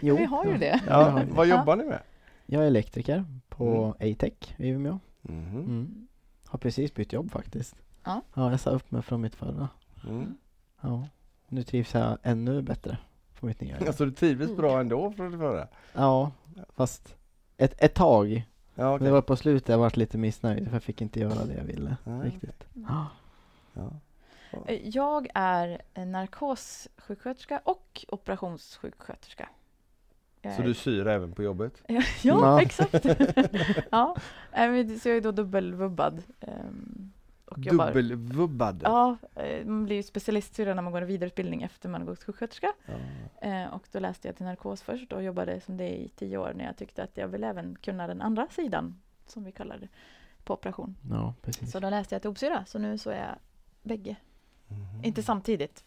[SPEAKER 4] Jo.
[SPEAKER 3] Vi har ju det.
[SPEAKER 4] Ja, det har vi.
[SPEAKER 1] Vad Mm.
[SPEAKER 3] Ja.
[SPEAKER 1] jobbar ni med?
[SPEAKER 4] Jag är elektriker på A-Tech i Umeå.
[SPEAKER 1] Mhm.
[SPEAKER 4] Mm. Har precis bytt jobb faktiskt.
[SPEAKER 3] Ja.
[SPEAKER 4] ja, jag sa upp mig från mitt förra.
[SPEAKER 1] Mm.
[SPEAKER 4] Ja. Nu trivs jag ännu bättre på mitt nya jobb.
[SPEAKER 1] Alltså du trivdes bra ändå från det förra?
[SPEAKER 4] Ja, fast ett, ett tag.
[SPEAKER 1] Ja,
[SPEAKER 4] Men
[SPEAKER 1] okej.
[SPEAKER 4] det var på slutet jag varit lite missnöjd för jag fick inte göra det jag ville
[SPEAKER 1] Ja,
[SPEAKER 4] riktigt.
[SPEAKER 1] ja.
[SPEAKER 3] Eh, Jag är en narkossjuksköterska och operationssjuksköterska. Jag
[SPEAKER 1] Så
[SPEAKER 3] är-
[SPEAKER 1] du syr även på jobbet?
[SPEAKER 3] Ja,
[SPEAKER 4] Ja.
[SPEAKER 3] exakt. ja. Nej, men det- Så jag är då dubbelvubbad. ehm, och jobbar-
[SPEAKER 1] Dubbelvubbad?
[SPEAKER 3] Ja, eh, man blir ju specialistsyra när man går en vidareutbildning efter man har gått sjuksköterska.
[SPEAKER 1] Ja.
[SPEAKER 3] Eh, Och då läste jag till narkos först och jobbade som det i tio år när jag tyckte att jag vill även kunna den andra sidan, som vi kallar det, på operation.
[SPEAKER 4] Ja, precis.
[SPEAKER 3] Så då läste jag till opsyra, så nu så är jag bägge.
[SPEAKER 1] Mhm.
[SPEAKER 3] Inte samtidigt,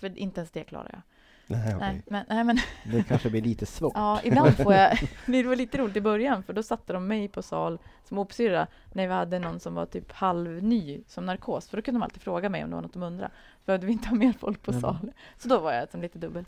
[SPEAKER 3] för inte ens det klarar jag.
[SPEAKER 1] Nej, okej.
[SPEAKER 3] Nej, men, nej, men
[SPEAKER 4] Det kanske blir lite svårt.
[SPEAKER 3] Ja, ibland får jag... Det var lite roligt i början, för då satte de mig på sal som opsyrra när vi hade någon som var typ halvny som narkos, för då kunde de alltid fråga mig om det var något de undrade. Behövde vi inte ha mer folk på
[SPEAKER 1] Mm.
[SPEAKER 4] Nej, men-
[SPEAKER 3] sal? Så då var jag som lite dubbel.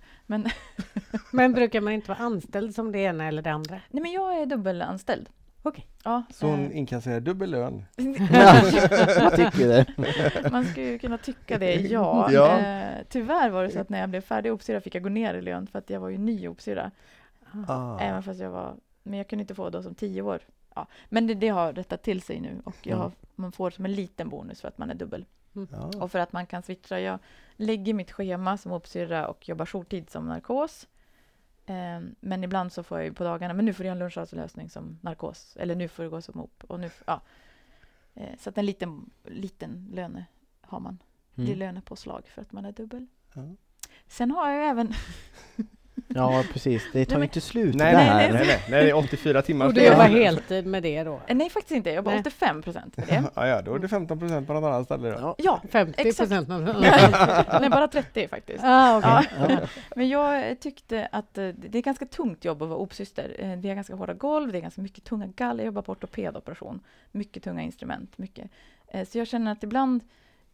[SPEAKER 2] Men brukar man inte vara anställd som det ena eller det andra?
[SPEAKER 3] Nej, men jag är dubbelanställd.
[SPEAKER 2] Okej.
[SPEAKER 3] Ja,
[SPEAKER 1] Så hon
[SPEAKER 3] eh,
[SPEAKER 1] inkasserar dubbel lön?
[SPEAKER 4] jag tycker det.
[SPEAKER 3] man skulle ju kunna tycka det, ja.
[SPEAKER 1] Ja.
[SPEAKER 3] Eh, tyvärr var det så att när jag blev färdig opsyrra fick jag gå ner i lön för att jag var ju ny i opsyrra.
[SPEAKER 1] Ah.
[SPEAKER 3] Även fast jag var, men jag kunde inte få då som tio år. Ja. Men det, det har rättat till sig nu och jag
[SPEAKER 4] Mm.
[SPEAKER 3] har, man får som en liten bonus för att man är dubbel.
[SPEAKER 1] Ja.
[SPEAKER 3] Och för att man kan switcha. Jag lägger mitt schema som opsyrra och jobbar jourtid som narkos. Ehm, Men ibland så får jag ju på dagarna, men nu får jag en lunchrauslösning som narkos. Eller nu får du gå som op. Och nu, f- ja. Eh, Så att en liten, liten löne har man. Det är
[SPEAKER 4] Mm.
[SPEAKER 3] lönepåslag för att man är dubbel.
[SPEAKER 1] Ja.
[SPEAKER 3] Sen har jag ju även,
[SPEAKER 4] Ja, precis. Det tar
[SPEAKER 3] men-
[SPEAKER 4] ju inte slut
[SPEAKER 1] Nej,
[SPEAKER 4] där.
[SPEAKER 1] nej, nej, nej, nej, det är 84 timmar.
[SPEAKER 2] Och du
[SPEAKER 4] Ja.
[SPEAKER 2] jobbar heltid med det då?
[SPEAKER 3] eh, nej faktiskt inte, jag jobbar
[SPEAKER 2] Nej.
[SPEAKER 3] 85 procent med det.
[SPEAKER 1] Ja, ja, då är det 15 procent på något annat ställe då.
[SPEAKER 4] Ja.
[SPEAKER 3] Ja,
[SPEAKER 2] 50
[SPEAKER 3] Exakt.
[SPEAKER 2] procent någon
[SPEAKER 3] nej bara 30 faktiskt.
[SPEAKER 2] ah, okej.
[SPEAKER 4] Ja.
[SPEAKER 3] Men jag eh, tyckte att eh, det det är ganska tungt jobb att vara opsyster. Eh, Det är ganska hårda golv, det är ganska mycket tunga galler. Jag jobbar på ortopedoperation. Mycket tunga instrument. Mycket. Eh, Så jag känner att ibland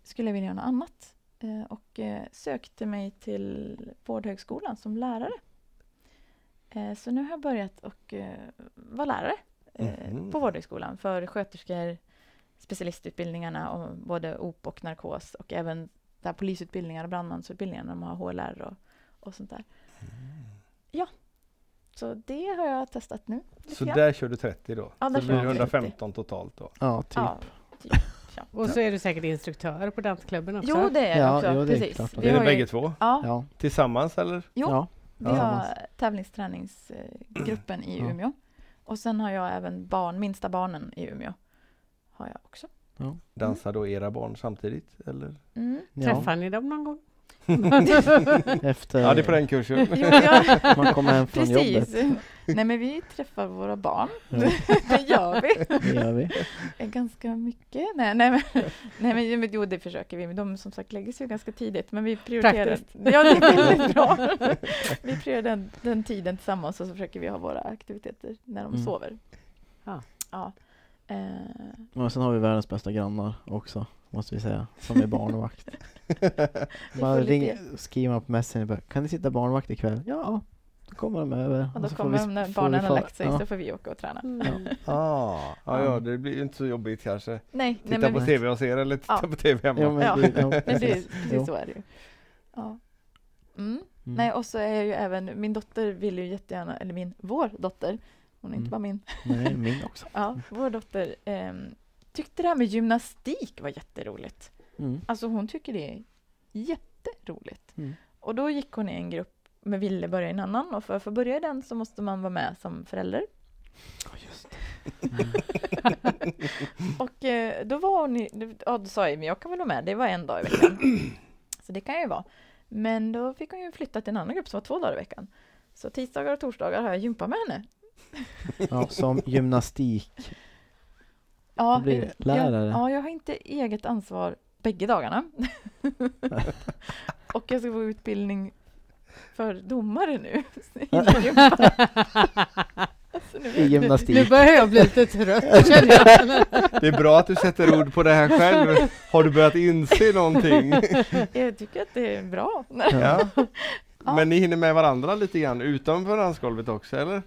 [SPEAKER 3] skulle jag vilja göra något annat. Eh, Och eh, sökte mig till Vårdhögskolan som lärare. Eh, Så nu har jag börjat och eh, vara lärare eh,
[SPEAKER 1] Mhm.
[SPEAKER 3] på Vårdhögskolan för sköterskor, specialistutbildningarna, och både OP och narkos och även där polisutbildningar och brandmansutbildningar, de har HLR och, och sånt där. Så det har jag testat nu. lite
[SPEAKER 1] Så
[SPEAKER 3] grann.
[SPEAKER 1] där kör du 30 då?
[SPEAKER 3] Ja, där
[SPEAKER 1] så
[SPEAKER 3] kör
[SPEAKER 1] blir det
[SPEAKER 3] jag
[SPEAKER 1] 115 totalt då?
[SPEAKER 4] Ja, typ.
[SPEAKER 3] Ja,
[SPEAKER 2] Och så är du säkert instruktör på dansklubben också.
[SPEAKER 3] Jo, det är jag
[SPEAKER 4] Ja,
[SPEAKER 3] också.
[SPEAKER 4] jo, det är
[SPEAKER 3] precis.
[SPEAKER 4] klart.
[SPEAKER 3] Vi
[SPEAKER 1] är
[SPEAKER 3] har
[SPEAKER 1] det
[SPEAKER 3] ju-
[SPEAKER 1] bägge två?
[SPEAKER 3] Ja,
[SPEAKER 4] Ja,
[SPEAKER 1] Tillsammans eller?
[SPEAKER 3] jo.
[SPEAKER 4] ja.
[SPEAKER 3] Vi
[SPEAKER 4] tillsammans.
[SPEAKER 3] har tävlingsträningsgruppen i
[SPEAKER 4] Ja.
[SPEAKER 3] Umeå. Och sen har jag även barn, minsta barnen i Umeå. Har jag också.
[SPEAKER 1] Dansar då era barn samtidigt? Eller?
[SPEAKER 3] Mm.
[SPEAKER 4] Ja,
[SPEAKER 2] Träffar ni dem någon gång?
[SPEAKER 4] efter
[SPEAKER 1] Ja, det är på den kursen.
[SPEAKER 3] Jo, jag,
[SPEAKER 4] man kommer hem från jobbet.
[SPEAKER 3] precis. Nej, men vi träffar våra barn.
[SPEAKER 4] Ja,
[SPEAKER 3] Det gör vi.
[SPEAKER 4] det gör vi.
[SPEAKER 3] Ganska mycket. Nej, nej, men, nej, men, men jo, det försöker vi. Men de som sagt lägger sig ju ganska tidigt. Men vi prioriterar...
[SPEAKER 2] Praktiskt.
[SPEAKER 3] Ja, det är väldigt bra. Vi prioriterar den, den tiden tillsammans och så försöker vi ha våra aktiviteter när de
[SPEAKER 4] Mm.
[SPEAKER 3] sover.
[SPEAKER 2] Ja.
[SPEAKER 3] ja. Eh,
[SPEAKER 4] Men sen har vi världens bästa grannar också, måste vi säga, som är barnvakt.
[SPEAKER 3] Vi
[SPEAKER 4] Man
[SPEAKER 3] får lite-
[SPEAKER 4] ringer, skriver man på Messenger bara, kan ni sitta barnvakt ikväll? Ja, då kommer de över.
[SPEAKER 3] och då
[SPEAKER 4] så får
[SPEAKER 3] kommer
[SPEAKER 4] vi-
[SPEAKER 3] de när
[SPEAKER 4] får vi
[SPEAKER 3] barnen har
[SPEAKER 4] fara-
[SPEAKER 3] lagt sig
[SPEAKER 4] ja.
[SPEAKER 3] så får vi åka och träna.
[SPEAKER 2] Mm.
[SPEAKER 1] Ah, ja, ja, det blir ju inte så jobbigt kanske.
[SPEAKER 3] Nej,
[SPEAKER 1] Titta
[SPEAKER 3] nej men,
[SPEAKER 1] på
[SPEAKER 3] vi-
[SPEAKER 1] tv och se eller titta
[SPEAKER 3] Ja.
[SPEAKER 1] på tv hemma.
[SPEAKER 4] Ja, men,
[SPEAKER 3] Ja.
[SPEAKER 4] det- ja,
[SPEAKER 3] men det,
[SPEAKER 4] precis.
[SPEAKER 3] precis
[SPEAKER 4] Jo.
[SPEAKER 3] så är det ju. Ja. Mm.
[SPEAKER 4] Mm.
[SPEAKER 3] Nej, och så är jag ju även, min dotter vill ju jättegärna, eller min, vår dotter, hon är
[SPEAKER 4] Mm.
[SPEAKER 3] inte bara min,
[SPEAKER 4] Nej, min också.
[SPEAKER 3] Ja, vår dotter ehm, tyckte det här med gymnastik var jätteroligt.
[SPEAKER 4] Mm.
[SPEAKER 3] Alltså hon tycker det är jätteroligt.
[SPEAKER 4] Mm.
[SPEAKER 3] Och då gick hon i en grupp med Ville börja i en annan och för att få börja i den så måste man vara med som förälder.
[SPEAKER 4] Ja, just det.
[SPEAKER 3] Och eh, då var hon i, ja då sa jag men jag kan väl vara med, det var en dag i veckan. Så det kan jag ju vara. Men då fick hon ju flytta till en annan grupp som var två dagar i veckan. Så tisdagar och torsdagar har jag gympa med henne.
[SPEAKER 4] Ja, som gymnastik.
[SPEAKER 3] Ja,
[SPEAKER 4] Då blir
[SPEAKER 3] eh,
[SPEAKER 4] det lärare.
[SPEAKER 3] Jag, ja, jag har inte eget ansvar bägge dagarna. och jag ska få utbildning för domare nu. Så nu
[SPEAKER 4] I
[SPEAKER 3] vet-
[SPEAKER 2] Nu
[SPEAKER 4] gymnastik.
[SPEAKER 2] börjar jag bli lite trött känner jag.
[SPEAKER 1] Det är bra att du sätter ord på det här själv. Har du börjat inse någonting?
[SPEAKER 3] jag tycker att det är bra.
[SPEAKER 1] Ja.
[SPEAKER 3] Ja.
[SPEAKER 1] Men ni hinner med varandra lite grann utanför dansgolvet också eller?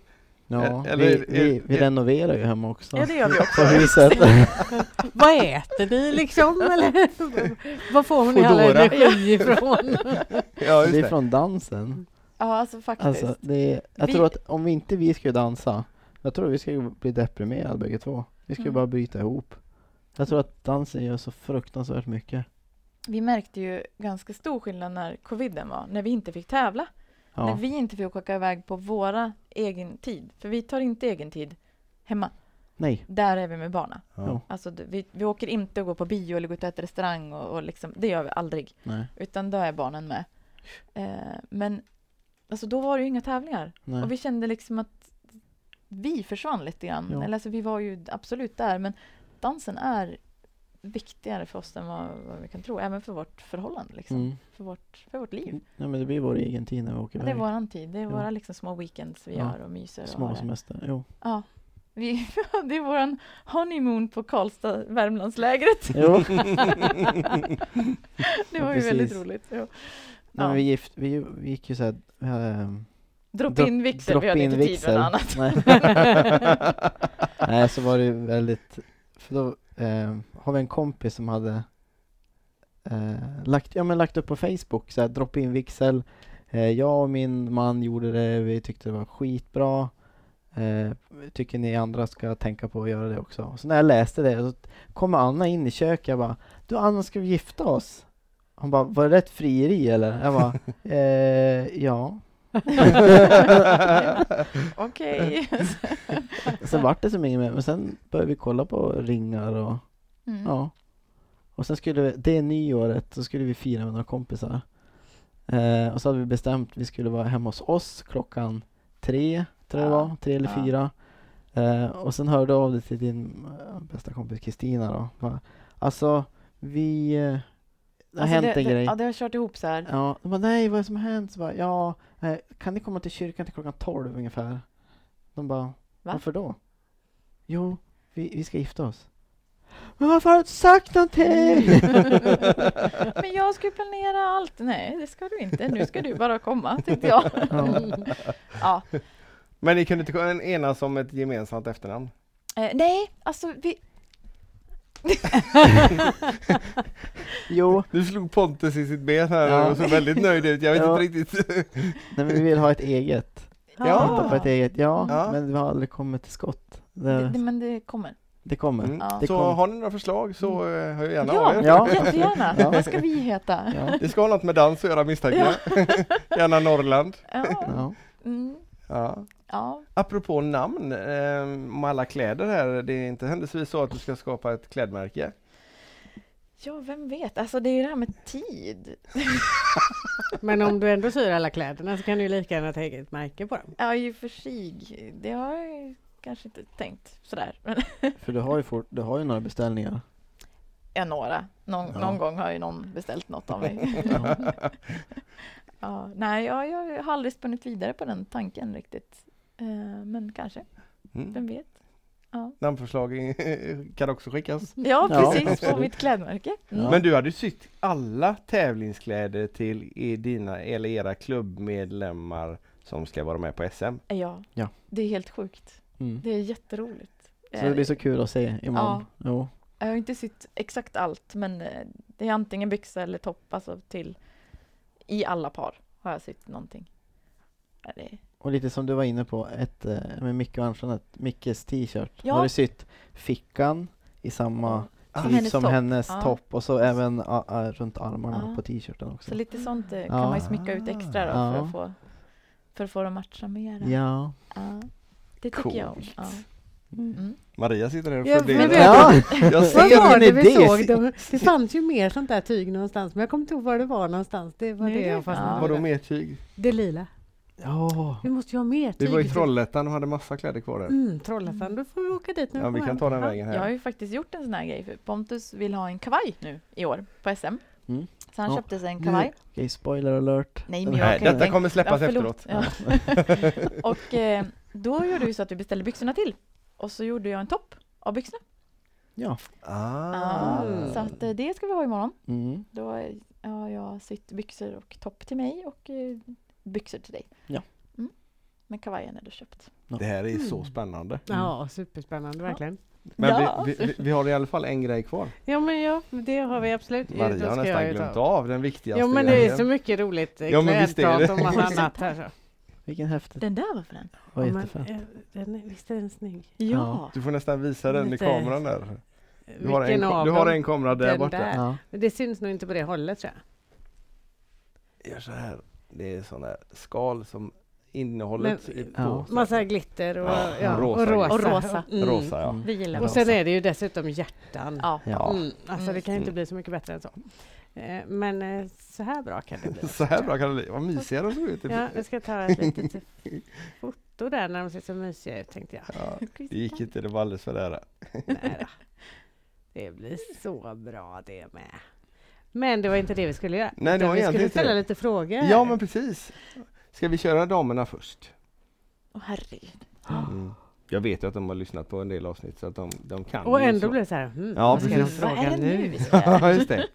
[SPEAKER 4] Ja,
[SPEAKER 1] Eller-
[SPEAKER 4] vi, vi, vi
[SPEAKER 1] är-
[SPEAKER 4] renoverar ju hemma också.
[SPEAKER 3] Ja, det gör vi också.
[SPEAKER 4] På huset.
[SPEAKER 2] Vad äter ni liksom? Eller? Vad får hon i all
[SPEAKER 1] Foodora.
[SPEAKER 2] energi ifrån?
[SPEAKER 1] Ja, just
[SPEAKER 4] Det är
[SPEAKER 1] det.
[SPEAKER 4] från dansen.
[SPEAKER 3] Ja, alltså faktiskt.
[SPEAKER 4] Alltså, det är, jag
[SPEAKER 3] Vi-
[SPEAKER 4] tror att om vi inte vi skulle dansa, jag tror vi skulle bli deprimerade bägge två. Vi skulle
[SPEAKER 3] Mm.
[SPEAKER 4] bara bryta ihop. Jag tror att dansen gör så fruktansvärt mycket.
[SPEAKER 3] Vi märkte ju ganska stor skillnad när coviden var, när vi inte fick tävla. När
[SPEAKER 4] Ja,
[SPEAKER 3] vi inte fick åka iväg på våra egen tid. För vi tar inte egen tid hemma.
[SPEAKER 4] nej.
[SPEAKER 3] Där är vi med barna.
[SPEAKER 1] Ja.
[SPEAKER 3] Alltså, d- vi, vi åker inte och går på bio eller går ut och äter restaurang och, och liksom, det gör vi aldrig.
[SPEAKER 4] Nej.
[SPEAKER 3] Utan då är barnen med. Eh, men alltså, då var det ju inga tävlingar. Och
[SPEAKER 4] nej.
[SPEAKER 3] vi kände liksom att vi försvann lite grann.
[SPEAKER 4] Ja.
[SPEAKER 3] Eller alltså, vi var ju absolut där, men dansen är viktigare för oss än vad, vad vi kan tro. Även för vårt förhållande, liksom.
[SPEAKER 4] Mm.
[SPEAKER 3] för, vårt, för vårt liv.
[SPEAKER 4] Ja, men det blir vår egen tid när vi åker
[SPEAKER 3] Ja, det är
[SPEAKER 4] iväg.
[SPEAKER 3] våran tid. Det är
[SPEAKER 4] Ja.
[SPEAKER 3] våra liksom, små weekends vi
[SPEAKER 4] Ja.
[SPEAKER 3] gör och myser. Och har
[SPEAKER 4] Små
[SPEAKER 3] det.
[SPEAKER 4] semester. Jo.
[SPEAKER 3] Ja. Vi, det är våran honeymoon på Karlstad, Värmlandslägret.
[SPEAKER 4] jo.
[SPEAKER 3] Det
[SPEAKER 4] Ja,
[SPEAKER 3] var ju väldigt
[SPEAKER 4] precis.
[SPEAKER 3] roligt. Ja.
[SPEAKER 4] Nej,
[SPEAKER 3] Ja.
[SPEAKER 4] men vi, gift, vi, vi gick ju såhär... Äh,
[SPEAKER 3] Drop
[SPEAKER 4] Drop-
[SPEAKER 3] in vigsel, vi hade inte tid med något annat.
[SPEAKER 4] Nej. Nej, så var det ju väldigt... För då eh, har vi en kompis som hade eh, lagt, ja, men lagt upp på Facebook, så här, drop in vigsel. Eh, jag och min man gjorde det, vi tyckte det var skitbra. Eh, tycker ni andra ska tänka på att göra det också? Så när jag läste det, så kommer Anna in i köket jag bara Du Anna, ska vi gifta oss? Hon bara, var det rätt frieri eller? Jag bara, eh, ja.
[SPEAKER 3] Okej.
[SPEAKER 4] Sen vart det som inget mer, men sen började vi kolla på ringar och
[SPEAKER 3] Mm.
[SPEAKER 4] ja. Och sen skulle vi, det nyåret, så skulle vi fira med några kompisar. Eh, och så hade vi bestämt vi skulle vara hemma hos oss klockan tre, tror jag det
[SPEAKER 3] Ja,
[SPEAKER 4] var, tre eller
[SPEAKER 3] ja.
[SPEAKER 4] fyra. Eh, och sen hörde jag av dig till din eh, bästa kompis Kristina då. Bara, Alltså, vi... Eh, det har
[SPEAKER 3] Alltså,
[SPEAKER 4] hänt
[SPEAKER 3] det,
[SPEAKER 4] en
[SPEAKER 3] det,
[SPEAKER 4] grej.
[SPEAKER 3] Ja, det har kört ihop så här.
[SPEAKER 4] Ja, de bara, nej vad är det som har hänt? Så bara, ja, eh, kan ni komma till kyrkan till klockan 12 ungefär? De bara, varför då? Jo, vi, vi ska gifta oss. Men varför har du inte sagt någonting?
[SPEAKER 3] Men jag ska ju planera allt. Nej, det ska du inte. Nu ska du bara komma, tyckte jag.
[SPEAKER 4] ja.
[SPEAKER 3] Ja.
[SPEAKER 1] Men ni kunde inte enas om ett gemensamt efternamn?
[SPEAKER 3] Eh, nej, alltså vi...
[SPEAKER 4] Jo,
[SPEAKER 1] Du slog Pontus i sitt ben här
[SPEAKER 4] Ja.
[SPEAKER 1] och såg väldigt nöjd ut. Jag vet
[SPEAKER 4] Ja.
[SPEAKER 1] inte riktigt.
[SPEAKER 4] nej, men vi vill ha ett eget.
[SPEAKER 1] Ja.
[SPEAKER 4] Vänta på ett eget, ja,
[SPEAKER 1] Ja.
[SPEAKER 4] men vi har aldrig kommit till skott.
[SPEAKER 3] Det,
[SPEAKER 4] Det,
[SPEAKER 3] det, men det kommer.
[SPEAKER 4] det kommer.
[SPEAKER 1] Mm.
[SPEAKER 3] Ja.
[SPEAKER 4] Det
[SPEAKER 1] Så
[SPEAKER 4] kommer.
[SPEAKER 1] har ni några förslag så eh, hör jag gärna av
[SPEAKER 3] ja,
[SPEAKER 1] er.
[SPEAKER 4] Ja.
[SPEAKER 3] jättegärna.
[SPEAKER 4] Ja.
[SPEAKER 3] Vad ska vi heta?
[SPEAKER 4] Ja.
[SPEAKER 1] Det ska ha något med dans att göra misstänker jag. Gärna Norrland.
[SPEAKER 3] Ja.
[SPEAKER 4] Ja.
[SPEAKER 3] Mm.
[SPEAKER 1] Ja.
[SPEAKER 3] ja.
[SPEAKER 1] Apropå namn, eh, om alla kläder här, det är inte händelsevis så att du ska skapa ett klädmärke?
[SPEAKER 3] Ja, vem vet? Alltså det är ju det här med tid.
[SPEAKER 2] Men om du ändå syr alla kläderna så kan du ju lika gärna ta eget märke på dem.
[SPEAKER 3] Ja, i och för sig. Det har jag ju kanske inte tänkt sådär. Men
[SPEAKER 4] För du har, ju fort, du har ju några beställningar.
[SPEAKER 3] ja, några. Någon,
[SPEAKER 4] Ja.
[SPEAKER 3] någon gång har ju någon beställt något av mig. ja, nej, ja, jag har aldrig spunnit vidare på den tanken riktigt. Eh, Men kanske,
[SPEAKER 1] Mm.
[SPEAKER 3] vem vet?
[SPEAKER 1] Namnförslag kan också skickas.
[SPEAKER 3] Ja,
[SPEAKER 4] Ja,
[SPEAKER 3] precis. På
[SPEAKER 4] absolut.
[SPEAKER 3] mitt klädmärke. Mm.
[SPEAKER 4] Ja.
[SPEAKER 1] Men du hade ju sytt alla tävlingskläder till i dina eller era klubbmedlemmar som ska vara med på SM.
[SPEAKER 3] Ja,
[SPEAKER 4] Ja.
[SPEAKER 3] det är helt sjukt.
[SPEAKER 4] Mm.
[SPEAKER 3] Det är jätteroligt.
[SPEAKER 4] Så det blir så kul att se imorgon. Jo.
[SPEAKER 3] Jag har inte sytt exakt allt, men eh, det är antingen byxa eller topp, alltså till i alla par har jag sytt någonting. Ja, det är...
[SPEAKER 4] Och lite som du var inne på, ett, eh, med Micke och Ann-Jeanette, Mickes t-shirt.
[SPEAKER 3] Ja.
[SPEAKER 4] Har du sytt fickan i samma
[SPEAKER 1] Som
[SPEAKER 4] typ
[SPEAKER 3] hennes
[SPEAKER 4] som
[SPEAKER 3] topp.
[SPEAKER 4] hennes
[SPEAKER 3] Ja.
[SPEAKER 4] topp och så även ah, ah, runt armarna
[SPEAKER 3] Ja.
[SPEAKER 4] på t-shirten också.
[SPEAKER 3] Så lite sånt eh, kan
[SPEAKER 4] Ja.
[SPEAKER 3] man ju smycka ut extra då för,
[SPEAKER 4] Ja.
[SPEAKER 3] att få, för att få dem att matcha mera.
[SPEAKER 4] Ja.
[SPEAKER 3] Ja, Det tycker jag om. Ja. Mm.
[SPEAKER 1] Maria sitter där och
[SPEAKER 2] Ja,
[SPEAKER 1] funderar.
[SPEAKER 2] men det- Ja.
[SPEAKER 1] Jag
[SPEAKER 2] Vad
[SPEAKER 1] ser
[SPEAKER 2] var
[SPEAKER 4] Vilken
[SPEAKER 2] det vi
[SPEAKER 4] idé!
[SPEAKER 2] såg? Det, det fanns ju mer sånt där tyg någonstans, men jag kommer inte ihåg var det var någonstans. Det var
[SPEAKER 3] Nu
[SPEAKER 2] det
[SPEAKER 3] är det-
[SPEAKER 2] jag fastnade
[SPEAKER 3] Ja.
[SPEAKER 1] Vadå
[SPEAKER 2] för.
[SPEAKER 1] mer tyg?
[SPEAKER 2] Det lila.
[SPEAKER 4] Ja.
[SPEAKER 2] Vi måste ju ha mer
[SPEAKER 1] Vi
[SPEAKER 2] tyg.
[SPEAKER 1] var i Trollhättan och hade massa kläder kvar där.
[SPEAKER 2] Mm, Trollhättan, då får vi åka dit nu.
[SPEAKER 1] Ja, vi kan ta den vägen
[SPEAKER 3] Jag har
[SPEAKER 1] här.
[SPEAKER 3] ju faktiskt gjort en sån här grej. För Pontus vill ha en kavaj nu i år på SM.
[SPEAKER 4] Mm.
[SPEAKER 3] Så han
[SPEAKER 4] Ja.
[SPEAKER 3] köpte sig en
[SPEAKER 4] Nu-
[SPEAKER 3] kavaj.
[SPEAKER 4] Okej, spoiler alert.
[SPEAKER 3] Nej, men jag
[SPEAKER 1] Nej,
[SPEAKER 3] kan ju
[SPEAKER 1] detta
[SPEAKER 3] tänka-
[SPEAKER 1] kommer släppas
[SPEAKER 3] Ja, förlåt.
[SPEAKER 1] efteråt.
[SPEAKER 3] Ja. och eh, då gjorde vi så att vi beställde byxorna till. Och så gjorde jag en topp av byxorna.
[SPEAKER 4] Ja.
[SPEAKER 1] Ah.
[SPEAKER 3] Ja, Så att eh, det ska vi ha imorgon.
[SPEAKER 4] Mm.
[SPEAKER 3] Då eh, har jag sytt byxor och topp till mig och eh, byxor till dig.
[SPEAKER 4] Ja.
[SPEAKER 3] Mm. Men kavajen är du köpt.
[SPEAKER 1] Det här är
[SPEAKER 2] Mm.
[SPEAKER 1] så spännande.
[SPEAKER 2] Ja, superspännande verkligen.
[SPEAKER 1] Men
[SPEAKER 3] Ja.
[SPEAKER 1] vi, vi, vi har i alla fall en grej kvar.
[SPEAKER 2] Ja, men ja, det har vi absolut. Då
[SPEAKER 1] Maria
[SPEAKER 2] ska
[SPEAKER 1] har
[SPEAKER 2] jag
[SPEAKER 1] nästan
[SPEAKER 2] ju ta-
[SPEAKER 1] glömt av den viktigaste
[SPEAKER 2] Ja, men det är
[SPEAKER 1] grejen.
[SPEAKER 2] så mycket roligt eh,
[SPEAKER 1] Ja, men visst är det.
[SPEAKER 2] klädprat och massa annat här. Så.
[SPEAKER 4] Vilken häftig.
[SPEAKER 3] Den där var för den.
[SPEAKER 4] Vad
[SPEAKER 2] Ja, men,
[SPEAKER 4] jättefint.
[SPEAKER 2] eh, den är, visst är den snygg?
[SPEAKER 3] Ja.
[SPEAKER 1] Du får nästan visa den i
[SPEAKER 2] Lite-
[SPEAKER 1] kameran där. Du har, en,
[SPEAKER 2] Vilken
[SPEAKER 1] ka-
[SPEAKER 2] av
[SPEAKER 1] du har
[SPEAKER 2] dem?
[SPEAKER 1] en kamera där
[SPEAKER 2] Den
[SPEAKER 1] borta.
[SPEAKER 2] där.
[SPEAKER 4] Ja.
[SPEAKER 2] Men Det syns nog inte på det hållet tror jag.
[SPEAKER 1] Gör så här. Det är sådana här skal som innehållet
[SPEAKER 2] Men- mm.
[SPEAKER 1] är på.
[SPEAKER 4] Ja.
[SPEAKER 1] så här.
[SPEAKER 2] Massa glitter och,
[SPEAKER 1] Ja,
[SPEAKER 2] ja,
[SPEAKER 1] och rosa.
[SPEAKER 2] och rosa.
[SPEAKER 3] Och rosa.
[SPEAKER 2] Mm.
[SPEAKER 1] Rosa ja.
[SPEAKER 4] Mm.
[SPEAKER 3] Vi gillar
[SPEAKER 2] Och sen är det ju dessutom hjärtan.
[SPEAKER 3] Ja.
[SPEAKER 1] Ja.
[SPEAKER 2] Mm. Alltså det kan ju inte
[SPEAKER 1] Mm.
[SPEAKER 2] bli så mycket bättre än så. Eh, Men eh, så här bra kan det bli.
[SPEAKER 1] Så här bra kan det bli. Vad mysiga de såg ut.
[SPEAKER 2] Ja, jag ska ta ett litet foto där när de ser så mysiga ut tänkte jag.
[SPEAKER 1] Ja, det gick inte, det var alldeles för nära.
[SPEAKER 2] Nej då. Det blir så bra det med. Men det var inte det vi skulle göra.
[SPEAKER 1] Nej, det
[SPEAKER 2] Utan
[SPEAKER 1] var
[SPEAKER 2] vi
[SPEAKER 1] egentligen
[SPEAKER 2] skulle
[SPEAKER 1] inte
[SPEAKER 2] ställa
[SPEAKER 1] det.
[SPEAKER 2] lite frågor.
[SPEAKER 1] Ja men precis. Ska vi köra damerna först?
[SPEAKER 3] Åh herregud.
[SPEAKER 1] Mm. Jag vet ju att de har lyssnat på en del avsnitt så att de, de kan
[SPEAKER 2] Och
[SPEAKER 1] ju
[SPEAKER 2] ändå
[SPEAKER 1] så.
[SPEAKER 2] blev det så här. Mm,
[SPEAKER 1] Ja,
[SPEAKER 2] vad ska de
[SPEAKER 1] precis.
[SPEAKER 3] Vad
[SPEAKER 2] fråga
[SPEAKER 3] är det nu vi ska göra?
[SPEAKER 1] Ja just det.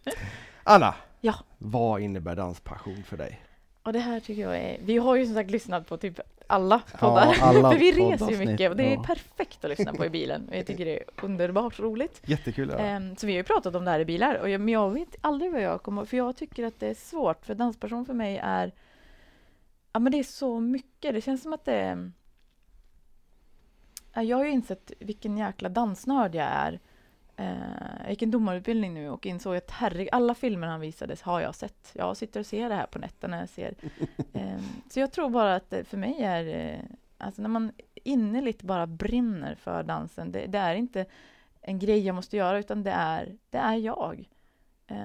[SPEAKER 1] Anna!
[SPEAKER 3] Ja.
[SPEAKER 1] Vad innebär danspassion för dig?
[SPEAKER 3] Och det här tycker jag är, vi har ju som sagt lyssnat på typ alla
[SPEAKER 4] Ja,
[SPEAKER 3] poddar.
[SPEAKER 4] alla
[SPEAKER 3] För vi reser ju
[SPEAKER 4] poddavsnitt,
[SPEAKER 3] mycket och det är
[SPEAKER 4] ja.
[SPEAKER 3] perfekt att lyssna på i bilen. Och jag tycker det är underbart roligt.
[SPEAKER 1] Jättekul
[SPEAKER 2] Eh.
[SPEAKER 1] att höra.
[SPEAKER 3] Ehm, Så vi har ju pratat om det här i bilar, och jag, men jag vet aldrig vad jag kommer För jag tycker att det är svårt, för danspassion för mig är Ja men det är så mycket, det känns som att det är Ja, Jag har ju insett vilken jäkla dansnörd jag är. Eh, Jag gick en domarutbildning nu och insåg att herregud, alla filmer han visades har jag sett. Jag sitter och ser det här på nätterna. Jag ser. Ehm, Så jag tror bara att det för mig är, eh, alltså när man innerligt bara brinner för dansen, det, det är inte en grej jag måste göra, utan det är, det är jag. Eh,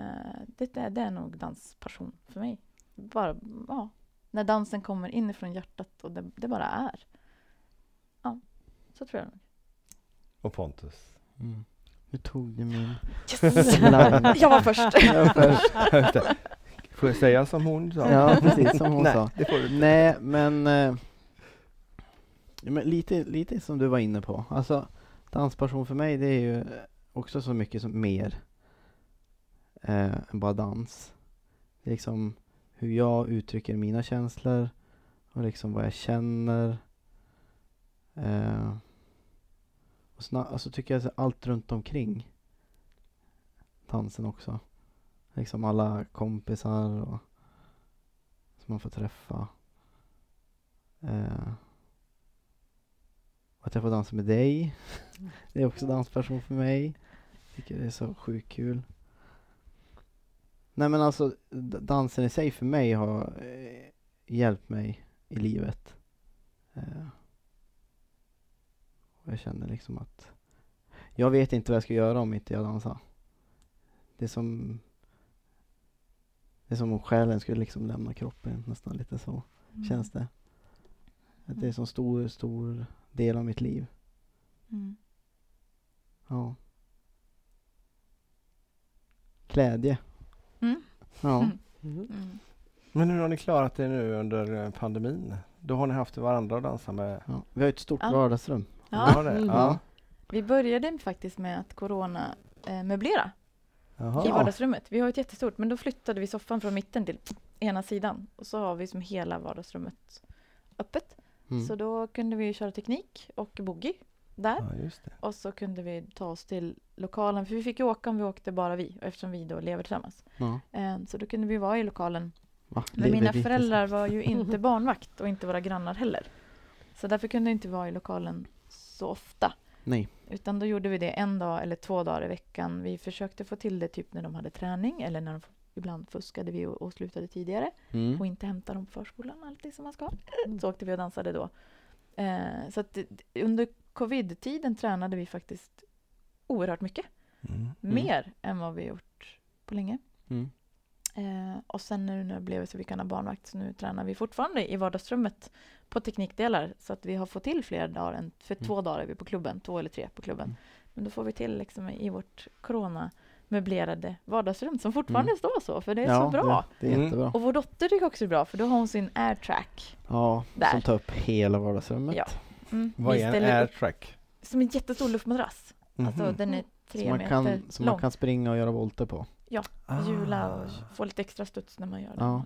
[SPEAKER 3] det, är, det är nog danspassion för mig. Bara, ja, när dansen kommer inifrån hjärtat och det, det bara är. Ja, så tror jag nog.
[SPEAKER 1] Och Pontus.
[SPEAKER 4] Mm. Nu tog du min
[SPEAKER 3] Yes!
[SPEAKER 4] slang.
[SPEAKER 3] jag var först!
[SPEAKER 4] Jag först.
[SPEAKER 1] Just det. Får jag säga som hon sa?
[SPEAKER 4] Ja, precis som hon
[SPEAKER 1] Nej,
[SPEAKER 4] sa.
[SPEAKER 1] det får du inte.
[SPEAKER 4] Nej, men, eh, ja, men lite, lite som du var inne på. Alltså, danspassion för mig det är ju också så mycket som mer eh, än bara dans. Det är liksom hur jag uttrycker mina känslor och liksom vad jag känner. Eh, och så alltså, tycker jag så allt runt omkring dansen också. Liksom alla kompisar och som man får träffa. Eh, Att jag får dansa med dig. Det är också danspassion för mig. Tycker det är så sjukt kul. Nej men alltså d- dansen i sig för mig har eh, hjälpt mig i livet. Eh, och jag känner liksom att jag vet inte vad jag ska göra om inte jag dansar. Det är som det är som om själen skulle liksom lämna kroppen nästan lite så känns det. Att det är en sån stor, stor del av mitt liv.
[SPEAKER 3] Mm.
[SPEAKER 4] Ja. Glädje.
[SPEAKER 3] Mm.
[SPEAKER 4] Ja.
[SPEAKER 3] Mm.
[SPEAKER 2] Mm.
[SPEAKER 3] Mm.
[SPEAKER 1] Men hur har ni klarat det nu under eh, pandemin? Då har ni haft varandra att dansa med?
[SPEAKER 4] ja. Vi har ett stort
[SPEAKER 3] Ja.
[SPEAKER 4] vardagsrum.
[SPEAKER 1] Ni
[SPEAKER 3] Ja,
[SPEAKER 1] har det?
[SPEAKER 2] Mm.
[SPEAKER 1] Ja.
[SPEAKER 3] vi började faktiskt med att corona eh, möblera
[SPEAKER 1] Jaha.
[SPEAKER 3] i vardagsrummet. Vi har ett jättestort, men då flyttade vi soffan från mitten till ena sidan och så har vi som hela vardagsrummet öppet.
[SPEAKER 4] Mm.
[SPEAKER 3] Så då kunde vi ju köra teknik och boogie där.
[SPEAKER 1] Ja, just det.
[SPEAKER 3] Och så kunde vi ta oss till lokalen, för vi fick ju åka om vi åkte bara vi, eftersom vi då lever tillsammans.
[SPEAKER 4] Ja.
[SPEAKER 3] Eh, Så då kunde vi vara i lokalen.
[SPEAKER 4] Va?
[SPEAKER 3] Men
[SPEAKER 4] Lever
[SPEAKER 3] mina
[SPEAKER 4] vi
[SPEAKER 3] föräldrar var ju inte barnvakt och inte våra grannar heller. Så därför kunde jag inte vara i lokalen så ofta.
[SPEAKER 4] tillsammans? Nej.
[SPEAKER 3] Utan då gjorde vi det en dag eller två dagar i veckan. Vi försökte få till det typ när de hade träning eller när de ibland fuskade vi och, och slutade tidigare
[SPEAKER 4] Mm.
[SPEAKER 3] och inte hämtade dem på förskolan alltid som man ska.
[SPEAKER 2] Mm.
[SPEAKER 3] Så åkte vi och dansade då. Eh, så att det- det- under covid-tiden tränade vi faktiskt oerhört mycket.
[SPEAKER 1] Mm.
[SPEAKER 4] Mm.
[SPEAKER 3] Mer än vad vi gjort på länge.
[SPEAKER 4] Mm.
[SPEAKER 3] Eh, och sen nu när det blev så vi kan ha barnvakt så nu tränar vi fortfarande i vardagsrummet på teknikdelar så att vi har fått till fler dagar än, för
[SPEAKER 4] Mm.
[SPEAKER 3] två dagar är vi på klubben, två eller tre på klubben.
[SPEAKER 4] Mm.
[SPEAKER 3] Men då får vi till liksom i vårt corona möblerade vardagsrum som fortfarande
[SPEAKER 4] Mm.
[SPEAKER 3] står så för det är
[SPEAKER 4] Ja,
[SPEAKER 3] så bra.
[SPEAKER 4] Det, det är
[SPEAKER 1] Mm.
[SPEAKER 4] jättebra.
[SPEAKER 3] Och vår dotter tycker också det är bra för då har hon sin airtrack.
[SPEAKER 4] Ja,
[SPEAKER 3] Där.
[SPEAKER 4] som tar upp hela vardagsrummet.
[SPEAKER 3] Ja. Mm.
[SPEAKER 1] Vad
[SPEAKER 3] vi
[SPEAKER 1] är en
[SPEAKER 3] ställer upp-
[SPEAKER 1] airtrack?
[SPEAKER 3] Som en jättestor luftmadrass. Alltså
[SPEAKER 1] Mhm.
[SPEAKER 3] den är
[SPEAKER 4] Som
[SPEAKER 3] tre
[SPEAKER 4] man,
[SPEAKER 3] meter
[SPEAKER 4] kan, som man
[SPEAKER 3] lång.
[SPEAKER 4] kan springa och göra volter på.
[SPEAKER 1] Ah.
[SPEAKER 3] Hjula och få lite extra studs när man gör det.
[SPEAKER 4] Ja.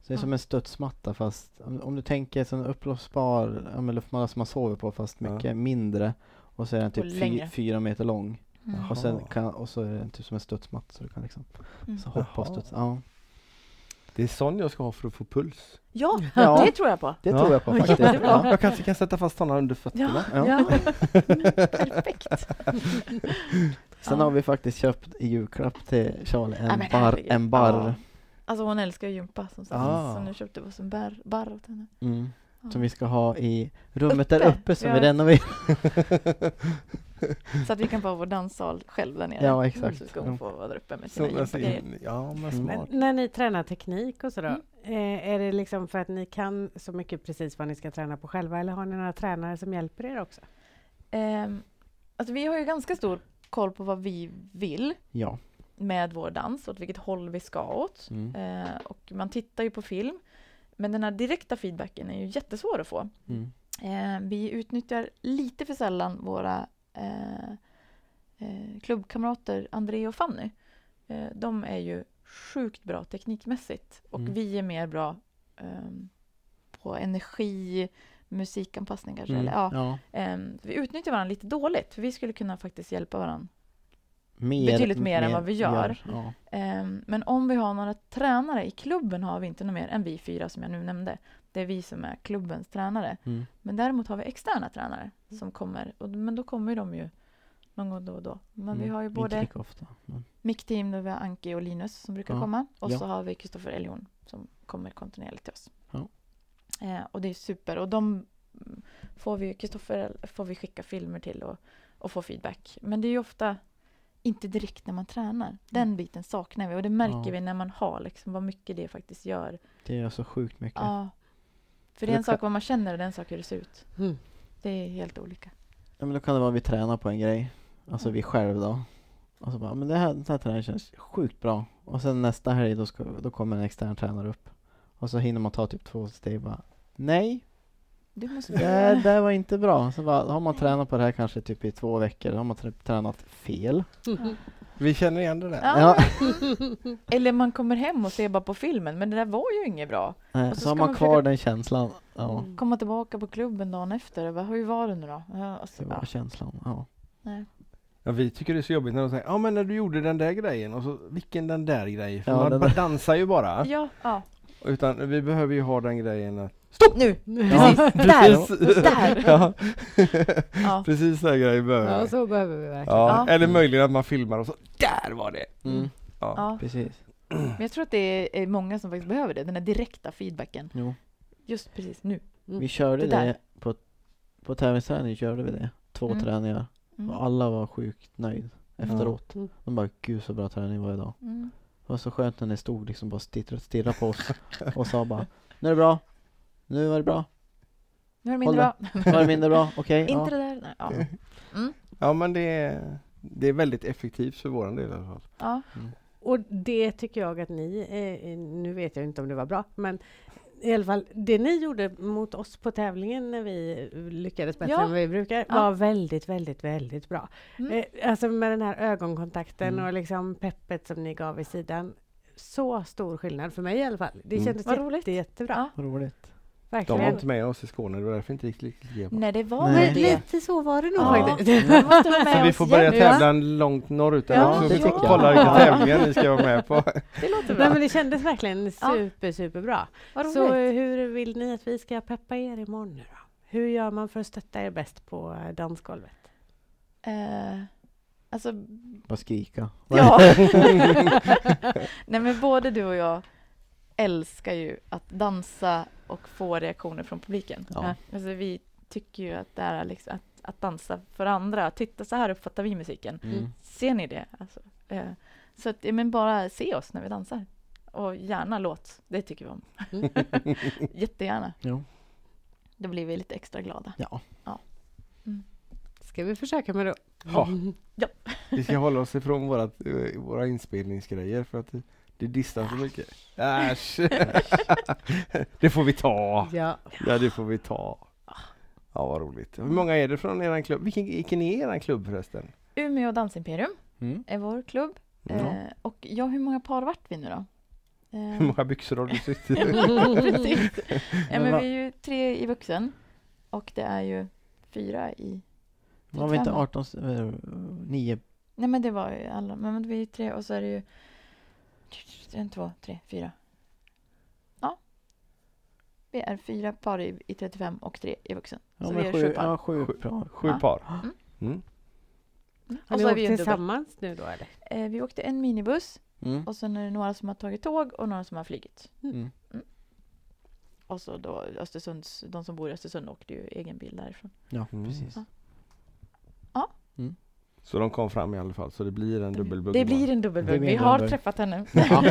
[SPEAKER 4] Så det är
[SPEAKER 3] Ja.
[SPEAKER 4] som en studsmatta fast om, om du tänker som en uppblåsbar ja, men luftmatta som man sover på fast
[SPEAKER 1] Ja.
[SPEAKER 4] mycket mindre och så är den typ fy,
[SPEAKER 3] längre.
[SPEAKER 4] fyra meter lång
[SPEAKER 3] Mm.
[SPEAKER 1] Jaha.
[SPEAKER 4] och, sen kan, och så är den typ som en studsmatta så du kan liksom
[SPEAKER 3] Mm.
[SPEAKER 4] så hoppa och
[SPEAKER 1] Jaha.
[SPEAKER 4] studsa. Ja,
[SPEAKER 1] Det är sån jag ska ha för att få puls.
[SPEAKER 3] Ja,
[SPEAKER 4] Ja.
[SPEAKER 3] det tror jag på.
[SPEAKER 4] det
[SPEAKER 1] Ja.
[SPEAKER 4] tror jag på faktiskt.
[SPEAKER 3] Jättebra.
[SPEAKER 4] Ja.
[SPEAKER 1] Jag kanske kan sätta fast såna under fötterna.
[SPEAKER 3] Ja,
[SPEAKER 4] Ja.
[SPEAKER 3] ja. perfekt.
[SPEAKER 4] Sen
[SPEAKER 3] Ja.
[SPEAKER 4] har vi faktiskt köpt i julklapp till Charlie
[SPEAKER 3] Ja,
[SPEAKER 4] en
[SPEAKER 3] men
[SPEAKER 4] barr.
[SPEAKER 3] herregud.
[SPEAKER 4] En barr
[SPEAKER 3] Alltså hon älskar ju gympa som sagt,
[SPEAKER 1] Ah.
[SPEAKER 3] så nu köpte vi oss en bär, barr åt henne.
[SPEAKER 4] mm,
[SPEAKER 3] Ja.
[SPEAKER 4] som vi ska ha i rummet där
[SPEAKER 3] Uppe.
[SPEAKER 4] uppe som
[SPEAKER 3] Ja.
[SPEAKER 4] vi renoverar.
[SPEAKER 3] Så att vi kan få vår danssal själv där nere.
[SPEAKER 4] Ja, exakt.
[SPEAKER 3] Så ska hon få vara där uppe med
[SPEAKER 1] Så,
[SPEAKER 3] sina
[SPEAKER 1] alltså,
[SPEAKER 3] gympagrejer.
[SPEAKER 1] in- ja, men
[SPEAKER 4] Mm.
[SPEAKER 1] smart.
[SPEAKER 2] Men när ni tränar teknik och sådär,
[SPEAKER 3] Mm.
[SPEAKER 2] eh, är det liksom för att ni kan så mycket precis vad ni ska träna på själva eller har ni några tränare som hjälper er också?
[SPEAKER 3] Ehm, alltså vi har ju ganska stor koll på vad vi vill
[SPEAKER 4] Ja.
[SPEAKER 3] med vår dans, åt vilket håll vi ska åt.
[SPEAKER 4] Mm.
[SPEAKER 3] Eh, och man tittar ju på film. Men den här direkta feedbacken är ju jättesvår att få.
[SPEAKER 4] Mm.
[SPEAKER 3] Eh, vi utnyttjar lite för sällan våra eh, eh, klubbkamrater André och Fanny. Eh, de är ju sjukt bra teknikmässigt och
[SPEAKER 4] Mm.
[SPEAKER 3] vi är mer bra ehm, på energi, musikanpassning kanske.
[SPEAKER 4] Mm.
[SPEAKER 3] Eller, ja.
[SPEAKER 4] Ja.
[SPEAKER 3] Ehm, vi utnyttjar varandra lite dåligt för vi skulle kunna faktiskt hjälpa varandra.
[SPEAKER 4] Mer,
[SPEAKER 3] Betydligt mer än vad vi gör.
[SPEAKER 4] Ja.
[SPEAKER 3] Ehm, men om vi har några tränare i klubben har vi inte någon mer än vi fyra som jag nu nämnde. Det är vi som är klubbens tränare.
[SPEAKER 4] Mm.
[SPEAKER 3] Men däremot har vi externa tränare som kommer. Och, men då kommer ju de ju någon gång då och då. Men vi
[SPEAKER 4] Mm.
[SPEAKER 3] har ju
[SPEAKER 4] Inte
[SPEAKER 3] både
[SPEAKER 4] lika ofta. Men.
[SPEAKER 3] mic-team där vi har Anki och Linus som brukar
[SPEAKER 4] Ja.
[SPEAKER 3] komma. Och
[SPEAKER 4] Ja.
[SPEAKER 3] så har vi Kristoffer Eljon som kommer kontinuerligt till oss.
[SPEAKER 4] Ja.
[SPEAKER 3] Eh, och det är super. Och de mm, får vi, Kristoffer får vi skicka filmer till och, och få feedback. Men det är ju ofta inte direkt när man tränar. Den biten saknar vi och det märker
[SPEAKER 4] Mm. Ja.
[SPEAKER 3] vi när man har liksom vad mycket det faktiskt gör.
[SPEAKER 4] Det gör så sjukt mycket.
[SPEAKER 3] Ja. För det
[SPEAKER 4] Eller
[SPEAKER 3] är en sak vad man känner och det är en sak hur det ser ut.
[SPEAKER 2] Mm.
[SPEAKER 3] Det är helt olika.
[SPEAKER 4] Ja men då kan det vara att vi tränar på en grej, alltså
[SPEAKER 3] Mm.
[SPEAKER 4] vi själv då. Och så bara, men det här, den här träningen känns sjukt bra. Och sen nästa helg då, ska, då kommer en extern tränare upp. Och så hinner man ta typ två steg och bara, nej,
[SPEAKER 3] Du måste
[SPEAKER 4] det här, det här var inte bra. Så bara, har man tränat på det här kanske typ i två veckor, då har man tr- tränat fel.
[SPEAKER 1] Vi känner igen det där.
[SPEAKER 3] Ja.
[SPEAKER 4] Ja.
[SPEAKER 3] Eller man kommer hem och ser bara på filmen, men det där var ju inget bra.
[SPEAKER 4] Eh,
[SPEAKER 3] Och
[SPEAKER 4] Så,
[SPEAKER 3] så ska
[SPEAKER 4] har man
[SPEAKER 3] man
[SPEAKER 4] kvar
[SPEAKER 3] försöka-
[SPEAKER 4] den känslan. Ja,
[SPEAKER 2] Mm.
[SPEAKER 3] Komma tillbaka på klubben dagen efter och bara, hur var det nu då? Ja,
[SPEAKER 4] det
[SPEAKER 3] alltså,
[SPEAKER 4] var
[SPEAKER 3] bara,
[SPEAKER 4] känslan. Ja.
[SPEAKER 3] nej.
[SPEAKER 1] Ja, vi tycker det är så jobbigt när de säger ja men när du gjorde den där grejen och så vilken den där grejen? För
[SPEAKER 4] Ja,
[SPEAKER 1] man
[SPEAKER 4] den
[SPEAKER 1] bara
[SPEAKER 4] där.
[SPEAKER 1] dansar ju bara.
[SPEAKER 3] ja, ja.
[SPEAKER 1] Utan vi behöver ju ha den grejen att...
[SPEAKER 3] Stopp nu!
[SPEAKER 1] Ja,
[SPEAKER 3] Precis, där!
[SPEAKER 1] precis.
[SPEAKER 3] Där!
[SPEAKER 1] Ja,
[SPEAKER 3] Ja.
[SPEAKER 1] precis den grejen behöver
[SPEAKER 2] Ja,
[SPEAKER 1] vi.
[SPEAKER 2] så behöver vi verkligen.
[SPEAKER 1] Ja,
[SPEAKER 3] Ja.
[SPEAKER 1] eller möjligen att man filmar och så, där var det!
[SPEAKER 4] Mm.
[SPEAKER 1] Ja.
[SPEAKER 3] Ja.
[SPEAKER 4] Precis.
[SPEAKER 3] Men jag tror att det är- är många som faktiskt behöver det, den här direkta feedbacken.
[SPEAKER 4] Jo.
[SPEAKER 3] Just precis nu.
[SPEAKER 2] Mm.
[SPEAKER 4] Vi körde
[SPEAKER 3] Mm. Det där.
[SPEAKER 4] det på, på tävlingsträning körde vi det. Två
[SPEAKER 3] Mm.
[SPEAKER 4] träningar.
[SPEAKER 3] Mm.
[SPEAKER 4] Och alla var sjukt nöjd efteråt.
[SPEAKER 2] Mm.
[SPEAKER 4] De bara, gud så bra träning var idag.
[SPEAKER 3] Mm.
[SPEAKER 4] Det var så skönt när ni stod liksom bara stirrade, stirrade på oss och sa bara, nu är det bra. Nu var det bra.
[SPEAKER 3] Nu är det
[SPEAKER 4] Håll
[SPEAKER 3] mindre bra.
[SPEAKER 4] Nu var det mindre bra. Okej. ja.
[SPEAKER 3] Inte det där. Nej, ja. Mm.
[SPEAKER 1] Ja men det är, det är väldigt effektivt för våran del i alla fall.
[SPEAKER 3] Ja.
[SPEAKER 2] Och det tycker jag att ni, eh, nu vet jag inte om det var bra, men i alla fall det ni gjorde mot oss på tävlingen när vi lyckades bättre
[SPEAKER 3] Ja.
[SPEAKER 2] än vi brukar
[SPEAKER 3] Ja.
[SPEAKER 2] var väldigt, väldigt, väldigt bra.
[SPEAKER 3] Mm.
[SPEAKER 2] Eh, alltså med den här ögonkontakten
[SPEAKER 4] Mm.
[SPEAKER 2] och liksom peppet som ni gav i sidan. Så stor skillnad för mig i alla fall. Det
[SPEAKER 1] Mm.
[SPEAKER 2] kändes
[SPEAKER 3] Vad
[SPEAKER 2] jätte,
[SPEAKER 3] roligt.
[SPEAKER 2] jättebra.
[SPEAKER 3] Ja.
[SPEAKER 4] Vad roligt.
[SPEAKER 1] De
[SPEAKER 2] Verkligen.
[SPEAKER 1] var inte med oss i Skåne, det var därför inte riktigt lika bra.
[SPEAKER 3] Nej, det var
[SPEAKER 4] Nej.
[SPEAKER 3] väl
[SPEAKER 2] Men
[SPEAKER 3] det.
[SPEAKER 2] lite så var det nog
[SPEAKER 3] Ja.
[SPEAKER 2] faktiskt.
[SPEAKER 3] Vi måste ha med
[SPEAKER 1] Så vi
[SPEAKER 3] oss
[SPEAKER 1] får börja
[SPEAKER 3] hjälp.
[SPEAKER 1] tävla långt norrut där
[SPEAKER 3] Ja,
[SPEAKER 1] också,
[SPEAKER 4] det
[SPEAKER 1] så
[SPEAKER 4] tycker jag.
[SPEAKER 1] kolla vilka
[SPEAKER 4] Ja.
[SPEAKER 1] tävlingar ni ska vara med på.
[SPEAKER 3] Det låter
[SPEAKER 2] Nej,
[SPEAKER 3] bra.
[SPEAKER 2] men det kändes verkligen
[SPEAKER 3] Ja.
[SPEAKER 2] super, superbra.
[SPEAKER 3] Vad roligt.
[SPEAKER 2] Så eh, hur vill ni att vi ska peppa er imorgon nu då? Hur gör man för att stötta er bäst på eh, dansgolvet?
[SPEAKER 3] Eh, alltså,
[SPEAKER 4] Bara skrika.
[SPEAKER 3] ja. Nej, men både du och jag älskar ju att dansa och få reaktioner från publiken.
[SPEAKER 4] Ja.
[SPEAKER 3] Alltså, vi tycker ju att det här är liksom att, att dansa för andra. Titta, så här uppfattar vi musiken.
[SPEAKER 4] Mm.
[SPEAKER 3] Ser ni det? Alltså, eh, så att, ja, men bara se oss när vi dansar. Och gärna låt. Det tycker vi om.
[SPEAKER 1] Mm.
[SPEAKER 3] Jättegärna.
[SPEAKER 4] Jo.
[SPEAKER 3] Då blir vi lite extra glada.
[SPEAKER 4] Ja.
[SPEAKER 2] Ska vi försöka med det?
[SPEAKER 1] Ja, vi ska hålla oss ifrån vårat, eh, våra inspelningsgrejer för att det- det distar så mycket. Äsch! Det får vi ta!
[SPEAKER 2] Ja.
[SPEAKER 1] Ja, det får vi ta. Ja, vad roligt. Hur många är det från eran klubb? Vilken, vilken är eran klubb förresten?
[SPEAKER 3] Umeå Dansimperium
[SPEAKER 4] Mm.
[SPEAKER 3] är vår klubb.
[SPEAKER 1] Ja.
[SPEAKER 3] Eh, och ja, hur många par vart vi nu då?
[SPEAKER 1] Hur
[SPEAKER 3] Eh,
[SPEAKER 1] många byxor har du suttit i?
[SPEAKER 3] precis. Ja,
[SPEAKER 4] Men
[SPEAKER 3] men
[SPEAKER 4] va-
[SPEAKER 3] vi är ju tre i vuxen och det är ju fyra i...
[SPEAKER 4] Var vi inte eh,
[SPEAKER 3] Tränar.
[SPEAKER 4] 18, 9?
[SPEAKER 3] Nej, men det var ju alla. Men vi är ju tre och så är det ju... En, två, tre, fyra. Ja. Vi är fyra par i, i 35 och tre i vuxen.
[SPEAKER 4] Ja,
[SPEAKER 3] Så vi
[SPEAKER 4] men
[SPEAKER 3] är
[SPEAKER 4] sju,
[SPEAKER 3] sju par.
[SPEAKER 4] ja, sju par.
[SPEAKER 1] Sju
[SPEAKER 3] Ja.
[SPEAKER 1] par?
[SPEAKER 3] Mm.
[SPEAKER 1] Mm.
[SPEAKER 3] Mm.
[SPEAKER 2] Har ni
[SPEAKER 3] Och så är
[SPEAKER 2] åkt
[SPEAKER 3] vi ju en dubbel.
[SPEAKER 2] tillsammans nu då eller?
[SPEAKER 3] Eh, vi åkte en minibuss
[SPEAKER 4] Mm.
[SPEAKER 3] och sen är det några som har tagit tåg och några som har flygit.
[SPEAKER 4] Mm.
[SPEAKER 3] Och så då Östersunds, de som bor i Östersund åkte ju egen bil därifrån.
[SPEAKER 4] Ja,
[SPEAKER 1] Mm.
[SPEAKER 4] precis.
[SPEAKER 3] Ja.
[SPEAKER 1] Så de kom fram i alla fall, så det blir en dubbelbugg.
[SPEAKER 3] Det blir en
[SPEAKER 4] Det
[SPEAKER 3] dubbelbugg.
[SPEAKER 4] blir
[SPEAKER 3] Vi
[SPEAKER 4] en
[SPEAKER 3] har
[SPEAKER 4] dubbel.
[SPEAKER 3] träffat henne.
[SPEAKER 4] Ja.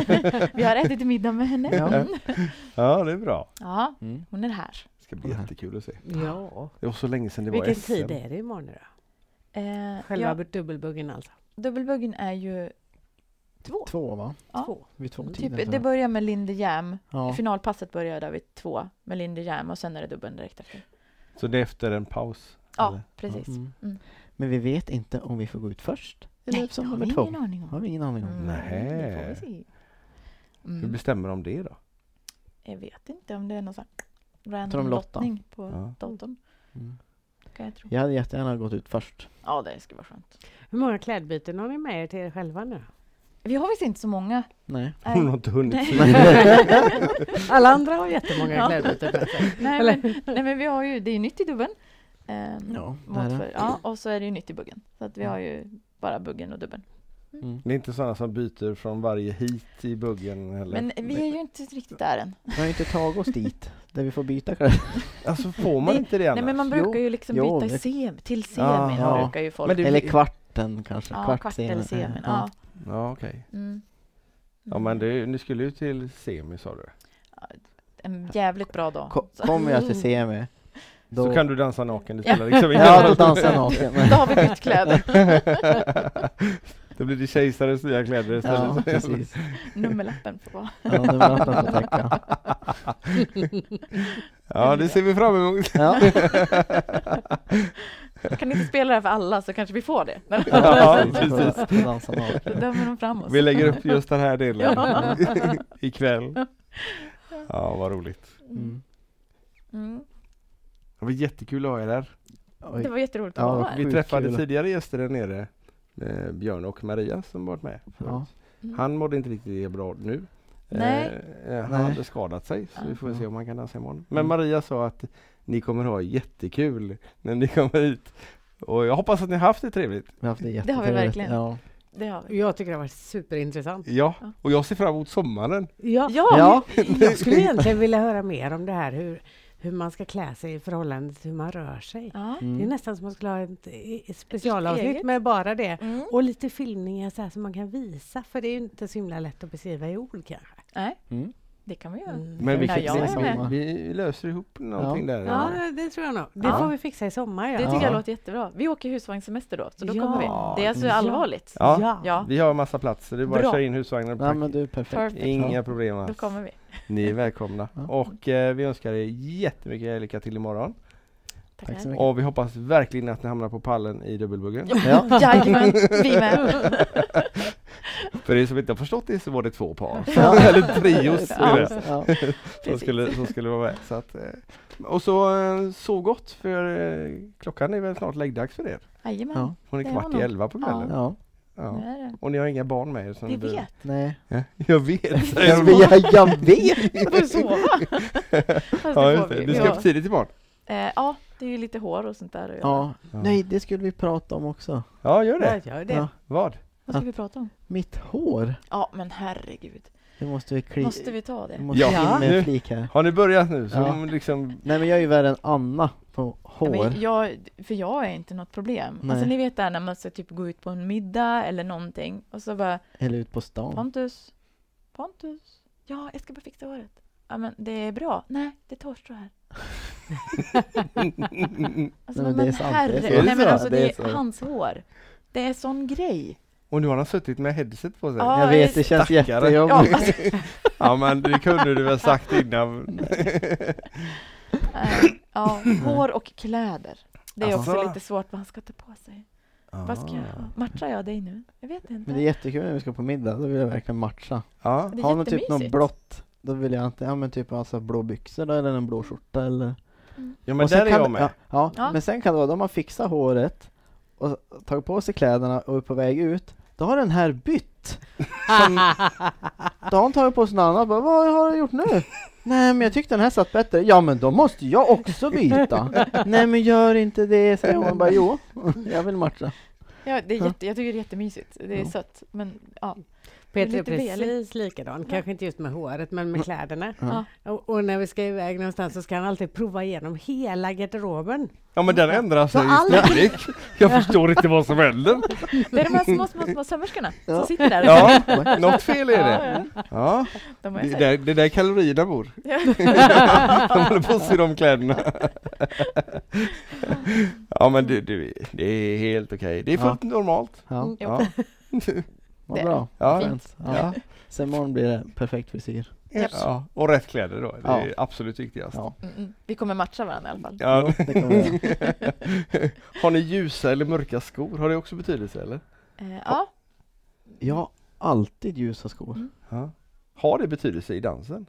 [SPEAKER 3] Vi har ätit middag med henne.
[SPEAKER 4] Ja.
[SPEAKER 3] Mm.
[SPEAKER 1] Ja, det är bra.
[SPEAKER 3] Ja,
[SPEAKER 4] Mm.
[SPEAKER 3] hon är här.
[SPEAKER 1] Det ska bli
[SPEAKER 4] Mhm.
[SPEAKER 1] jättekul att se.
[SPEAKER 2] Ja.
[SPEAKER 1] Det var så länge sedan det var
[SPEAKER 2] Vilken
[SPEAKER 1] SM.
[SPEAKER 2] tid är det imorgon nu då?
[SPEAKER 3] Eh,
[SPEAKER 2] Själva
[SPEAKER 3] ja,
[SPEAKER 2] dubbelbuggen alltså?
[SPEAKER 3] dubbelbuggen är ju två.
[SPEAKER 4] Två va?
[SPEAKER 3] Ja.
[SPEAKER 2] Två.
[SPEAKER 4] Vid två
[SPEAKER 2] Mm.
[SPEAKER 4] tiden
[SPEAKER 3] Typ,
[SPEAKER 4] tror
[SPEAKER 3] det
[SPEAKER 4] jag.
[SPEAKER 3] börjar med Linde Jam.
[SPEAKER 4] ja.
[SPEAKER 3] Finalpasset börjar där vid två med Linde Jam och sen är det dubbeln direkt efter.
[SPEAKER 1] Så det är efter en paus?
[SPEAKER 3] Ja,
[SPEAKER 1] eller?
[SPEAKER 3] precis.
[SPEAKER 4] Mm.
[SPEAKER 3] Mm.
[SPEAKER 4] Men vi vet inte om vi får gå ut först. Eller
[SPEAKER 3] Nej, det
[SPEAKER 4] som
[SPEAKER 3] har
[SPEAKER 4] nummer
[SPEAKER 3] vi
[SPEAKER 4] två.
[SPEAKER 3] ingen aning om.
[SPEAKER 4] har vi ingen aning om.
[SPEAKER 3] Mm,
[SPEAKER 1] Nej.
[SPEAKER 3] det får vi se.
[SPEAKER 1] Hur
[SPEAKER 3] Mm.
[SPEAKER 1] bestämmer de det då?
[SPEAKER 3] Jag vet inte om det är någon sån här
[SPEAKER 4] Tror
[SPEAKER 3] random
[SPEAKER 4] de lottar?
[SPEAKER 3] lottning på
[SPEAKER 1] Ja.
[SPEAKER 3] datorn.
[SPEAKER 4] Mm.
[SPEAKER 3] Kan jag tro.
[SPEAKER 4] Jag hade jättegärna gått ut först.
[SPEAKER 3] Ja, det skulle vara skönt.
[SPEAKER 2] Hur många klädbyten har ni med er till er själva nu?
[SPEAKER 3] Vi har visst inte så många.
[SPEAKER 4] Nej.
[SPEAKER 1] Hon har
[SPEAKER 3] Nej,
[SPEAKER 1] inte hunnit
[SPEAKER 3] Nej.
[SPEAKER 2] Alla andra har jättemånga
[SPEAKER 3] Ja.
[SPEAKER 2] klädbyten med sig.
[SPEAKER 3] nej,
[SPEAKER 2] Eller?
[SPEAKER 3] men, nej, men vi har ju, det är ju nytt i dubbeln. Ehm,
[SPEAKER 4] Ja, det
[SPEAKER 3] mot
[SPEAKER 4] är
[SPEAKER 3] för,
[SPEAKER 4] det.
[SPEAKER 3] ja, och så är det ju nytt i buggen. Så att vi har ju bara buggen och dubben.
[SPEAKER 4] Mm.
[SPEAKER 1] Det är inte sådana som byter från varje hit i buggen eller?
[SPEAKER 3] Men vi är ju inte riktigt där än.
[SPEAKER 4] Vi har ju inte tagit oss dit, där vi får byta kläder.
[SPEAKER 1] Alltså får man
[SPEAKER 3] Det-
[SPEAKER 1] inte det annars?
[SPEAKER 3] Nej men man
[SPEAKER 4] Jo,
[SPEAKER 3] brukar ju liksom
[SPEAKER 4] jo,
[SPEAKER 3] byta i
[SPEAKER 4] det-
[SPEAKER 3] sem, till semin
[SPEAKER 1] Ja,
[SPEAKER 4] ja.
[SPEAKER 3] brukar ju folk.
[SPEAKER 1] Men det-
[SPEAKER 4] Eller kvarten kanske.
[SPEAKER 3] ja, kvart, eller
[SPEAKER 4] senare.
[SPEAKER 3] semin. Ja.
[SPEAKER 1] Ja okej.
[SPEAKER 3] Mm.
[SPEAKER 1] Ja men det, ni skulle ju till semi sa du?
[SPEAKER 3] En jävligt bra dag.
[SPEAKER 4] Ko- Kommer jag till semi, då,
[SPEAKER 1] Så kan du dansa naken, det
[SPEAKER 3] Ja.
[SPEAKER 1] spelar liksom ingen
[SPEAKER 4] ja,
[SPEAKER 1] roll.
[SPEAKER 4] då dansar jag naken.
[SPEAKER 3] Då har vi bytt kläder.
[SPEAKER 1] Då blir det kejsarens nya kläder istället.
[SPEAKER 4] Ja, precis.
[SPEAKER 3] Nummerlappen får vara.
[SPEAKER 4] Ja, det var att få täcka.
[SPEAKER 1] Ja det ser vi fram emot.
[SPEAKER 4] Ja.
[SPEAKER 3] Kan ni inte spela det här för alla så kanske vi får det.
[SPEAKER 1] Ja, precis.
[SPEAKER 4] precis. Får dansa naken.
[SPEAKER 3] Då dömer de fram oss.
[SPEAKER 1] Vi lägger upp just den här delen
[SPEAKER 3] Ja.
[SPEAKER 1] ikväll. Ja vad roligt.
[SPEAKER 4] Mm.
[SPEAKER 3] Mm.
[SPEAKER 1] Det var jättekul att ha er här.
[SPEAKER 4] Oj.
[SPEAKER 3] Det var jätteroligt att
[SPEAKER 4] Ja,
[SPEAKER 3] vara
[SPEAKER 4] vad
[SPEAKER 3] här.
[SPEAKER 1] Vi
[SPEAKER 4] Sjukt
[SPEAKER 1] träffade
[SPEAKER 4] kul.
[SPEAKER 1] tidigare gäster där nere. Eh, Björn och Maria som varit med.
[SPEAKER 4] Ja.
[SPEAKER 1] Han mådde inte riktigt lika bra nu.
[SPEAKER 3] Mm. Nej.
[SPEAKER 1] Eh, han
[SPEAKER 4] Nej.
[SPEAKER 1] hade skadat sig så vi får
[SPEAKER 4] Ja.
[SPEAKER 1] se om han kan dansa imorgon. Men
[SPEAKER 3] Mm.
[SPEAKER 1] Maria sa att ni kommer ha jättekul när ni kommer hit. Och jag hoppas att ni har haft det trevligt.
[SPEAKER 4] Vi har haft det,
[SPEAKER 3] Det har vi
[SPEAKER 4] jättetrevligt.
[SPEAKER 3] verkligen.
[SPEAKER 4] Ja.
[SPEAKER 3] Det har vi.
[SPEAKER 2] Jag tycker det har varit superintressant.
[SPEAKER 1] Ja,
[SPEAKER 3] Ja. Mm.
[SPEAKER 1] och jag ser fram emot sommaren.
[SPEAKER 2] Ja,
[SPEAKER 4] Ja.
[SPEAKER 2] Jag skulle egentligen vilja höra mer om det här hur, hur man ska klä sig i förhållande till hur man rör sig.
[SPEAKER 3] Ja.
[SPEAKER 2] Det är
[SPEAKER 4] Mm.
[SPEAKER 2] nästan som att man skulle ha ett, eh, specialavsnitt
[SPEAKER 3] Eget.
[SPEAKER 2] med bara det.
[SPEAKER 3] Mm.
[SPEAKER 2] Och lite filmningar så här som man kan visa, för det är ju inte så himla lätt att beskriva i ord kanske.
[SPEAKER 3] Nej,
[SPEAKER 4] Mm.
[SPEAKER 3] det kan vi göra.
[SPEAKER 2] Mm.
[SPEAKER 1] Men vi,
[SPEAKER 3] Ja,
[SPEAKER 1] kan,
[SPEAKER 3] jag är
[SPEAKER 4] med.
[SPEAKER 1] vi, vi löser ihop någonting där.
[SPEAKER 2] Ja, det tror jag nog. Det
[SPEAKER 3] Ja.
[SPEAKER 2] får vi fixa i sommar. Ja.
[SPEAKER 3] Det tycker
[SPEAKER 4] Ja.
[SPEAKER 3] jag låter jättebra. Vi åker husvagnssemester då, så då
[SPEAKER 2] Ja.
[SPEAKER 3] kommer vi. Det är alltså
[SPEAKER 2] Ja.
[SPEAKER 3] allvarligt.
[SPEAKER 1] Ja.
[SPEAKER 2] Ja.
[SPEAKER 3] Ja,
[SPEAKER 1] Vi har massa plats, så det är bara att
[SPEAKER 3] Bra.
[SPEAKER 1] köra in husvagnen. och
[SPEAKER 4] Nej,
[SPEAKER 1] packa.
[SPEAKER 4] men du är perfekt.
[SPEAKER 3] Perfect.
[SPEAKER 1] Inga problem
[SPEAKER 3] då
[SPEAKER 1] alls.
[SPEAKER 3] kommer vi.
[SPEAKER 1] Ni är välkomna.
[SPEAKER 4] Ja.
[SPEAKER 1] Och eh, vi önskar er jättemycket lycka till imorgon.
[SPEAKER 3] Tack,
[SPEAKER 4] Tack så mycket.
[SPEAKER 1] Och vi hoppas verkligen att ni hamnar på pallen i dubbelbuggen.
[SPEAKER 4] Ja.
[SPEAKER 3] Jajamän, vi med.
[SPEAKER 1] För er som inte har förstått det så var det två par.
[SPEAKER 4] Ja.
[SPEAKER 1] Eller trios är det.
[SPEAKER 4] Ja.
[SPEAKER 1] som,
[SPEAKER 3] Precis.
[SPEAKER 1] skulle, som skulle vara med. Så att, eh, och så eh, så gott för eh, klockan är väl snart läggdags för er.
[SPEAKER 3] Jajamän.
[SPEAKER 4] Ja.
[SPEAKER 1] Hon är
[SPEAKER 3] Det
[SPEAKER 1] kvart
[SPEAKER 3] har
[SPEAKER 1] i
[SPEAKER 3] nog-
[SPEAKER 1] elva på kvällen.
[SPEAKER 4] ja.
[SPEAKER 1] Ja.
[SPEAKER 3] det är det.
[SPEAKER 1] Och ni har inga barn med er? Som
[SPEAKER 3] Vi
[SPEAKER 1] blir-
[SPEAKER 3] vet.
[SPEAKER 4] Nej.
[SPEAKER 1] Ja, Jag vet! säger
[SPEAKER 4] Jag,
[SPEAKER 1] hon.
[SPEAKER 4] jag, jag vet!
[SPEAKER 3] Vi får sova. Fast
[SPEAKER 1] ja, just
[SPEAKER 3] det får
[SPEAKER 1] det.
[SPEAKER 3] vi.
[SPEAKER 1] Du
[SPEAKER 3] Vi
[SPEAKER 1] ska
[SPEAKER 3] har-
[SPEAKER 1] upp tidigt imorgon?
[SPEAKER 3] Eh, ja, det är ju lite hår och sånt där. att göra.
[SPEAKER 4] Ja.
[SPEAKER 1] Ja.
[SPEAKER 4] Nej, det skulle vi prata om också.
[SPEAKER 1] Ja, gör
[SPEAKER 2] Ja,
[SPEAKER 1] det!
[SPEAKER 2] gör det.
[SPEAKER 4] Ja.
[SPEAKER 1] Vad?
[SPEAKER 3] Vad ska vi prata om?
[SPEAKER 4] Mitt hår,
[SPEAKER 3] Ja, men herregud.
[SPEAKER 4] det måste vi kli...
[SPEAKER 3] Måste vi ta det?
[SPEAKER 4] måste
[SPEAKER 1] Ja.
[SPEAKER 4] in med
[SPEAKER 1] Nu.
[SPEAKER 4] en flik här.
[SPEAKER 1] Har ni börjat nu? Så
[SPEAKER 4] Ja.
[SPEAKER 1] hon liksom,
[SPEAKER 4] Nej men jag är ju värre än Anna på hår.
[SPEAKER 3] Ja, Men jag, för jag är inte något problem.
[SPEAKER 4] Nej.
[SPEAKER 3] Alltså ni vet där när man ska typ gå ut på en middag eller någonting och så bara
[SPEAKER 4] Eller ut på stan.
[SPEAKER 3] Pontus, Pontus, ja jag ska bara fixa håret. Ja men det är bra. Nej, det är torrstrå här. Alltså,
[SPEAKER 4] Nej, men
[SPEAKER 3] men,
[SPEAKER 4] det är sant, det är
[SPEAKER 3] herre,
[SPEAKER 4] så.
[SPEAKER 1] Är det
[SPEAKER 3] nej men
[SPEAKER 1] så?
[SPEAKER 3] alltså
[SPEAKER 4] Det är
[SPEAKER 3] det är
[SPEAKER 4] så.
[SPEAKER 3] hans hår. Det är sån grej.
[SPEAKER 1] och nu har han suttit med headset på sig.
[SPEAKER 3] Ja.
[SPEAKER 4] jag vet, det känns
[SPEAKER 1] stackare.
[SPEAKER 3] Ja,
[SPEAKER 4] jättejobbigt.
[SPEAKER 3] alltså,
[SPEAKER 1] Ja men det kunde du väl sagt innan.
[SPEAKER 3] eh, ja, hår och kläder. Det är också
[SPEAKER 1] Alltså.
[SPEAKER 3] lite svårt vad han ska ta på sig. Vad ska jag, matchar jag dig nu? Jag vet inte.
[SPEAKER 4] Ah. Men det är jättekul när vi ska på middag, då vill jag verkligen matcha.
[SPEAKER 1] Ja.
[SPEAKER 3] Det är
[SPEAKER 4] Har man typ något
[SPEAKER 3] jättemysigt.
[SPEAKER 4] blått, då vill jag inte, ja men typ alltså blå byxor då, eller en blå skjorta eller...
[SPEAKER 1] ja, men
[SPEAKER 4] Och sen
[SPEAKER 1] där är
[SPEAKER 4] kan
[SPEAKER 1] jag
[SPEAKER 4] det-
[SPEAKER 1] med.
[SPEAKER 4] Ja, ja,
[SPEAKER 3] Ja.
[SPEAKER 4] men sen kan det vara, då har man fixat håret och tagit på sig kläderna och är på väg ut, då har den här bytt! Som, då har hon tagit på sig något annat, bara, vad har jag gjort nu? Nej men jag tyckte den här satt bättre, ja men då måste jag också byta! Nej men gör inte det, säger hon bara, jo, jag vill matcha.
[SPEAKER 3] Ja, det är
[SPEAKER 4] Ja.
[SPEAKER 3] jätte, jag tycker det är jättemysigt. Det är
[SPEAKER 4] Ja.
[SPEAKER 3] sött. Men ja,
[SPEAKER 2] Peter är
[SPEAKER 3] Lite
[SPEAKER 2] precis
[SPEAKER 3] velig.
[SPEAKER 2] likadan,
[SPEAKER 3] Ja.
[SPEAKER 2] kanske inte just med håret men med kläderna.
[SPEAKER 4] Ja.
[SPEAKER 2] Och, och när vi ska iväg någonstans så ska han alltid prova igenom hela garderoben.
[SPEAKER 1] Ja men den ändrar sig
[SPEAKER 2] Så
[SPEAKER 1] i
[SPEAKER 2] alla-
[SPEAKER 1] storlek. Jag förstår inte vad som händer.
[SPEAKER 3] det är de här små, små, små sömmerskorna
[SPEAKER 4] Ja.
[SPEAKER 3] som sitter där.
[SPEAKER 1] Ja, något fel är det.
[SPEAKER 3] Ja,
[SPEAKER 1] Ja,
[SPEAKER 3] ja. De har
[SPEAKER 1] det
[SPEAKER 3] jag
[SPEAKER 1] är där,
[SPEAKER 3] sett.
[SPEAKER 1] det är där kalorierna bor.
[SPEAKER 3] Ja.
[SPEAKER 1] De håller på att sy de kläderna. Ja men du, du, det är helt okej. Det är fullt normalt.
[SPEAKER 4] Ja,
[SPEAKER 1] Ja.
[SPEAKER 4] vad
[SPEAKER 3] Mm, Det-
[SPEAKER 4] bra.
[SPEAKER 1] Ja.
[SPEAKER 4] Fint. Ja.
[SPEAKER 1] Ja.
[SPEAKER 4] Sen imorgon blir det perfekt frisyr.
[SPEAKER 3] Japp.
[SPEAKER 1] Ja. Och rätt kläder då, det är
[SPEAKER 4] Ja.
[SPEAKER 1] absolut viktigast.
[SPEAKER 4] Ja.
[SPEAKER 3] Mm, mm. Vi kommer matcha varandra i alla fall.
[SPEAKER 1] Ja.
[SPEAKER 4] Det kommer jag göra.
[SPEAKER 1] Har ni ljusa eller mörka skor? Har det också betydelse eller?
[SPEAKER 3] Eh, ja,
[SPEAKER 4] Jag har alltid ljusa skor.
[SPEAKER 1] Ja. Har det betydelse i dansen?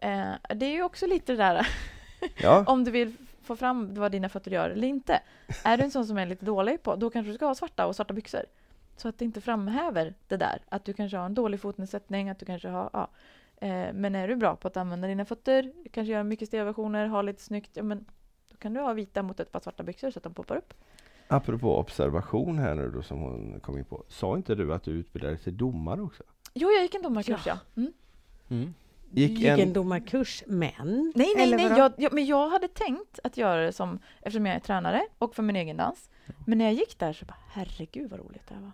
[SPEAKER 3] eh, det är ju också lite det där
[SPEAKER 1] Ja.
[SPEAKER 3] om du vill få fram vad dina fötter gör eller inte. Är du en sån som är lite dålig på, då kanske du ska ha svarta och svarta byxor. Så att det inte framhäver det där. Att du kanske har en dålig fotnedsättning, att du kanske har, ja. Eh, men är du bra på att använda dina fötter, kanske göra mycket stelversioner, ha lite snyggt, ja men då kan du ha vita mot ett par svarta byxor så att de poppar upp.
[SPEAKER 1] Apropå observation här nu då som hon kom in på. Sa inte du att du utbildade dig till domare också?
[SPEAKER 3] Jo, jag gick en domarkurs ja. Mm.
[SPEAKER 4] Mm.
[SPEAKER 1] Gick
[SPEAKER 2] Gick
[SPEAKER 1] en...
[SPEAKER 2] en domarkurs, men...
[SPEAKER 3] Nej, nej,
[SPEAKER 2] Eller
[SPEAKER 3] nej.
[SPEAKER 2] vadå?
[SPEAKER 3] Jag, jag, men jag hade tänkt att göra det som, eftersom jag är tränare och för min egen dans. Men när jag gick där så bara, herregud vad roligt det här var.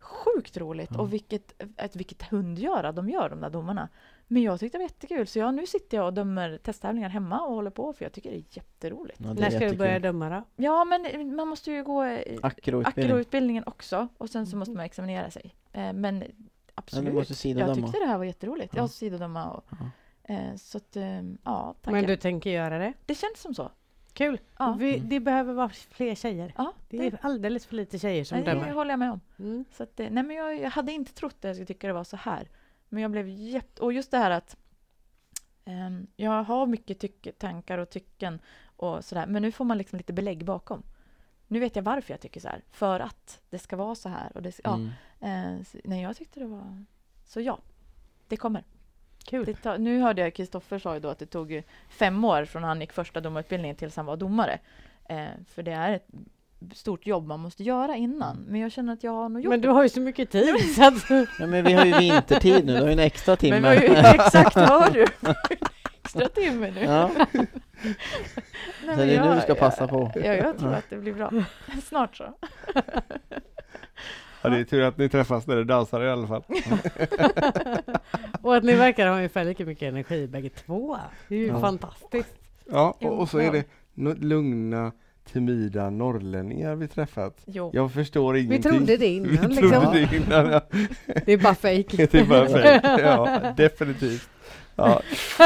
[SPEAKER 3] Sjukt roligt och vilket, ett, vilket hundgöra de gör de där domarna. Men jag tyckte det var jättekul så jag, nu sitter jag och dömer testtävlingar hemma och håller på för jag tycker det är jätteroligt.
[SPEAKER 4] Ja, det är
[SPEAKER 2] När ska du
[SPEAKER 4] jättekul.
[SPEAKER 2] börja döma då?
[SPEAKER 3] Ja men man måste ju gå eh,
[SPEAKER 4] Akroutbildning.
[SPEAKER 3] akroutbildningen också och sen
[SPEAKER 2] Mm.
[SPEAKER 3] så måste man examinera sig. Eh, Men
[SPEAKER 4] Men du
[SPEAKER 3] absolut,
[SPEAKER 4] måste
[SPEAKER 3] jag
[SPEAKER 4] sidodöma.
[SPEAKER 3] tyckte det här var jätteroligt.
[SPEAKER 4] Ja.
[SPEAKER 3] Jag sidodöma och eh, så att, eh, ja, tackar.
[SPEAKER 2] Men du tänker göra det?
[SPEAKER 3] Det känns som så.
[SPEAKER 2] Kul!
[SPEAKER 3] Ja.
[SPEAKER 2] Vi, det behöver vara fler tjejer.
[SPEAKER 3] Ja, det,
[SPEAKER 2] Det är alldeles för lite tjejer som
[SPEAKER 3] nej, det
[SPEAKER 2] dömer.
[SPEAKER 3] håller jag med om.
[SPEAKER 2] Mm.
[SPEAKER 3] Så att det, nej, men jag, jag hade inte trott att jag skulle tycka det var så här. Men jag blev jätte... Och just det här att ehm, jag har mycket tyck, tankar och tycken och sådär. Men nu får man liksom lite belägg bakom. Nu vet jag varför jag tycker så här. För att det ska vara så här. Och det, ska- ja,
[SPEAKER 4] Mm.
[SPEAKER 3] eh, så, nej, jag tyckte det var... Så ja, det kommer.
[SPEAKER 2] Kul.
[SPEAKER 3] Det tar, nu hörde jag Kristoffer sa ju då att det tog ju fem år från han gick första domarutbildningen tills han var domare. Eh, för det är ett stort jobb man måste göra innan. Men jag känner att jag har nog gjort
[SPEAKER 2] Men du har ju så mycket tid så att...
[SPEAKER 5] Ja, men vi har ju vintertid nu, du har ju en extra timme.
[SPEAKER 3] Men vi har ju, exakt, hör du? Extra timme nu.
[SPEAKER 5] Ja,
[SPEAKER 3] Nej,
[SPEAKER 5] så
[SPEAKER 3] men
[SPEAKER 5] det är nu
[SPEAKER 3] jag-
[SPEAKER 5] du ska passa på.
[SPEAKER 3] Ja, jag tror att det blir bra. Snart så.
[SPEAKER 1] Ja, det är tur att ni träffas när du dansar i alla fall.
[SPEAKER 2] och att ni verkar ha ungefär lika mycket energi bägge två. Det är ju
[SPEAKER 1] Ja.
[SPEAKER 2] fantastiskt.
[SPEAKER 1] Ja, och, och så är
[SPEAKER 3] Ja.
[SPEAKER 1] det no- lugna, timida norrlänningar vi träffat.
[SPEAKER 3] Jo.
[SPEAKER 1] Jag förstår ingenting.
[SPEAKER 2] Vi trodde det
[SPEAKER 1] Vi
[SPEAKER 2] innan
[SPEAKER 1] trodde
[SPEAKER 2] liksom.
[SPEAKER 1] det innan. Ja.
[SPEAKER 2] Det är bara fejk.
[SPEAKER 1] Det är bara fake. Ja, definitivt. Ja.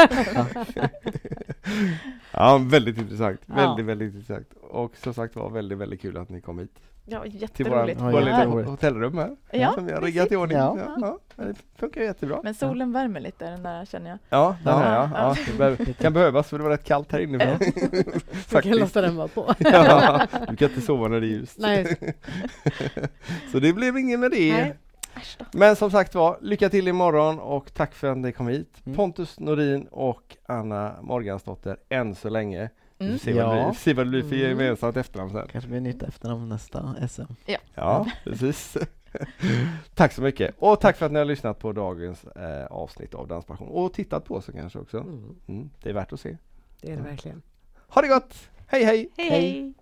[SPEAKER 1] ja, väldigt intressant.
[SPEAKER 2] Ja.
[SPEAKER 1] Väldigt, väldigt intressant. Och som sagt var väldigt, väldigt kul att ni kom hit
[SPEAKER 3] Ja,
[SPEAKER 1] till våran,
[SPEAKER 3] jätteroligt.
[SPEAKER 5] Ja,
[SPEAKER 1] vår lilla
[SPEAKER 5] jätteroligt.
[SPEAKER 1] hotellrum här.
[SPEAKER 3] Ja,
[SPEAKER 1] som vi har
[SPEAKER 3] precis.
[SPEAKER 1] riggat i ordning.
[SPEAKER 5] Ja.
[SPEAKER 1] Ja. Ja, det funkar jättebra.
[SPEAKER 3] Men solen värmer lite den där känner jag.
[SPEAKER 1] Ja, den här ja.
[SPEAKER 3] Ja.
[SPEAKER 1] ja det behöver, kan behövas för det var rätt kallt här inne.
[SPEAKER 2] Vi kan
[SPEAKER 1] Faktiskt.
[SPEAKER 2] låta den vara på.
[SPEAKER 1] Ja, du kan inte sova när det är ljust.
[SPEAKER 2] Nej,
[SPEAKER 1] Så det blev ingen med det.
[SPEAKER 2] Nej.
[SPEAKER 3] Äsch då.
[SPEAKER 1] Men som sagt var, lycka till imorgon och tack för att ni kom hit.
[SPEAKER 5] Mm.
[SPEAKER 1] Pontus Norin och Anna Morgansdotter än så länge. Vi
[SPEAKER 3] Mm.
[SPEAKER 1] får se vad det
[SPEAKER 5] Ja.
[SPEAKER 1] blir- se vad det blir för
[SPEAKER 2] Mm.
[SPEAKER 1] gemensamt efternamn sen.
[SPEAKER 5] Kanske blir nytt efternamn nästa SM.
[SPEAKER 1] Ja, precis. tack så mycket. Och tack för att ni har lyssnat på dagens eh, avsnitt av Danspassion. Och tittat på så kanske också.
[SPEAKER 2] mm,
[SPEAKER 1] Mm, det är värt att se.
[SPEAKER 2] det är det verkligen.
[SPEAKER 1] Ha det gott! Hej hej!
[SPEAKER 3] hej. hej.